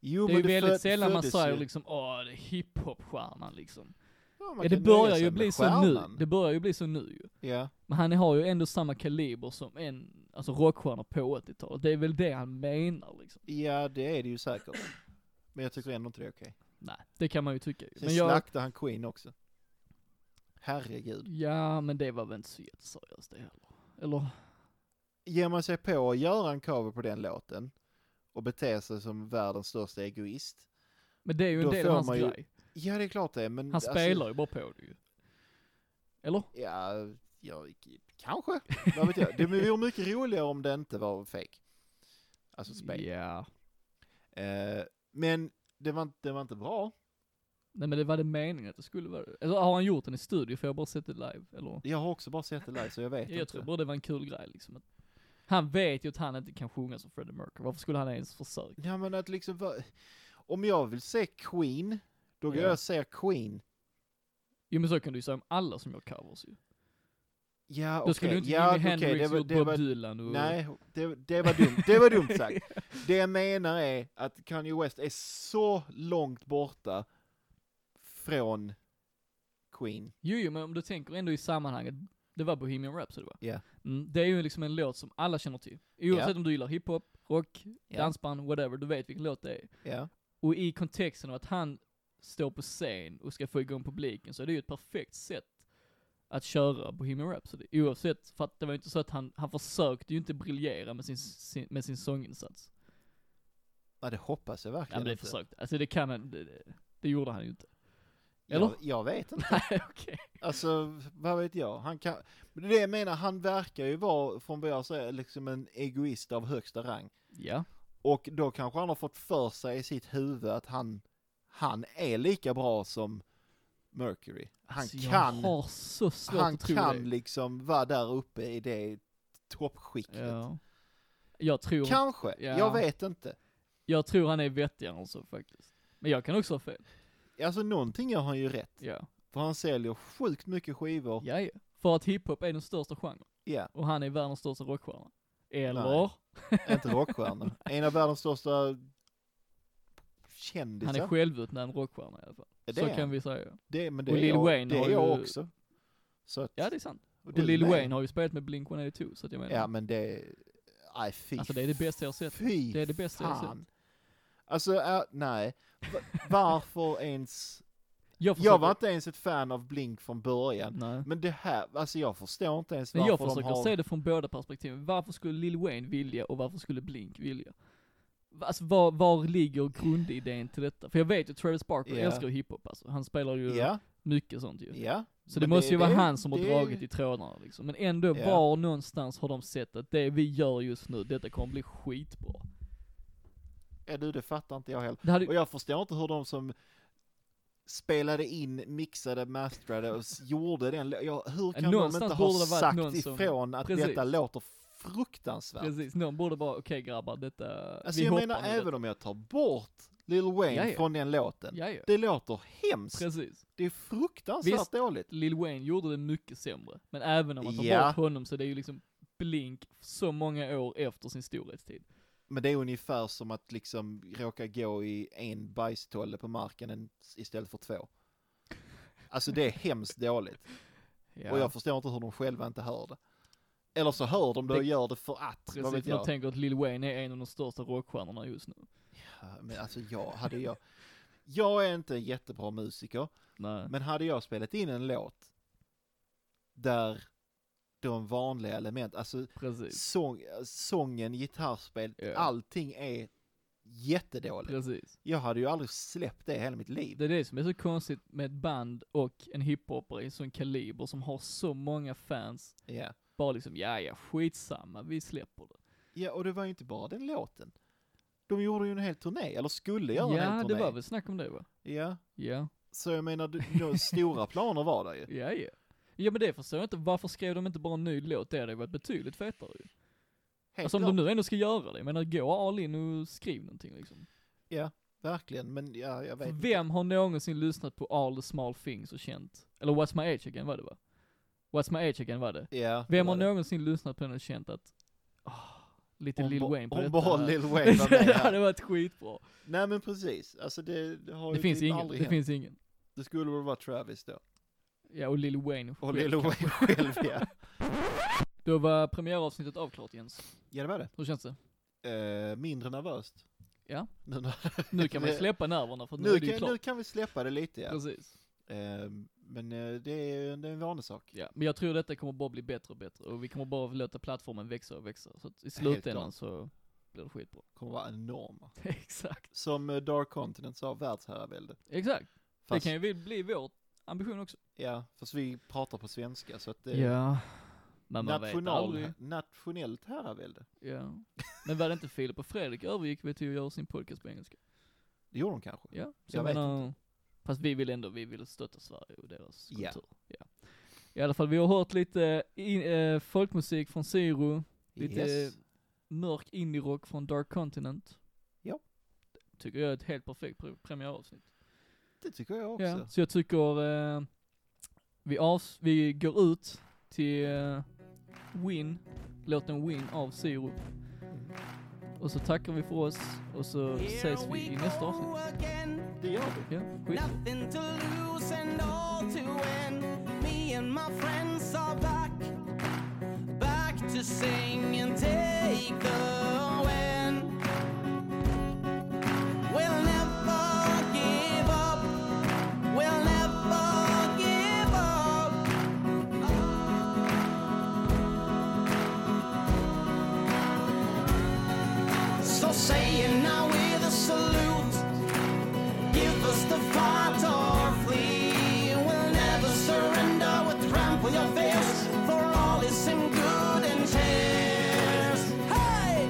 [SPEAKER 2] Jo,
[SPEAKER 1] det är
[SPEAKER 2] men
[SPEAKER 1] ju väldigt
[SPEAKER 2] föd-
[SPEAKER 1] sällan man
[SPEAKER 2] föddes
[SPEAKER 1] säger
[SPEAKER 2] ju-
[SPEAKER 1] liksom, åh det är hiphop-stjärnan liksom.
[SPEAKER 2] Ja, man
[SPEAKER 1] Ja, det
[SPEAKER 2] kan nöja
[SPEAKER 1] börjar
[SPEAKER 2] sig
[SPEAKER 1] ju
[SPEAKER 2] med
[SPEAKER 1] bli så nu,
[SPEAKER 2] stjärnan.
[SPEAKER 1] det börjar ju bli så nu ju.
[SPEAKER 2] Ja.
[SPEAKER 1] Men han har ju ändå samma kaliber som en, alltså rockstjärna på 80-talet, det är väl det han menar liksom.
[SPEAKER 2] ja, det är det ju säkert. Men jag tycker ändå inte det är okej.
[SPEAKER 1] Nej, det kan man ju tycka ju.
[SPEAKER 2] Sen
[SPEAKER 1] Men jag,
[SPEAKER 2] slaktade han Queen också. Herregud.
[SPEAKER 1] ja men det var väl inte så jätteseriöst det heller. Eller?
[SPEAKER 2] Ger man sig på att göra en cover på den låten och bete sig som världens största egoist.
[SPEAKER 1] Men det är ju en
[SPEAKER 2] Då
[SPEAKER 1] del
[SPEAKER 2] får
[SPEAKER 1] av hans
[SPEAKER 2] man ju- alltså
[SPEAKER 1] grej.
[SPEAKER 2] Ja, det är klart det, men...
[SPEAKER 1] Han spelar ju bara på det ju. Eller?
[SPEAKER 2] Ja, ja, k- kanske. Vad vet jag. Det vore mycket roligare om det inte var fake. Alltså spel.
[SPEAKER 1] Ja.
[SPEAKER 2] Eh, men det var, inte- det var inte bra.
[SPEAKER 1] Nej men det var det meningen att det skulle vara det. Eller har han gjort den i studio? För jag har bara sett det live, eller?
[SPEAKER 2] Jag har också bara sett det live så jag vet
[SPEAKER 1] Jag
[SPEAKER 2] inte.
[SPEAKER 1] tror bara det var en kul grej liksom. Att han vet ju att han inte kan sjunga som Freddie Mercury, varför skulle han ens försöka?
[SPEAKER 2] Ja men att liksom, va- om jag vill se Queen, då går
[SPEAKER 1] Ja.
[SPEAKER 2] jag och ser Queen.
[SPEAKER 1] Jo men så kan du ju säga om alla som gör covers ju.
[SPEAKER 2] Ja okej,
[SPEAKER 1] Då skulle ju inte
[SPEAKER 2] ja,
[SPEAKER 1] Jimi
[SPEAKER 2] okej,
[SPEAKER 1] Hendrix
[SPEAKER 2] det var,
[SPEAKER 1] gjort
[SPEAKER 2] det
[SPEAKER 1] Bob
[SPEAKER 2] var,
[SPEAKER 1] Dylan och...
[SPEAKER 2] Nej, det, det var dumt, det var dumt sagt. Det jag menar är att Kanye West är så långt borta från Queen.
[SPEAKER 1] Jo, jo men om du tänker ändå i sammanhanget, det var Bohemian Rhapsody va?
[SPEAKER 2] Ja.
[SPEAKER 1] Mm, det är ju liksom en låt som alla känner till. Oavsett om du gillar hiphop, rock,
[SPEAKER 2] Ja.
[SPEAKER 1] dansband, whatever, du vet vilken låt det är.
[SPEAKER 2] Ja.
[SPEAKER 1] Och i kontexten av att han står på scen och ska få igång publiken så är det ju ett perfekt sätt att köra Bohemian Rhapsody. Oavsett, för att det var ju inte så att han, han försökte ju inte briljera med sin, sin, med sin sånginsats.
[SPEAKER 2] ja, det hoppas jag
[SPEAKER 1] Ja
[SPEAKER 2] verkligen
[SPEAKER 1] men det
[SPEAKER 2] inte.
[SPEAKER 1] försökte, alltså det kan han, det, det, det gjorde han ju inte.
[SPEAKER 2] Jag,
[SPEAKER 1] Eller?
[SPEAKER 2] jag vet inte.
[SPEAKER 1] Nej okej.
[SPEAKER 2] Alltså, vad vet jag? Han kan... Men det är det jag menar, han verkar ju vara, från vad jag säger, liksom en egoist av högsta rang.
[SPEAKER 1] Ja.
[SPEAKER 2] Och då kanske han har fått för sig i sitt huvud att han, han är lika bra som Mercury. Han
[SPEAKER 1] Alltså,
[SPEAKER 2] kan,
[SPEAKER 1] Jag har så svårt
[SPEAKER 2] han
[SPEAKER 1] att tro det.
[SPEAKER 2] kan liksom vara där uppe i det toppskiktet.
[SPEAKER 1] Ja. Jag tror,
[SPEAKER 2] Kanske,
[SPEAKER 1] Ja.
[SPEAKER 2] jag vet inte.
[SPEAKER 1] jag tror han är vettigare än så faktiskt. Men jag kan också ha fel.
[SPEAKER 2] Alltså någonting har han ju rätt,
[SPEAKER 1] Ja.
[SPEAKER 2] för han säljer sjukt mycket skivor.
[SPEAKER 1] Ja, ja. För att hiphop är den största genren.
[SPEAKER 2] Ja,
[SPEAKER 1] Och han är världens största rockstjärna. Eller?
[SPEAKER 2] Nej. inte rockstjärna. en av världens största kändisar.
[SPEAKER 1] Han är självutnämnd rockstjärna i alla fall.
[SPEAKER 2] Ja,
[SPEAKER 1] så
[SPEAKER 2] är
[SPEAKER 1] kan
[SPEAKER 2] han.
[SPEAKER 1] vi säga.
[SPEAKER 2] det, men det
[SPEAKER 1] och
[SPEAKER 2] är
[SPEAKER 1] Lil
[SPEAKER 2] jag,
[SPEAKER 1] Wayne
[SPEAKER 2] det
[SPEAKER 1] har
[SPEAKER 2] är jag
[SPEAKER 1] ju-
[SPEAKER 2] också. Så att,
[SPEAKER 1] Ja det är sant.
[SPEAKER 2] och
[SPEAKER 1] Och
[SPEAKER 2] du
[SPEAKER 1] Lil
[SPEAKER 2] med.
[SPEAKER 1] Wayne har ju spelat med Blink-182 så att jag menar.
[SPEAKER 2] Ja men det, nej fy
[SPEAKER 1] Alltså, det är det bästa jag har sett.
[SPEAKER 2] Fy
[SPEAKER 1] Det är det bästa jag har sett.
[SPEAKER 2] fan. Alltså äh, nej, Va- varför ens,
[SPEAKER 1] jag,
[SPEAKER 2] jag var inte ens ett fan av Blink från början.
[SPEAKER 1] Nej.
[SPEAKER 2] Men det här, alltså jag förstår inte ens
[SPEAKER 1] Men
[SPEAKER 2] varför
[SPEAKER 1] jag
[SPEAKER 2] de
[SPEAKER 1] försöker
[SPEAKER 2] har...
[SPEAKER 1] se det från båda perspektiven. Varför skulle Lil Wayne vilja och varför skulle Blink vilja? Va- Alltså var, var ligger grundidén till detta? För jag vet ju Travis Barker
[SPEAKER 2] Ja.
[SPEAKER 1] älskar ju hiphop alltså. Han spelar ju
[SPEAKER 2] Ja,
[SPEAKER 1] mycket sånt ju.
[SPEAKER 2] ja.
[SPEAKER 1] Så det
[SPEAKER 2] Men
[SPEAKER 1] måste ju vara
[SPEAKER 2] det-
[SPEAKER 1] han som har
[SPEAKER 2] det-
[SPEAKER 1] dragit i trådarna liksom. Men ändå,
[SPEAKER 2] Ja.
[SPEAKER 1] var någonstans har de sett att det vi gör just nu, detta kommer bli skitbra.
[SPEAKER 2] Ja du, det fattar inte jag heller.
[SPEAKER 1] Det hade,
[SPEAKER 2] Och jag förstår inte hur de som spelade in, mixade, masterade och s- gjorde den, lå- ja, hur kan
[SPEAKER 1] Någonstans
[SPEAKER 2] de inte
[SPEAKER 1] borde
[SPEAKER 2] ha
[SPEAKER 1] det varit någon
[SPEAKER 2] sagt
[SPEAKER 1] som-
[SPEAKER 2] ifrån att
[SPEAKER 1] Precis.
[SPEAKER 2] detta låter fruktansvärt?
[SPEAKER 1] precis, någon borde bara, okej grabbar, detta,
[SPEAKER 2] Alltså
[SPEAKER 1] vi
[SPEAKER 2] jag
[SPEAKER 1] hoppar
[SPEAKER 2] menar
[SPEAKER 1] med
[SPEAKER 2] även om jag tar bort Lil Wayne
[SPEAKER 1] Ja, ja.
[SPEAKER 2] från den låten.
[SPEAKER 1] detta. Ja, ja.
[SPEAKER 2] Det låter hemskt.
[SPEAKER 1] Precis.
[SPEAKER 2] Det är fruktansvärt
[SPEAKER 1] Visst.
[SPEAKER 2] dåligt.
[SPEAKER 1] Lil Wayne gjorde det mycket sämre. Men även om man tar
[SPEAKER 2] Ja.
[SPEAKER 1] bort honom så det är ju liksom Blink så många år efter sin storhetstid.
[SPEAKER 2] Men det är ungefär som att liksom råka gå i en bajstolle på marken en- istället för två. Alltså det är hemskt dåligt.
[SPEAKER 1] Ja.
[SPEAKER 2] Och jag förstår inte hur de själva inte hör det. Eller så hör de det och
[SPEAKER 1] Det-
[SPEAKER 2] gör det för att. vad
[SPEAKER 1] Precis,
[SPEAKER 2] vet
[SPEAKER 1] för de
[SPEAKER 2] jag.
[SPEAKER 1] tänker att Lil Wayne är en av de största rockstjärnorna just nu.
[SPEAKER 2] Ja, Men alltså jag, hade jag... Jag är inte en jättebra musiker,
[SPEAKER 1] Nej.
[SPEAKER 2] men hade jag spelat in en låt där de vanliga element, alltså
[SPEAKER 1] Precis.
[SPEAKER 2] sång, sången, gitarrspel,
[SPEAKER 1] Typ. Ja.
[SPEAKER 2] allting är jättedåligt.
[SPEAKER 1] Precis.
[SPEAKER 2] Jag hade ju aldrig släppt det i hela mitt liv.
[SPEAKER 1] Det är det som är så konstigt med ett band och en hiphopper i sån kaliber som har så många fans.
[SPEAKER 2] Ja.
[SPEAKER 1] Bara liksom, ja ja, skitsamma, vi släpper det.
[SPEAKER 2] ja, och det var ju inte bara den låten. De gjorde ju en hel turné, eller skulle göra en
[SPEAKER 1] ja,
[SPEAKER 2] hel turné.
[SPEAKER 1] det var väl snack om det va?
[SPEAKER 2] Ja,
[SPEAKER 1] Ja.
[SPEAKER 2] Så jag menar, du- nå- stora planer var det ju.
[SPEAKER 1] Ja, ja. Ja men det förstår jag inte, varför skrev de inte bara en ny låt? Det hade ju varit betydligt fetare ju.
[SPEAKER 2] Helt
[SPEAKER 1] Alltså om
[SPEAKER 2] klart.
[SPEAKER 1] de nu ändå ska göra det, jag menar gå all in och skriv någonting liksom.
[SPEAKER 2] Ja, verkligen. Men ja, jag vet
[SPEAKER 1] För
[SPEAKER 2] inte.
[SPEAKER 1] vem har någonsin lyssnat på All the small things och känt, eller What's my age again var det va? What's my age again var det.
[SPEAKER 2] Ja,
[SPEAKER 1] Vem
[SPEAKER 2] det
[SPEAKER 1] har
[SPEAKER 2] var det.
[SPEAKER 1] någonsin lyssnat på den och känt att, åh, lite
[SPEAKER 2] Om
[SPEAKER 1] Lil
[SPEAKER 2] ba-
[SPEAKER 1] Wayne på
[SPEAKER 2] Om
[SPEAKER 1] detta.
[SPEAKER 2] bara Lil Wayne var med
[SPEAKER 1] det
[SPEAKER 2] här.
[SPEAKER 1] hade varit skitbra.
[SPEAKER 2] Nej men precis, alltså det, det har
[SPEAKER 1] Det
[SPEAKER 2] ju
[SPEAKER 1] finns
[SPEAKER 2] typ
[SPEAKER 1] ingen,
[SPEAKER 2] aldrig
[SPEAKER 1] det
[SPEAKER 2] hänt.
[SPEAKER 1] finns ingen.
[SPEAKER 2] Det skulle väl vara Travis då.
[SPEAKER 1] Ja och Lil Wayne
[SPEAKER 2] Och
[SPEAKER 1] själv
[SPEAKER 2] Lil
[SPEAKER 1] kanske.
[SPEAKER 2] Wayne själv ja.
[SPEAKER 1] Då var premiäravsnittet avklarat Jens.
[SPEAKER 2] Ja det var det.
[SPEAKER 1] Hur känns det?
[SPEAKER 2] Eh, mindre nervöst.
[SPEAKER 1] Ja.
[SPEAKER 2] Nu, nu,
[SPEAKER 1] Nu kan man
[SPEAKER 2] Det-
[SPEAKER 1] släppa nerverna för att nu,
[SPEAKER 2] nu,
[SPEAKER 1] är det ju
[SPEAKER 2] kan, nu
[SPEAKER 1] klart.
[SPEAKER 2] kan vi släppa det lite ja.
[SPEAKER 1] Precis.
[SPEAKER 2] Eh, men eh, det, är, det är en vanesak.
[SPEAKER 1] Ja, men jag tror detta kommer bara bli bättre och bättre och vi kommer bara låta plattformen växa och växa. Så att i slutändan
[SPEAKER 2] klart.
[SPEAKER 1] så blir det skitbra.
[SPEAKER 2] Kommer vara enorma.
[SPEAKER 1] Exakt.
[SPEAKER 2] Som eh, Dark Continent sa, världsherravälde.
[SPEAKER 1] Exakt.
[SPEAKER 2] Fast,
[SPEAKER 1] Det kan ju vi- bli vår ambition också.
[SPEAKER 2] Ja, fast vi pratar på svenska så att eh, det
[SPEAKER 1] Ja. Men man vet aldrig.
[SPEAKER 2] national, nationellt herravälde.
[SPEAKER 1] Ja. Men var det inte Filip och Fredrik övergick vi till att göra sin podcast på engelska?
[SPEAKER 2] Det gjorde de kanske.
[SPEAKER 1] Ja. Så
[SPEAKER 2] Jag vet
[SPEAKER 1] inte. Fast vi vill ändå, vi vill stötta Sverige och deras
[SPEAKER 2] Ja.
[SPEAKER 1] kultur. Ja. I alla fall, vi har hört lite in, eh, folkmusik från Syro. Lite
[SPEAKER 2] Yes.
[SPEAKER 1] mörk indie-rock från Dark Continent.
[SPEAKER 2] Ja.
[SPEAKER 1] Tycker jag är ett helt perfekt pre- premiäravsnitt.
[SPEAKER 2] Det tycker jag också.
[SPEAKER 1] Ja, så jag tycker eh, vi, avs- vi går ut till eh, Win, låten Win av Syrup.
[SPEAKER 2] Mm.
[SPEAKER 1] Och så tackar vi för oss och så
[SPEAKER 4] Here
[SPEAKER 1] ses vi
[SPEAKER 4] we
[SPEAKER 1] i nästa
[SPEAKER 4] go
[SPEAKER 1] avsnitt.
[SPEAKER 4] again.
[SPEAKER 2] Det gör vi.
[SPEAKER 1] Ja, skit.
[SPEAKER 4] Nothing to lose and all to win. Me and my friends are back, back to sing and take the win. We'll never give up. We'll never give up. So say it now with a salute. Give us the fight or flee. We'll never surrender with trample your fears. For all is in good and tears. Hey!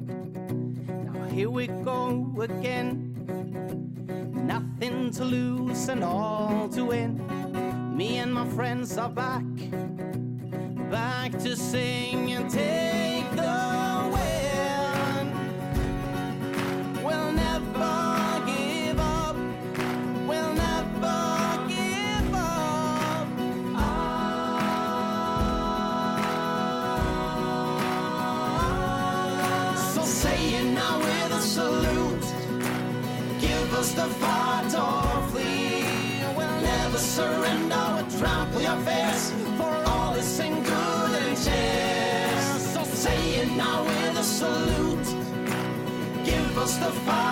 [SPEAKER 4] Now here we go again. Nothing to lose and all to win. Me and my friends are back, back to sing and take the win. We'll never give up. We'll never give up. So say it now with a salute. Give us the fight or flee. We'll never surrender or trample your fears. For all is in good and cheers. So say it now with a salute. Give us the fight.